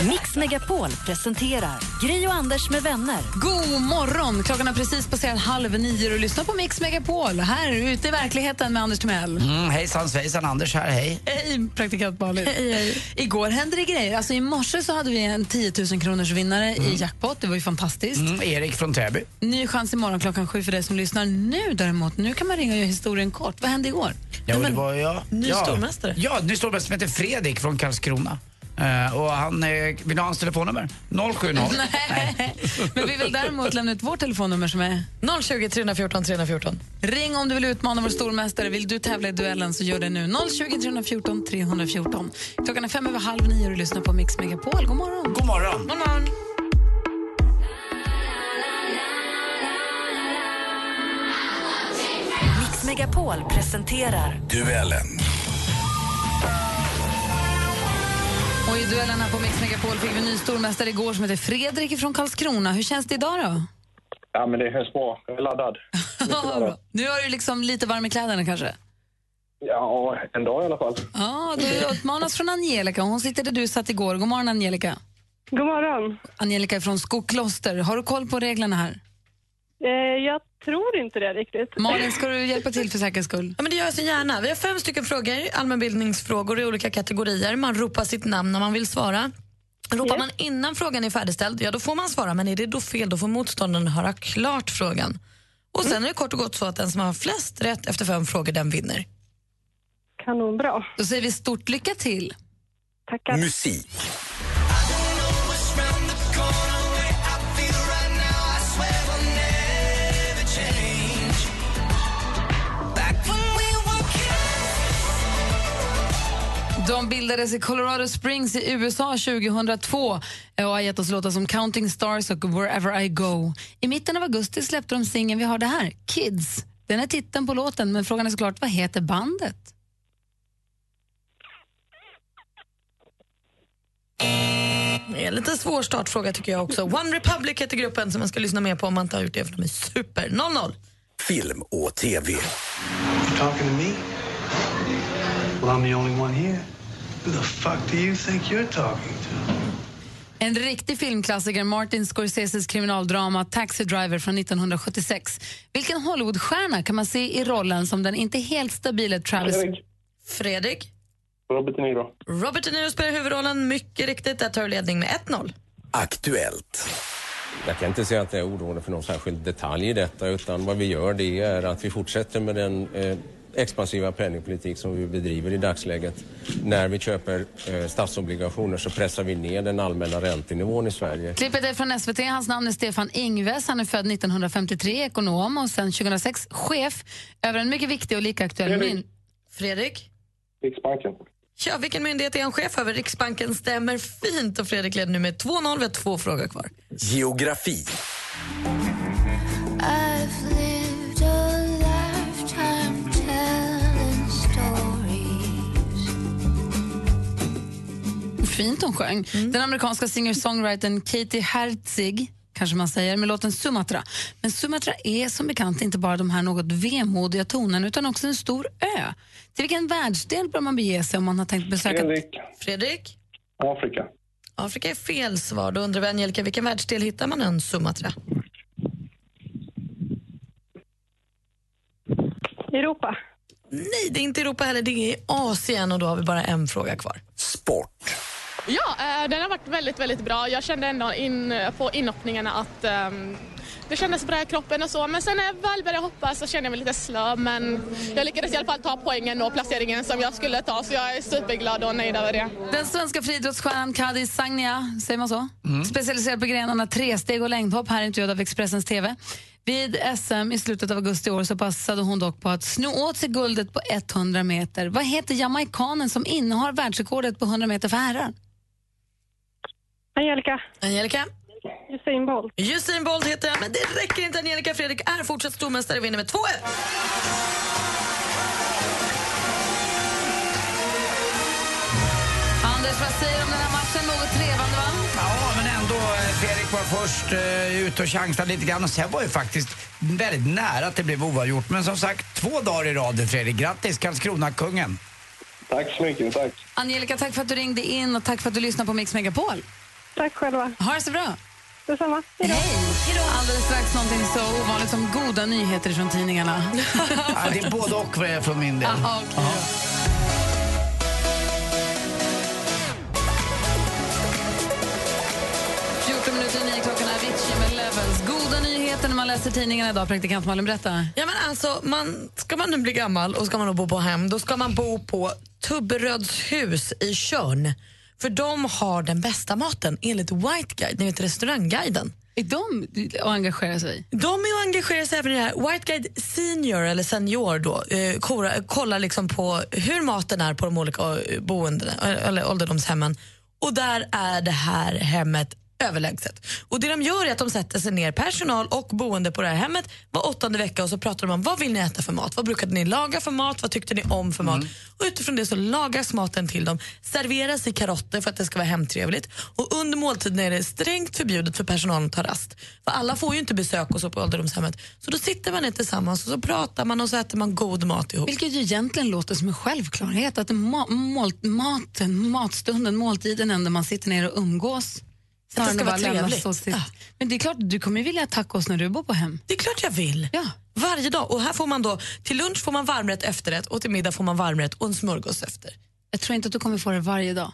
Speaker 1: Mix Megapol presenterar Gri och Anders med vänner.
Speaker 3: God morgon! Klockan har precis passerat halv nio och lyssnar på Mix Megapol. Här ute i verkligheten med Anders Timell.
Speaker 8: *laughs* Mm, hejsan svejsan, Anders här, hej.
Speaker 3: Hej, praktikant Malin. Igår hände det grejer. Alltså, I morse så hade vi en 10 000 kronors vinnare i jackpot. Det var ju fantastiskt.
Speaker 8: Mm, Erik från Täby.
Speaker 3: Ny chans imorgon klockan sju för dig som lyssnar. Nu däremot, nu kan man ringa och göra historien kort. Vad hände igår?
Speaker 8: Ja, det var jag.
Speaker 3: ny
Speaker 8: ja.
Speaker 3: stormästare.
Speaker 8: Ja, ny stormästare som heter Fredrik från Karlskrona. Eh, och han, eh, vill du ha hans telefonnummer? 070.
Speaker 3: Men *laughs* vi vill däremot lämna ut vårt telefonnummer som är...
Speaker 5: 020 314 314.
Speaker 3: Ring om du vill utmana vår stormästare. Vill du tävla i duellen så gör det nu. 020 314 314. Klockan är fem över halv nio och du lyssnar på Mix Megapol. God morgon!
Speaker 8: God morgon!
Speaker 3: God morgon.
Speaker 1: Mix Megapol presenterar
Speaker 25: Duellen.
Speaker 3: Och I duellen här på Mix Megapol fick vi en ny stormästare igår som heter Fredrik från Karlskrona. Hur känns det idag då?
Speaker 10: Ja, men det känns bra. Jag är laddad. Mycket laddad.
Speaker 3: Nu har du liksom lite varm i kläderna kanske?
Speaker 10: Ja, en dag i alla fall.
Speaker 3: Ja, du utmanas från Angelica. Hon sitter där du satt igår. God morgon Angelica. God morgon. Angelica är från Skokloster. Har du koll på reglerna här?
Speaker 22: Eh, jag tror inte det riktigt.
Speaker 3: Malin, ska du hjälpa till för säkerhets skull?
Speaker 5: Ja, men det gör jag så gärna. Vi har fem stycken frågor, allmänbildningsfrågor i olika kategorier. Man ropar sitt namn när man vill svara. Ropar man innan frågan är färdigställd, ja då får man svara. Men är det då fel, då får motståndaren höra klart frågan. Och sen är det kort och gott så att den som har flest rätt efter fem frågor, den vinner.
Speaker 22: Kanonbra.
Speaker 3: Då säger vi stort lycka till.
Speaker 22: Tackar.
Speaker 25: Musik.
Speaker 3: De som bildades i Colorado Springs i USA 2002 eh, och har gett oss låtar som Counting Stars och Wherever I Go. I mitten av augusti släppte de singeln vi har det här, Kids. Den är titeln på låten, men frågan är såklart vad heter bandet?
Speaker 5: Det är en lite svår startfråga tycker jag också. One Republic heter gruppen som man ska lyssna mer på om man inte har gjort det, för de är super. 0-0.
Speaker 7: Film och TV.
Speaker 18: Talking to me? Well, I'm the only one here. Who the fuck do you think you're talking to?
Speaker 3: En riktig filmklassiker, Martin Scorseses kriminaldrama Taxi Driver från 1976. Vilken Hollywoodstjärna kan man se i rollen som den inte helt stabile Travis...
Speaker 5: Fredrik. Fredrik.
Speaker 18: Robert De Niro.
Speaker 5: Robert De Niro spelar huvudrollen, mycket riktigt. Där tar du ledning med 1-0.
Speaker 7: Aktuellt.
Speaker 19: Jag kan inte säga att jag är orolig för någon särskild detalj i detta utan vad vi gör det är att vi fortsätter med den eh, expansiva penningpolitik som vi bedriver i dagsläget. När vi köper eh, statsobligationer så pressar vi ner den allmänna räntenivån i Sverige.
Speaker 3: Klippet är från SVT. Hans namn är Stefan Ingves. Han är född 1953, ekonom och sedan 2006 chef över en mycket viktig och lika aktuell
Speaker 5: Fredrik.
Speaker 3: myn...
Speaker 5: Fredrik?
Speaker 18: Riksbanken.
Speaker 5: Ja, vilken myndighet är han chef över? Riksbanken stämmer fint och Fredrik leder nu med 2-0. Vi har två frågor kvar.
Speaker 7: Geografi.
Speaker 6: I've lived a lifetime telling stories.
Speaker 3: Fint hon sjöng. Den amerikanska singer-songwritern Katie Herzig kanske man säger, med låten Sumatra. Men Sumatra är som bekant inte bara de här något vemodiga tonerna utan också en stor ö. Till vilken världsdel bör man bege sig om man har tänkt besöka...
Speaker 18: Fredrik.
Speaker 5: Fredrik?
Speaker 18: Afrika.
Speaker 5: Afrika är fel svar. Då undrar vi, Angelica, vilken världsdel hittar man ön Sumatra?
Speaker 22: Europa.
Speaker 5: Nej, det är inte Europa heller. Det är i Asien och då har vi bara en fråga kvar.
Speaker 7: Sport.
Speaker 20: Ja, eh, den har varit väldigt, väldigt bra. Jag kände ändå in, eh, på inhoppningarna att ehm, det kändes bra i kroppen och så. Men sen när jag väl började hoppa så kände jag mig lite slö. Men jag lyckades i alla fall ta poängen och placeringen som jag skulle ta. Så jag är superglad och nöjd över det.
Speaker 3: Den svenska friidrottsstjärnan Kadis Sagnia, säger man så? Specialiserad på grenarna tresteg och längdhopp, här intervjuad av Expressens TV. Vid SM i slutet av augusti i år så passade hon dock på att sno åt sig guldet på 100 meter. Vad heter jamaikanen som innehar världsrekordet på 100 meter för herrar?
Speaker 5: Angelica. Angelica? Usain Bolt. Usain Bolt heter han, men det räcker inte. Angelica Fredrik är fortsatt stormästare och vinner med 2-1.
Speaker 3: Anders, vad säger du om den här matchen? Något trevande, va?
Speaker 8: Ja, men ändå. eh, Fredrik var först eh, ute och chansade lite grann och sen var ju faktiskt väldigt nära att det blev oavgjort. Men som sagt, två dagar i rad Fredrik. Grattis Karlskrona-kungen.
Speaker 18: Tack så mycket, tack.
Speaker 3: Angelica, tack för att du ringde in och tack för att du lyssnade på Mix Megapol. Tack själva. Ha det så bra. Detsamma. Hej Alldeles strax någonting så ovanligt som goda nyheter från tidningarna.
Speaker 5: *laughs*
Speaker 8: ja, det är både och eh, från min del.
Speaker 3: Aha, okej. då. 14 minuter i nio klockan är Avicii med Levels. Goda nyheter när man läser tidningarna idag. Praktikant Malin, berätta.
Speaker 5: Ja, men alltså, man, ska man nu bli gammal och ska man då bo på hem, då ska man bo på Tubberödshus i Tjörn. För de har den bästa maten enligt White Guide, ni vet restaurangguiden.
Speaker 3: Är de och engagerar sig?
Speaker 5: De är och engagerar sig även i det här. White Guide Senior, eller Senior då, eh, kora, kollar liksom på hur maten är på de olika eh, boendena, eh, eller ålderdomshemmen. Och där är det här hemmet överlägset. Och det de gör är att de sätter sig ner, personal och boende på det här hemmet var åttonde vecka och så pratar de om vad vill ni äta för mat? Vad brukade ni laga för mat? Vad tyckte ni om för
Speaker 8: Mm.
Speaker 5: mat? Och utifrån det så lagas maten till dem, serveras i karotter för att det ska vara hemtrevligt och under måltiden är det strängt förbjudet för personalen att ta rast. För alla får ju inte besök och så på ålderdomshemmet. Så då sitter man ner tillsammans och så pratar man och så äter man god mat ihop.
Speaker 3: Vilket ju egentligen låter som en självklarhet att ma- mål- maten, matstunden, måltiden ändå man sitter ner och umgås. Snarare
Speaker 5: ska
Speaker 3: än
Speaker 5: vara
Speaker 3: bara lämnas
Speaker 5: trevligt. Ah.
Speaker 3: åt sitt- Men det är klart, du kommer ju vilja tacos när du bor på hem.
Speaker 5: Det är klart jag vill. Varje dag. Och här får man då, till lunch får man varmrätt, efterrätt och till middag får man varmrätt och en smörgås efter.
Speaker 3: Jag tror inte att du kommer få det varje dag.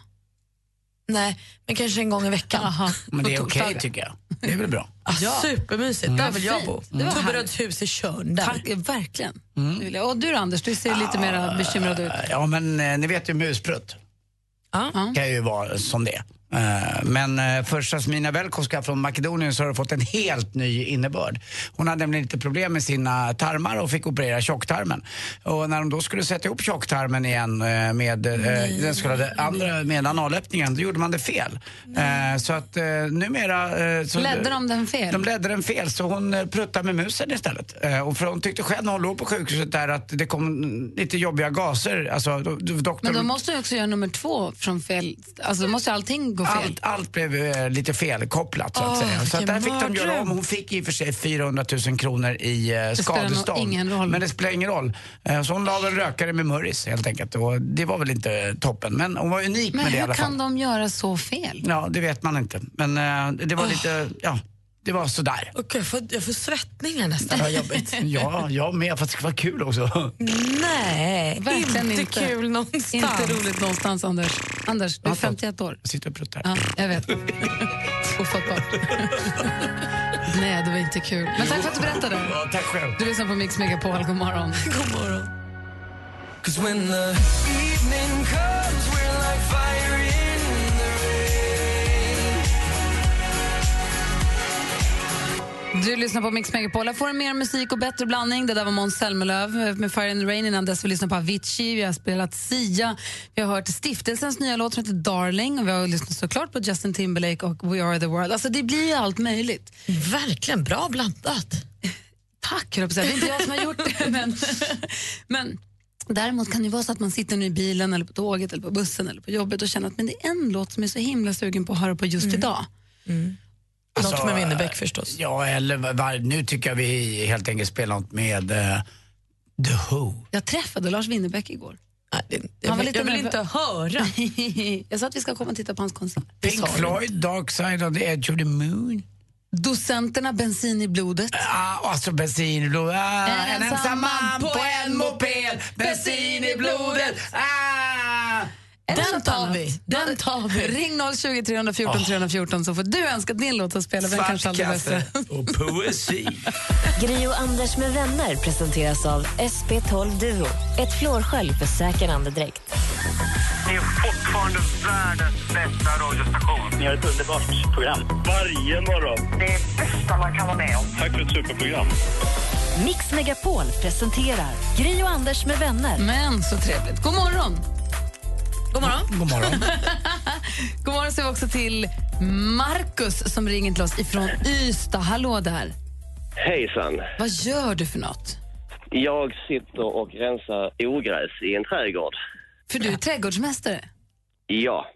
Speaker 5: Nej, men kanske en gång i veckan.
Speaker 8: Men det är
Speaker 5: På
Speaker 8: okej
Speaker 5: torsdagar.
Speaker 8: tycker jag. Det är väl bra. Mm.
Speaker 5: Ah, Supermysigt, där vill jag bo.
Speaker 3: Det var
Speaker 5: Tubberöds hus i Tjörn. Där.
Speaker 3: Tack, verkligen.
Speaker 8: Mm.
Speaker 3: Det vill jag. Och du då, Anders, du ser lite
Speaker 8: Ah,
Speaker 3: mer bekymrad ut.
Speaker 8: Ja, men eh, ni vet ju musprutt.
Speaker 5: Ja.
Speaker 8: kan ju vara som det är. Eh, Men eh, för Jasmina Velkovska från Makedonien så har det fått en helt ny innebörd. Hon hade nämligen lite problem med sina tarmar och fick operera tjocktarmen. Och när de då skulle sätta ihop tjocktarmen igen eh, med eh, den så kallade andra, med analöppningen, då gjorde man det fel. Eh, Så att eh, numera... eh, Så
Speaker 3: Ledde de den fel?
Speaker 8: De ledde den fel så hon eh, pruttade med musen istället. Eh, Och för hon tyckte själv när hon låg på sjukhuset där att det kom mm, lite jobbiga gaser. Alltså, do- do- doktorn...
Speaker 3: Men då måste jag också göra nummer två från fel... Alltså då måste ju allting gå fel.
Speaker 8: Allt, allt blev eh, lite felkopplat så att
Speaker 3: Åh,
Speaker 8: säga. Så att
Speaker 3: vilken
Speaker 8: där fick de göra om. Hon fick i och för sig 400 000 kronor i eh,
Speaker 3: spelar nog
Speaker 8: skadestånd.
Speaker 3: ingen roll.
Speaker 8: Men det spelar ingen roll. Eh, så hon la väl rökare med Murris helt enkelt. Och det var väl inte eh, toppen. Men hon var unik
Speaker 3: Men
Speaker 8: med det i
Speaker 3: hur
Speaker 8: alla fall.
Speaker 3: kan de göra så fel?
Speaker 8: Ja, det vet man inte. Men eh, det var lite, ja, det var sådär.
Speaker 5: Okej, jag, får, jag får svettningar nästan.
Speaker 8: Ja,
Speaker 3: *laughs*
Speaker 8: jobbigt. ja, jag med, för att det ska vara kul också.
Speaker 5: Nej,
Speaker 3: Verkligen
Speaker 5: inte
Speaker 3: inte.
Speaker 5: kul någonstans.
Speaker 3: Inte roligt någonstans, Anders. Anders, du är 51 år.
Speaker 8: Jag sitter och pruttar.
Speaker 3: Ja, jag vet. Ofattbart. Nej, det var inte kul. Men tack för att du berättade.
Speaker 8: Ja, tack själv.
Speaker 3: Du lyssnar på Mix Megapol. God morgon. God morgon.
Speaker 17: 'Cause when the evening comes, we're like fire in the rain.
Speaker 3: Du lyssnar på Mix Megapol. Här får du mer musik och bättre blandning. Det där var Måns Zelmerlöw eh, med Fire in the Rain. Innan dess vi lyssnade på Avicii, vi har spelat Sia, vi har hört Stiftelsens nya låt som heter Darling och vi har lyssnat såklart på Justin Timberlake och We Are the World. Alltså det blir ju allt möjligt.
Speaker 5: Verkligen bra blandat.
Speaker 3: *laughs* Tack, höll jag på att säga. Det är inte jag som har gjort
Speaker 5: *laughs*
Speaker 3: det. *laughs* Men, men däremot kan det vara så att man sitter nu i bilen, eller på tåget, eller på bussen eller på jobbet och känner att men det är en låt som jag är så himla sugen på att höra på just
Speaker 5: Mm.
Speaker 3: idag.
Speaker 5: Något med Winnerbäck förstås.
Speaker 8: Alltså, eh, Ja, eller var- var, nu tycker jag vi helt enkelt spelar något med eh, The Who.
Speaker 3: Jag träffade Lars Winnerbäck igår.
Speaker 5: jag vill- jag vill inte
Speaker 3: höra. *laughs* jag sa att vi ska komma och titta på hans konsert. Det sa
Speaker 8: Pink
Speaker 3: du.
Speaker 8: Floyd, Dark Side of the Edge of the Moon.
Speaker 3: Docenterna, bensin i blodet.
Speaker 8: Ah, och alltså bensin i blodet. Ah, en ensam man på en moped. Bensin i blodet. Ah!
Speaker 3: Den tar vi. Den tar vi. Ah. Ring 020 314 314 så får du önska din låt att spela. Den kanske aldrig bästa.
Speaker 8: och *laughs* poesi.
Speaker 1: Gri och Anders med vänner presenteras av SP12 Duo. Ett flårskölj för säker andedräkt.
Speaker 26: Ni är fortfarande världens bästa radiostation. Ni har ett underbart program. Varje morgon. Det är det bästa man kan vara med om. Tack för ett superprogram.
Speaker 1: Mix Megapol presenterar Gri och Anders med vänner.
Speaker 3: Men så trevligt. God morgon! God morgon.
Speaker 8: God morgon.
Speaker 3: God morgon säger vi också till Markus som ringer till oss ifrån Ystad. Hallå där.
Speaker 27: Hejsan!
Speaker 3: Vad gör du för något?
Speaker 27: Jag sitter och rensar ogräs i en trädgård.
Speaker 3: För du är trädgårdsmästare.
Speaker 27: Ja.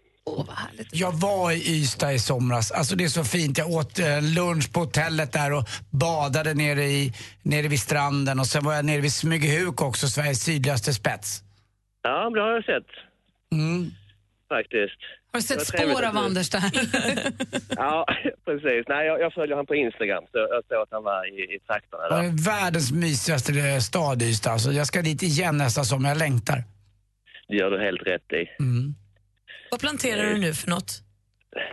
Speaker 8: Jag var i Ystad i somras. Alltså det är så fint. Jag åt eh, lunch på hotellet där och badade nere, i, nere vid stranden. Och sen var jag nere vid Smygehuk också, Sveriges sydligaste spets.
Speaker 27: Ja, det har jag sett
Speaker 8: Mm.
Speaker 27: faktiskt.
Speaker 3: Har du
Speaker 27: Det var
Speaker 3: sett
Speaker 27: trevligt
Speaker 3: spår
Speaker 27: att
Speaker 3: av
Speaker 27: du-
Speaker 3: Anders där?
Speaker 27: *laughs* Ja, precis. Nej, jag, jag följer han på Instagram, så jag såg att han var i, i trakterna
Speaker 8: Det
Speaker 27: där.
Speaker 8: är Eh, världens mysigaste eh, stad Ystad. Alltså jag ska dit igen nästa sommar. Jag längtar. Mm.
Speaker 27: Det gör du helt rätt i.
Speaker 5: Vad planterar du nu för något?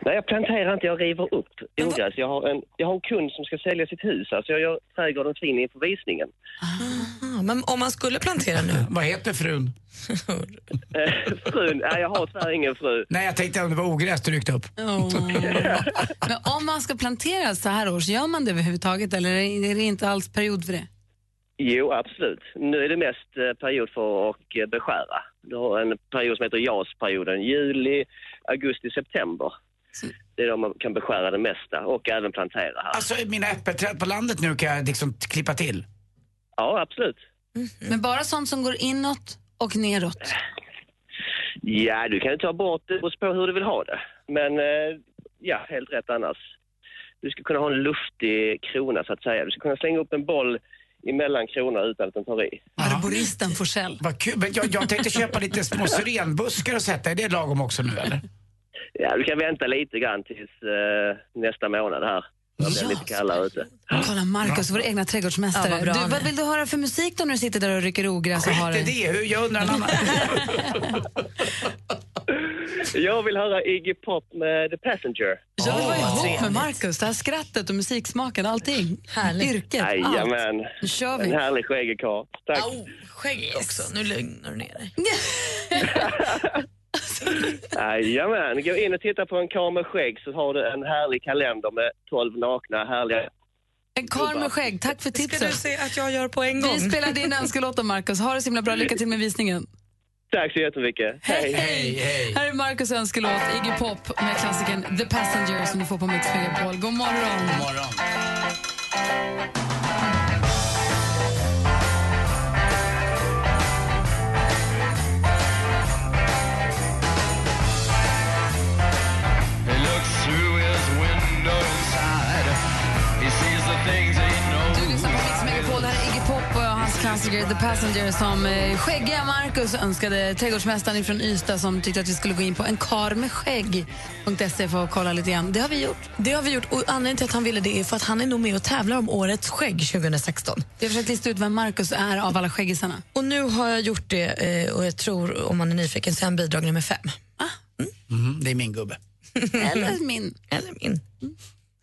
Speaker 27: Nej, jag planterar inte, jag river upp ogräs. Jag har en, jag har en kund som ska sälja sitt hus, alltså jag gör trädgården fin inför visningen.
Speaker 5: Ah, men om man skulle plantera nu?
Speaker 8: Vad heter frun?
Speaker 27: Eh, Frun, nej jag har tyvärr ingen fru.
Speaker 8: Nej, jag tänkte om det var ogräs du ryckte upp.
Speaker 3: Åh. Men om man ska plantera så här års, gör man det överhuvudtaget eller är det inte alls period för det?
Speaker 27: Jo, absolut. Nu är det mest eh, period för att eh, beskära. Du har en period som heter JAS-perioden, juli, augusti, september. Det är då man kan beskära det mesta och även plantera här.
Speaker 8: Alltså mina äppelträd på landet nu kan jag liksom t- klippa till.
Speaker 27: Ja, absolut.
Speaker 3: Men bara sånt som går inåt och neråt.
Speaker 27: Ja, du kan ju ta bort det beror på hur du vill ha det. Men eh, ja, helt rätt annars. Du ska kunna ha en luftig krona så att säga. Du ska kunna slänga upp en boll emellan kronorna utan att den tar i.
Speaker 3: Arboristen Forsell.
Speaker 8: Vad kul. Men jag, jag tänkte köpa lite små syrenbuskar och sätta. Är det lagom också nu eller?
Speaker 27: Ja, du kan vänta lite grann tills eh, nästa månad här. När det blir lite kallare ute.
Speaker 3: Kolla Markus, vår egna trädgårdsmästare.
Speaker 27: Ja, vad bra
Speaker 3: du,
Speaker 27: han
Speaker 3: vad
Speaker 27: är.
Speaker 3: vill du höra för musik då när du sitter där och rycker ogräs och Alltså, har
Speaker 27: Skit i
Speaker 3: en-
Speaker 27: det,
Speaker 8: hur jag undrar en
Speaker 3: *laughs*
Speaker 8: annan.
Speaker 27: Jag vill höra Iggy Pop med The Passenger.
Speaker 3: Jag vill vara ihop med Markus. Det här skrattet och musiksmaken, allting. Härligt. Yrket, allt.
Speaker 27: Jajamän.
Speaker 3: Nu kör vi.
Speaker 27: En härlig skäggig karl. Tack.
Speaker 5: Au, skägg också. Nu lugnar du ner dig.
Speaker 27: Jajamän, gå in och titta på en karl med skägg så har du en härlig kalender med 12 nakna härliga...
Speaker 3: En karl med skägg, tack för tipsen. Ska du
Speaker 5: se att jag gör på en
Speaker 3: Vi spelar din önskelåt om Markus. Ha det så himla bra. Lycka till med visningen.
Speaker 27: Tack så jättemycket. Hej,
Speaker 3: hej! Här är Markus önskelåt, Iggy Pop med klassikern The Passenger som du får på Mix Megapol. God morgon! God
Speaker 8: morgon.
Speaker 17: He looks through his window inside. He sees the things he knows.
Speaker 3: Du lyssnar på Mix Megapol. Det här är Iggy Pop och hans klassiker The Passenger som eh, skäggiga Markus önskade trädgårdsmästaren från Ystad som tyckte att vi skulle gå in på en kar med skägg.se för att kolla lite grann. Det har vi gjort.
Speaker 5: Det har vi gjort och anledningen till att han ville det är för att han är nog med och tävlar om årets skägg 2016.
Speaker 3: Jag har försökt lista ut vem Markus är av alla skäggisarna.
Speaker 5: Och nu har jag gjort det eh, och jag tror, om man är nyfiken, så är han bidrag nummer fem.
Speaker 8: Mhm, det är min gubbe.
Speaker 3: Eller min.
Speaker 5: *laughs* Eller min.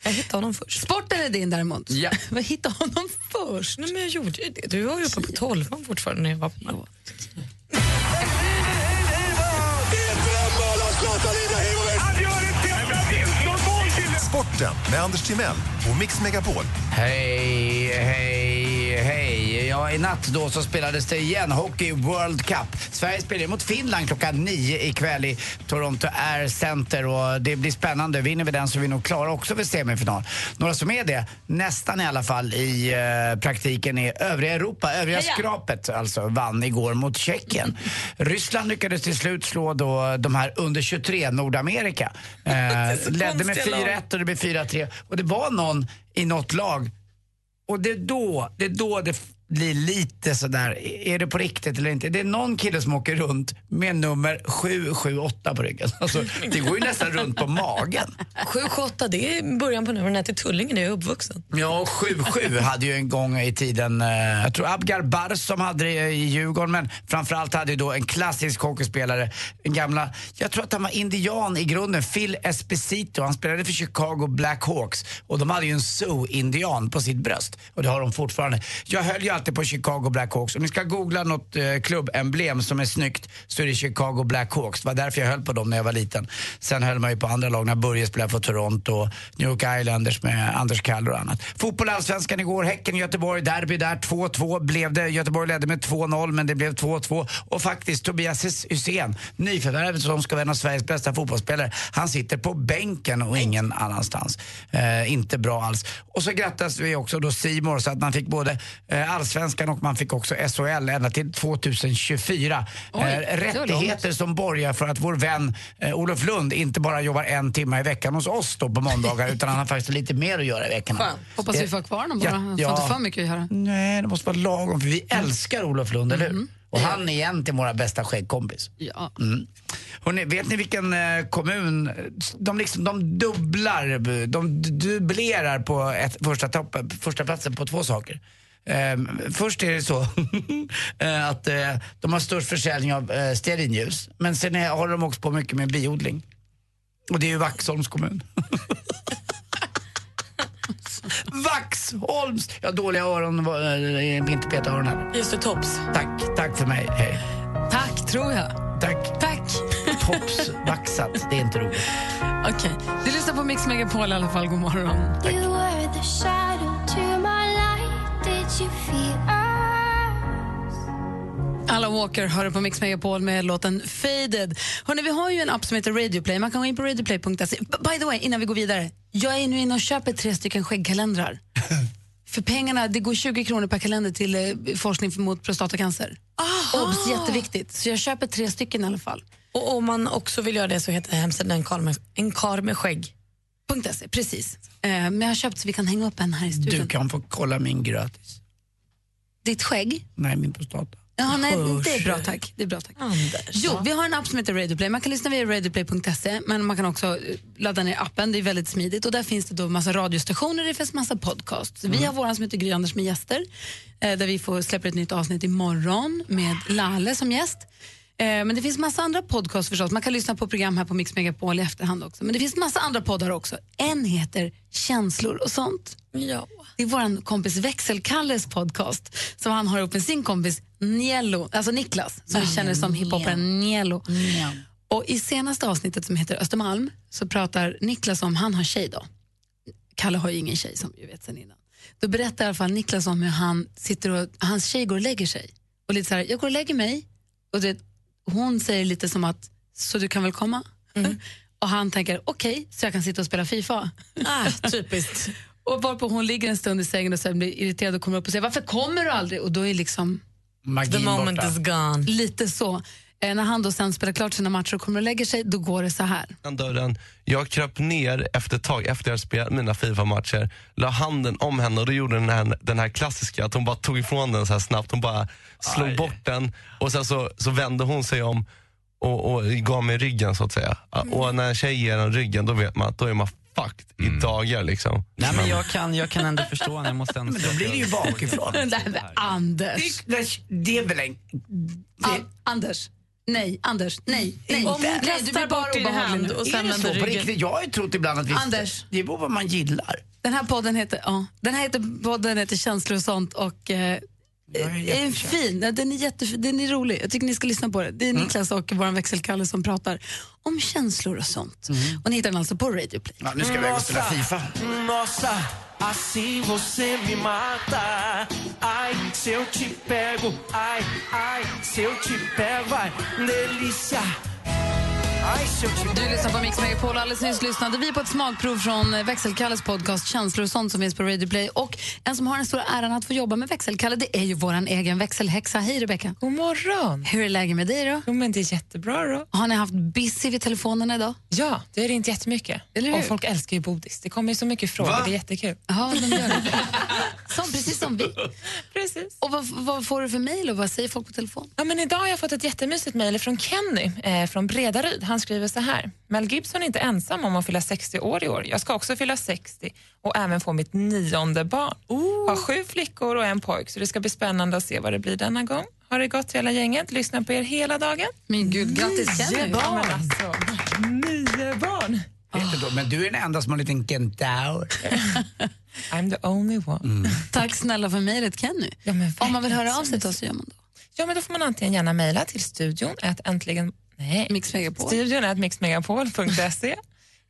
Speaker 5: Jag hittade honom först.
Speaker 3: Sport eller din däremot?
Speaker 5: Ja.
Speaker 3: Vad hittade honom först?
Speaker 5: Nej, men jag gjorde ju det. *laughs* Du var ju uppe på tolvan fortfarande när jag var på
Speaker 13: Sporten med Anders Timell och Mix Megapol.
Speaker 8: Hej, hej, hej. Ja, i natt då så spelades det igen Hockey World Cup. Sverige spelar mot Finland klockan nio ikväll i Toronto Air Center och det blir spännande. Vinner vi den så är vi nog klara också för semifinal. Några som är det, nästan i alla fall i eh, praktiken, är övriga Europa. Övriga
Speaker 9: Heja!
Speaker 8: skrapet alltså vann igår mot
Speaker 9: *laughs*
Speaker 8: Tjeckien. Ryssland lyckades till slut slå då de här under 23
Speaker 9: *laughs*
Speaker 8: Nordamerika. Eh,
Speaker 9: så
Speaker 8: ledde med
Speaker 9: konstiga lag.
Speaker 8: 4-1 och det blev 4-3. Och det var någon i något lag. Och det är då det, är då det f- blir lite sådär, är det på riktigt eller inte? Det är någon kille som åker runt med nummer 778 på ryggen. *laughs* Alltså, det går ju nästan runt på magen.
Speaker 5: 7-8, det är början på numren här till Tullinge där jag är uppvuxen.
Speaker 8: Ja, 7-7 hade ju en gång i tiden, eh, jag tror Abgar Barr som hade det i Djurgården, men framförallt hade ju då en klassisk hockeyspelare, en gamla, jag tror att han var indian i grunden, Phil Esposito. Han spelade för Chicago Blackhawks och de hade ju en Sioux-indian på sitt bröst och det har de fortfarande. Jag höll ju alltid på Chicago Blackhawks. Om ni ska googla något eh, klubbemblem som är snyggt så är det Chicago Blackhawks. Det var därför jag höll på dem när jag var liten. Sen höll man ju på andra lag när Börje spelade för Toronto, och New York Islanders med Anders Kall och annat. Fotboll Allsvenskan igår, Häcken-Göteborg, derby där, 2-2 blev det. Göteborg ledde med 2-0 men det blev 2-2. Och faktiskt Tobias Hys- Hysén, nyförvärvet som ska vara en av Sveriges bästa fotbollsspelare, han sitter på bänken och ingen annanstans. Eh, inte bra alls. Och så grattas vi också då Simor så att man fick både eh, allsvenskan och man fick också SHL ända till 2024.
Speaker 9: Oj,
Speaker 8: eh,
Speaker 9: det var
Speaker 8: rättigheter som borgar för att vår vän eh, Olof Lund inte bara jobbar en timme i veckan hos oss då på måndagar utan han har faktiskt lite mer att göra i veckan.
Speaker 3: Skönt.
Speaker 8: Eh,
Speaker 3: Hoppas vi får ha kvar honom bara. Han får inte för mycket att göra.
Speaker 8: Nej, det måste vara lagom för vi älskar Olof Lund, eller hur? Och
Speaker 3: Mm.
Speaker 8: han är egentligen vår bästa skäggkompis.
Speaker 3: Ja.
Speaker 8: Mm. Hörrni, vet ni vilken eh, kommun, de, liksom, de dubblar, de dubblerar på ett, första, topp, första platsen på två saker. Ehm, först är det så *laughs* eh, att eh, de har störst försäljning av eh, stearinljus, men sen är, håller de också på mycket med biodling. Och det är ju Vaxholms kommun. *laughs* Vaxholms! Jag har dåliga öron, eh, inte peta öron heller.
Speaker 5: Just det, tops.
Speaker 8: Tack, tack för mig, hej.
Speaker 3: Tack, tror jag.
Speaker 8: Tack.
Speaker 3: Tack.
Speaker 8: Tops vaxat, det är inte roligt.
Speaker 3: Okej. Du lyssnar på Mix Megapol i alla fall. God morgon.
Speaker 6: You were the shadow to my light. Did you feel us?
Speaker 3: Alla Walker hör du på Mix Megapol med låten Faded. Hörrni, vi har ju en app som heter Radioplay. Man kan gå in på radioplay.se. B- By the way, innan vi går vidare. Jag är nu inne och köper tre
Speaker 8: *laughs*
Speaker 3: stycken skäggkalendrar. För pengarna, det går 20 kronor per kalender till eh, forskning mot prostatacancer. Obs, jätteviktigt. Så jag köper tre stycken i alla fall.
Speaker 5: Och om man också vill göra det så heter hemsidan en karl med, en karl med skägg.
Speaker 3: .se, precis. Eh, Men jag har köpt så vi kan hänga upp en här i studion.
Speaker 8: Du kan få kolla min gratis.
Speaker 3: Ditt skägg?
Speaker 8: Nej, min prostata.
Speaker 3: Ja, nej,
Speaker 8: Hörs.
Speaker 3: det är bra tack. Det är bra, tack. Jo, vi har en app som heter Radioplay. Man kan lyssna via radioplay.se men man kan också eh, ladda ner appen. Det är väldigt smidigt och där finns det då massa radiostationer det finns massa podcasts. Vi har våran som heter Gry Anders med gäster eh, där vi får släppa ett nytt avsnitt imorgon med Lalle som gäst. Eh, Men det finns massa andra podcasts förstås. Man kan lyssna på program här på Mix Megapol i efterhand också. Men det finns massa andra poddar också. En heter Känslor och sånt.
Speaker 5: Ja.
Speaker 3: Det är vår kompis Växelkalles podcast som han har ihop med sin kompis Niello, alltså Niklas, som vi känner som hiphopparen Niello. Och I senaste avsnittet som heter Östermalm så pratar Niklas om, han har tjej då. Kalle har ju ingen tjej som vi vet sen innan. Då berättar i alla fall Niklas om hur han sitter och, hans tjej går och lägger sig. Och lite så här, jag går och lägger mig. Och du vet, hon säger lite som att, så du kan väl komma?
Speaker 5: Mm.
Speaker 3: *laughs* och han tänker, okej, så jag kan sitta och spela Fifa.
Speaker 5: Ah, typiskt.
Speaker 3: och varpå hon ligger en stund i sängen och sen blir irriterad och kommer upp och säger, varför kommer du aldrig? Och då är liksom
Speaker 5: Magin The moment borta. is gone.
Speaker 3: Lite så. Eh, när han då sen spelar klart sina matcher och kommer och lägger sig, då går det så här.
Speaker 18: öppnade dörren. Jag kröp ner efter ett tag, efter jag hade spelat mina Fifa-matcher. La handen om henne och då gjorde den här, den här klassiska, att hon bara tog ifrån den så här snabbt. Hon bara slog bort den och sen så, så vände hon sig om och, och gav mig ryggen så att säga.
Speaker 26: Mm.
Speaker 18: Och när en tjej ger en ryggen då vet man att då är man fucked i dagar liksom.
Speaker 26: Mm. Nej, men jag kan, jag kan ändå förstå henne. Jag måste ändå *laughs* men då blir det ju
Speaker 8: bakifrån.
Speaker 3: *laughs* Nej, men Anders.
Speaker 8: Det är väl en...
Speaker 3: An- Anders. Nej, Anders. Nej, nej.
Speaker 8: Om hon
Speaker 3: nej, du
Speaker 8: kastar
Speaker 3: blir bara
Speaker 8: bort din
Speaker 3: obehaglig
Speaker 8: hand
Speaker 3: nu.
Speaker 8: och sen Är det vänder så på ryggen. riktigt? Jag har ju trott ibland att vi-
Speaker 3: Anders.
Speaker 8: Det beror på vad man gillar.
Speaker 3: Den här podden heter, ja, den här heter, podden heter Känslor och sånt och eh, är en fin, ja, den är, jättefin, den är rolig. Jag tycker ni ska lyssna på det. Det är
Speaker 8: Mm.
Speaker 3: Niklas och vår växelkalle som pratar om känslor och sånt. Och ni hittar den alltså på Radio Play.
Speaker 8: Ja, nu ska vi iväg och spela Fifa.
Speaker 6: Nossa, assim você me mata. Ai, se eu te pego, ai, ai, se eu te pego, ai, delícia. Ai, se eu te
Speaker 3: Du lyssnar på Mix Megapol. Alldeles nyss lyssnade vi på ett smakprov från eh, Växelkalles podcast Känslor och sånt som finns på Radio Play. Och en som har den stora äran att få jobba med Växelkalle det är ju vår egen växelhäxa. Hej Rebecka! God morgon! Hur är läget med dig då?
Speaker 29: Jo, men det är jättebra då.
Speaker 3: Har ni haft busy vid telefonerna idag?
Speaker 29: Ja, det har ringt jättemycket.
Speaker 3: Eller hur?
Speaker 29: Och folk älskar ju bodis. Det kommer ju så mycket frågor.
Speaker 3: Va?
Speaker 29: Det är jättekul.
Speaker 3: Ja, de gör det. *laughs* Som, precis som vi.
Speaker 29: *laughs* Precis.
Speaker 3: Och vad, vad får du för mejl och vad säger folk på telefon?
Speaker 29: Ja, men idag har jag fått ett jättemysigt mejl från Kenny eh, från Bredaryd. Han skriver så här. Mel Gibson är inte ensam om att fylla 60 år i år. Jag ska också fylla 60 och även få mitt nionde barn. Har sju flickor och en pojk så det ska bli spännande att se vad det blir denna gång. Har det gott hela gänget? Lyssnar på er hela dagen.
Speaker 3: Min gud,
Speaker 8: grattis, Kenny.
Speaker 29: Ja, men alltså, nio barn!
Speaker 8: Vet du då, Men du är den enda som har en liten kentaur. Mm.
Speaker 29: I'm the only one.
Speaker 3: Tack snälla för mejlet Kenny. Om man vill höra av sig till oss så gör man det.
Speaker 29: Ja, men då får man antingen gärna mejla till studion att äntligen nej,
Speaker 3: mixmegapol.
Speaker 29: studion att mixmegapol.se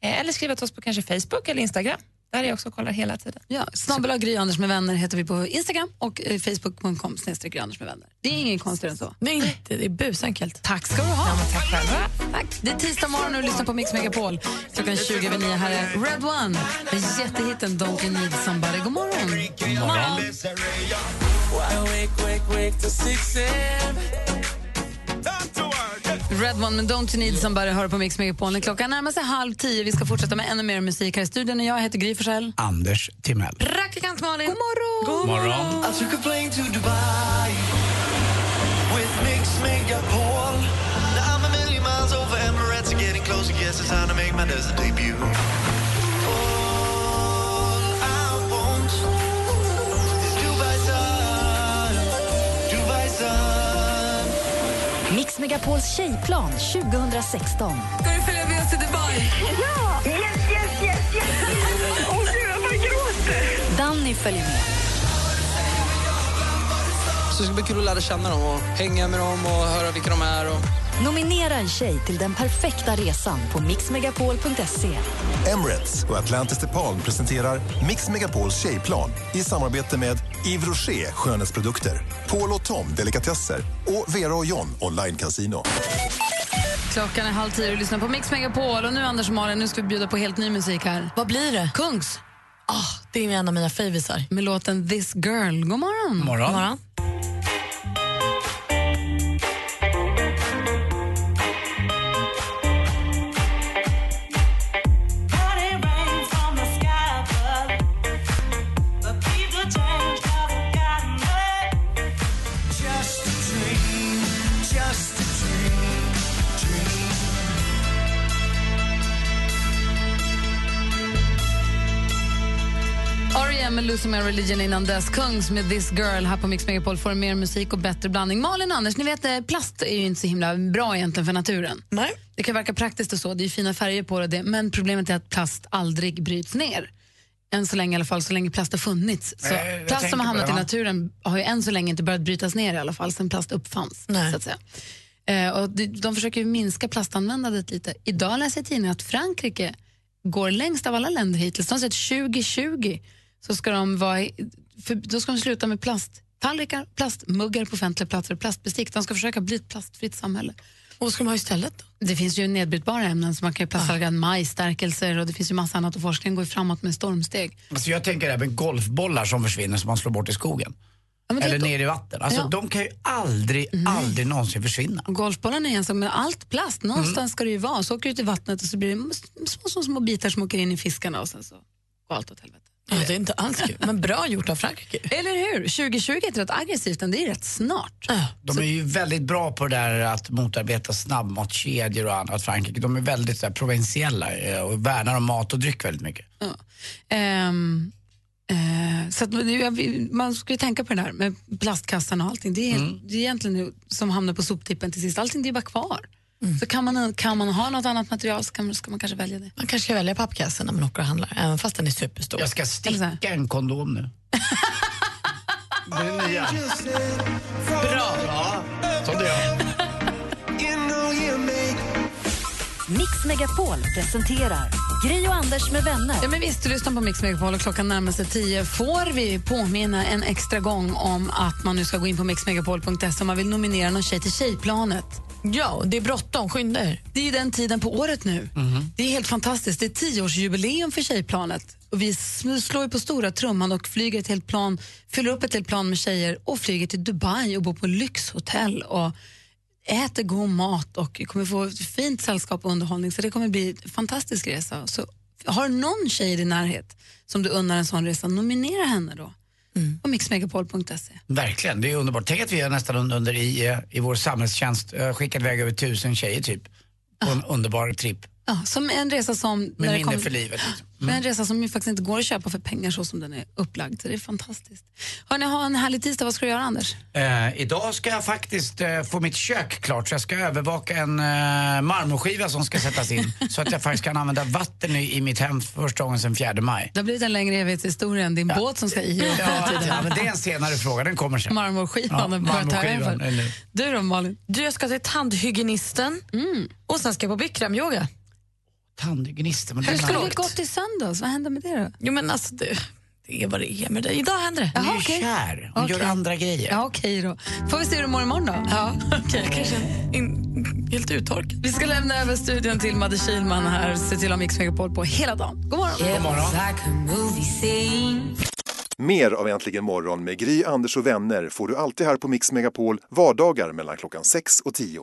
Speaker 29: eh, eller skriva till oss på kanske Facebook eller Instagram. Där är jag också och kollar hela tiden.
Speaker 3: Ja, snabbla Gry Anders med vänner heter vi på Instagram och eh, facebook.com snedstreck Gry Anders med vänner. Mm. Det är ingen konstigare än så.
Speaker 5: Nej, inte. det är busenkelt.
Speaker 3: Tack ska du ha. tack själva. Det är tisdag morgon och du lyssnar på Mix Megapol. Klockan 20 över 9. Här är Red One med jättehitten Don't You Need Somebody. God morgon. God morgon. Red One med Don't You Need Somebody hör på Mix Megapol. Klockan närmar sig halv tio. Vi ska fortsätta med ännu mer musik här i studion. Jag heter Gry Forssell.
Speaker 8: Anders Timell.
Speaker 3: Praktikant Malin. God morgon.
Speaker 8: God morgon.
Speaker 24: I took a plane to Dubai with Mix Megapol. Now I'm a million miles over Emirates and getting closer. Guess it's time to make my desert debut. All I want is Dubai sun, Dubai sun.
Speaker 1: Mix Megapols tjejplan 2016.
Speaker 3: Ska du följa med oss till Dubai?
Speaker 1: Ja! Yes, yes, yes, yes! Åh oh, gud, jag bara gråter! Danny följer med.
Speaker 12: Så det ska bli kul att lära känna dem och hänga med dem och höra vilka de är. Och...
Speaker 1: Nominera en tjej till den perfekta resan på mixmegapol.se.
Speaker 13: Emirates och Atlantis DePaul presenterar Mix Megapols tjejplan i samarbete med Yves Rocher skönhetsprodukter, Paul och Tom delikatesser och Vera och John online casino.
Speaker 3: Klockan är halv tio och du lyssnar på Mix Megapol. Och nu Anders och Malin, nu ska vi bjuda på helt ny musik här.
Speaker 5: Vad blir det?
Speaker 3: Kungs.
Speaker 5: Ah, det är en av mina favvisar.
Speaker 3: Med låten This Girl. God morgon.
Speaker 5: Morgon. morgon.
Speaker 6: Just a dream, just a dream, dream.
Speaker 3: R.E.M. E med Losing My Religion innan dess. Kungs med This Girl här på Mix Megapol får mer musik och bättre blandning. Malin och Anders, ni vet eh, plast är ju inte så himla bra egentligen för naturen.
Speaker 5: Nej.
Speaker 3: Det kan verka praktiskt och så, det är ju fina färger på det, och det, men problemet är att plast aldrig bryts ner. Än så länge i alla fall, så länge plast har funnits. Så
Speaker 5: Nej, jag
Speaker 3: plast
Speaker 5: tänker
Speaker 3: som har
Speaker 5: på
Speaker 3: hamnat
Speaker 5: det,
Speaker 3: i
Speaker 5: va?
Speaker 3: naturen har ju än så länge inte börjat brytas ner i alla fall, sen plast uppfanns. Så att säga. Eh, och de, de försöker ju minska plastanvändandet lite. Idag läser jag i tidningen att Frankrike går längst av alla länder hittills. De säger att 2020 så ska de, vara, i- för, då ska de sluta med plasttallrikar, plastmuggar på offentliga platser och plastbestick. De ska försöka bli ett plastfritt samhälle. Och vad ska man ha istället då? Ah. Det finns ju nedbrytbara ämnen som man kan ju plastallrikar, majsstärkelser och det finns ju massa annat och forskningen går ju framåt med stormsteg.
Speaker 8: Alltså jag tänker även golfbollar som försvinner som man slår bort i skogen.
Speaker 3: Ja, men det är
Speaker 8: Eller
Speaker 3: då-
Speaker 8: ner i vatten. Alltså
Speaker 3: Ja.
Speaker 8: de kan ju aldrig, aldrig någonsin försvinna.
Speaker 3: Och golfbollarna är en sak, men allt plast, någonstans ska det ju vara. Så åker det ut i vattnet och så blir det små, små, små, små bitar som åker in i fiskarna och sen så går allt åt helvete.
Speaker 5: Ja, det är inte alls kul, men bra gjort av Frankrike.
Speaker 3: *laughs* Eller hur? 2020 är inte rätt aggressivt, men det är rätt snart.
Speaker 8: De är ju väldigt bra på det där att motarbeta snabbmatskedjor och annat Frankrike. De är väldigt så här, provinsiella eh, och värnar om mat och dryck väldigt mycket.
Speaker 3: Ehm, eh, så att, man- jag vill- man ska ju tänka på det där med plastkassan och allting. Det är,
Speaker 5: Mm.
Speaker 3: det är egentligen det som hamnar på soptippen till sist. Allting det är bara kvar.
Speaker 5: Mm.
Speaker 3: Så kan man, kan man ha något annat material så kan man, ska man kanske välja det.
Speaker 5: Man kanske ska välja pappkassen när man åker och handlar, även fast den är superstor.
Speaker 8: Jag ska sticka en kondom nu. Det är nya.
Speaker 5: Bra!
Speaker 8: Sånt är jag.
Speaker 1: Mix Megapol presenterar Gri och Anders med vänner.
Speaker 3: Ja, men visst, du lyssnar på Mix Megapol och klockan närmar sig tio. Får vi påminna en extra gång om att man nu ska gå in på mixmegapol.se om man vill nominera någon tjej till Tjejplanet?
Speaker 5: Ja, det är bråttom. Skynda er.
Speaker 3: Det är ju den tiden på året nu.
Speaker 6: Mm-hmm.
Speaker 3: Det är helt fantastiskt. Det är tioårsjubileum för Tjejplanet. Och vi sm- slår ju på stora trumman och flyger ett helt plan, fyller upp ett helt plan med tjejer och flyger till Dubai och bor på lyxhotell och äter god mat och kommer få ett fint sällskap och underhållning. Så det kommer bli en fantastisk resa. Så har du någon tjej i din närhet som du unnar en sån resa, nominera henne då.
Speaker 8: Mm.
Speaker 3: På mixmegapol.se.
Speaker 8: Verkligen, det är underbart. Tänk att vi har nästan under, under i, eh, i vår samhällstjänst eh, skickat iväg över tusen tjejer typ. På en underbar tripp.
Speaker 3: Ja, som en resa som... Ah. när
Speaker 8: Med
Speaker 3: det
Speaker 8: minne
Speaker 3: kommer- Ah,
Speaker 8: för livet. liksom.
Speaker 3: Men en resa som ju faktiskt inte går att köpa för pengar så som den är upplagd. Så det är fantastiskt. Hörrni, ha en härlig tisdag. Vad ska du göra, Anders?
Speaker 8: Eh, idag ska jag faktiskt eh, få mitt kök klart så jag ska övervaka en eh, marmorskiva som ska sättas
Speaker 3: *laughs*
Speaker 8: in så att jag faktiskt kan använda vatten i, i mitt hem för första gången sedan 4 maj.
Speaker 3: Det har blivit en längre evighetshistoria än din båt som ska i. och
Speaker 8: Ja,
Speaker 3: hela tiden.
Speaker 8: ja, men det är en senare fråga, den kommer sen.
Speaker 3: Marmorskivan. och börja ta över.
Speaker 8: eller-
Speaker 3: Du då, Malin?
Speaker 5: Du, jag ska till tandhygienisten
Speaker 3: Mm.
Speaker 5: och sen ska jag på Bikramyoga.
Speaker 8: Tandhygienisten?
Speaker 3: Hur skulle det gått i söndags? Vad hände med det då?
Speaker 5: Jo, men alltså, det, det är vad det är med dig. Idag händer det.
Speaker 3: Jaha, Du är ju okej. kär. Hon gör Okej. andra
Speaker 8: grejer.
Speaker 3: Ja, okej då. Får vi se hur du mår imorgon då? Ja, okej. Kanske helt uttorkad. Vi ska lämna över studion till Madde Kihlman här. Se till att ha Mix Megapol på hela dagen. God morgon.
Speaker 13: God morgon. Mer av Äntligen morgon med Gry, Anders och vänner får du alltid här på Mix Megapol vardagar mellan klockan 6 och 10.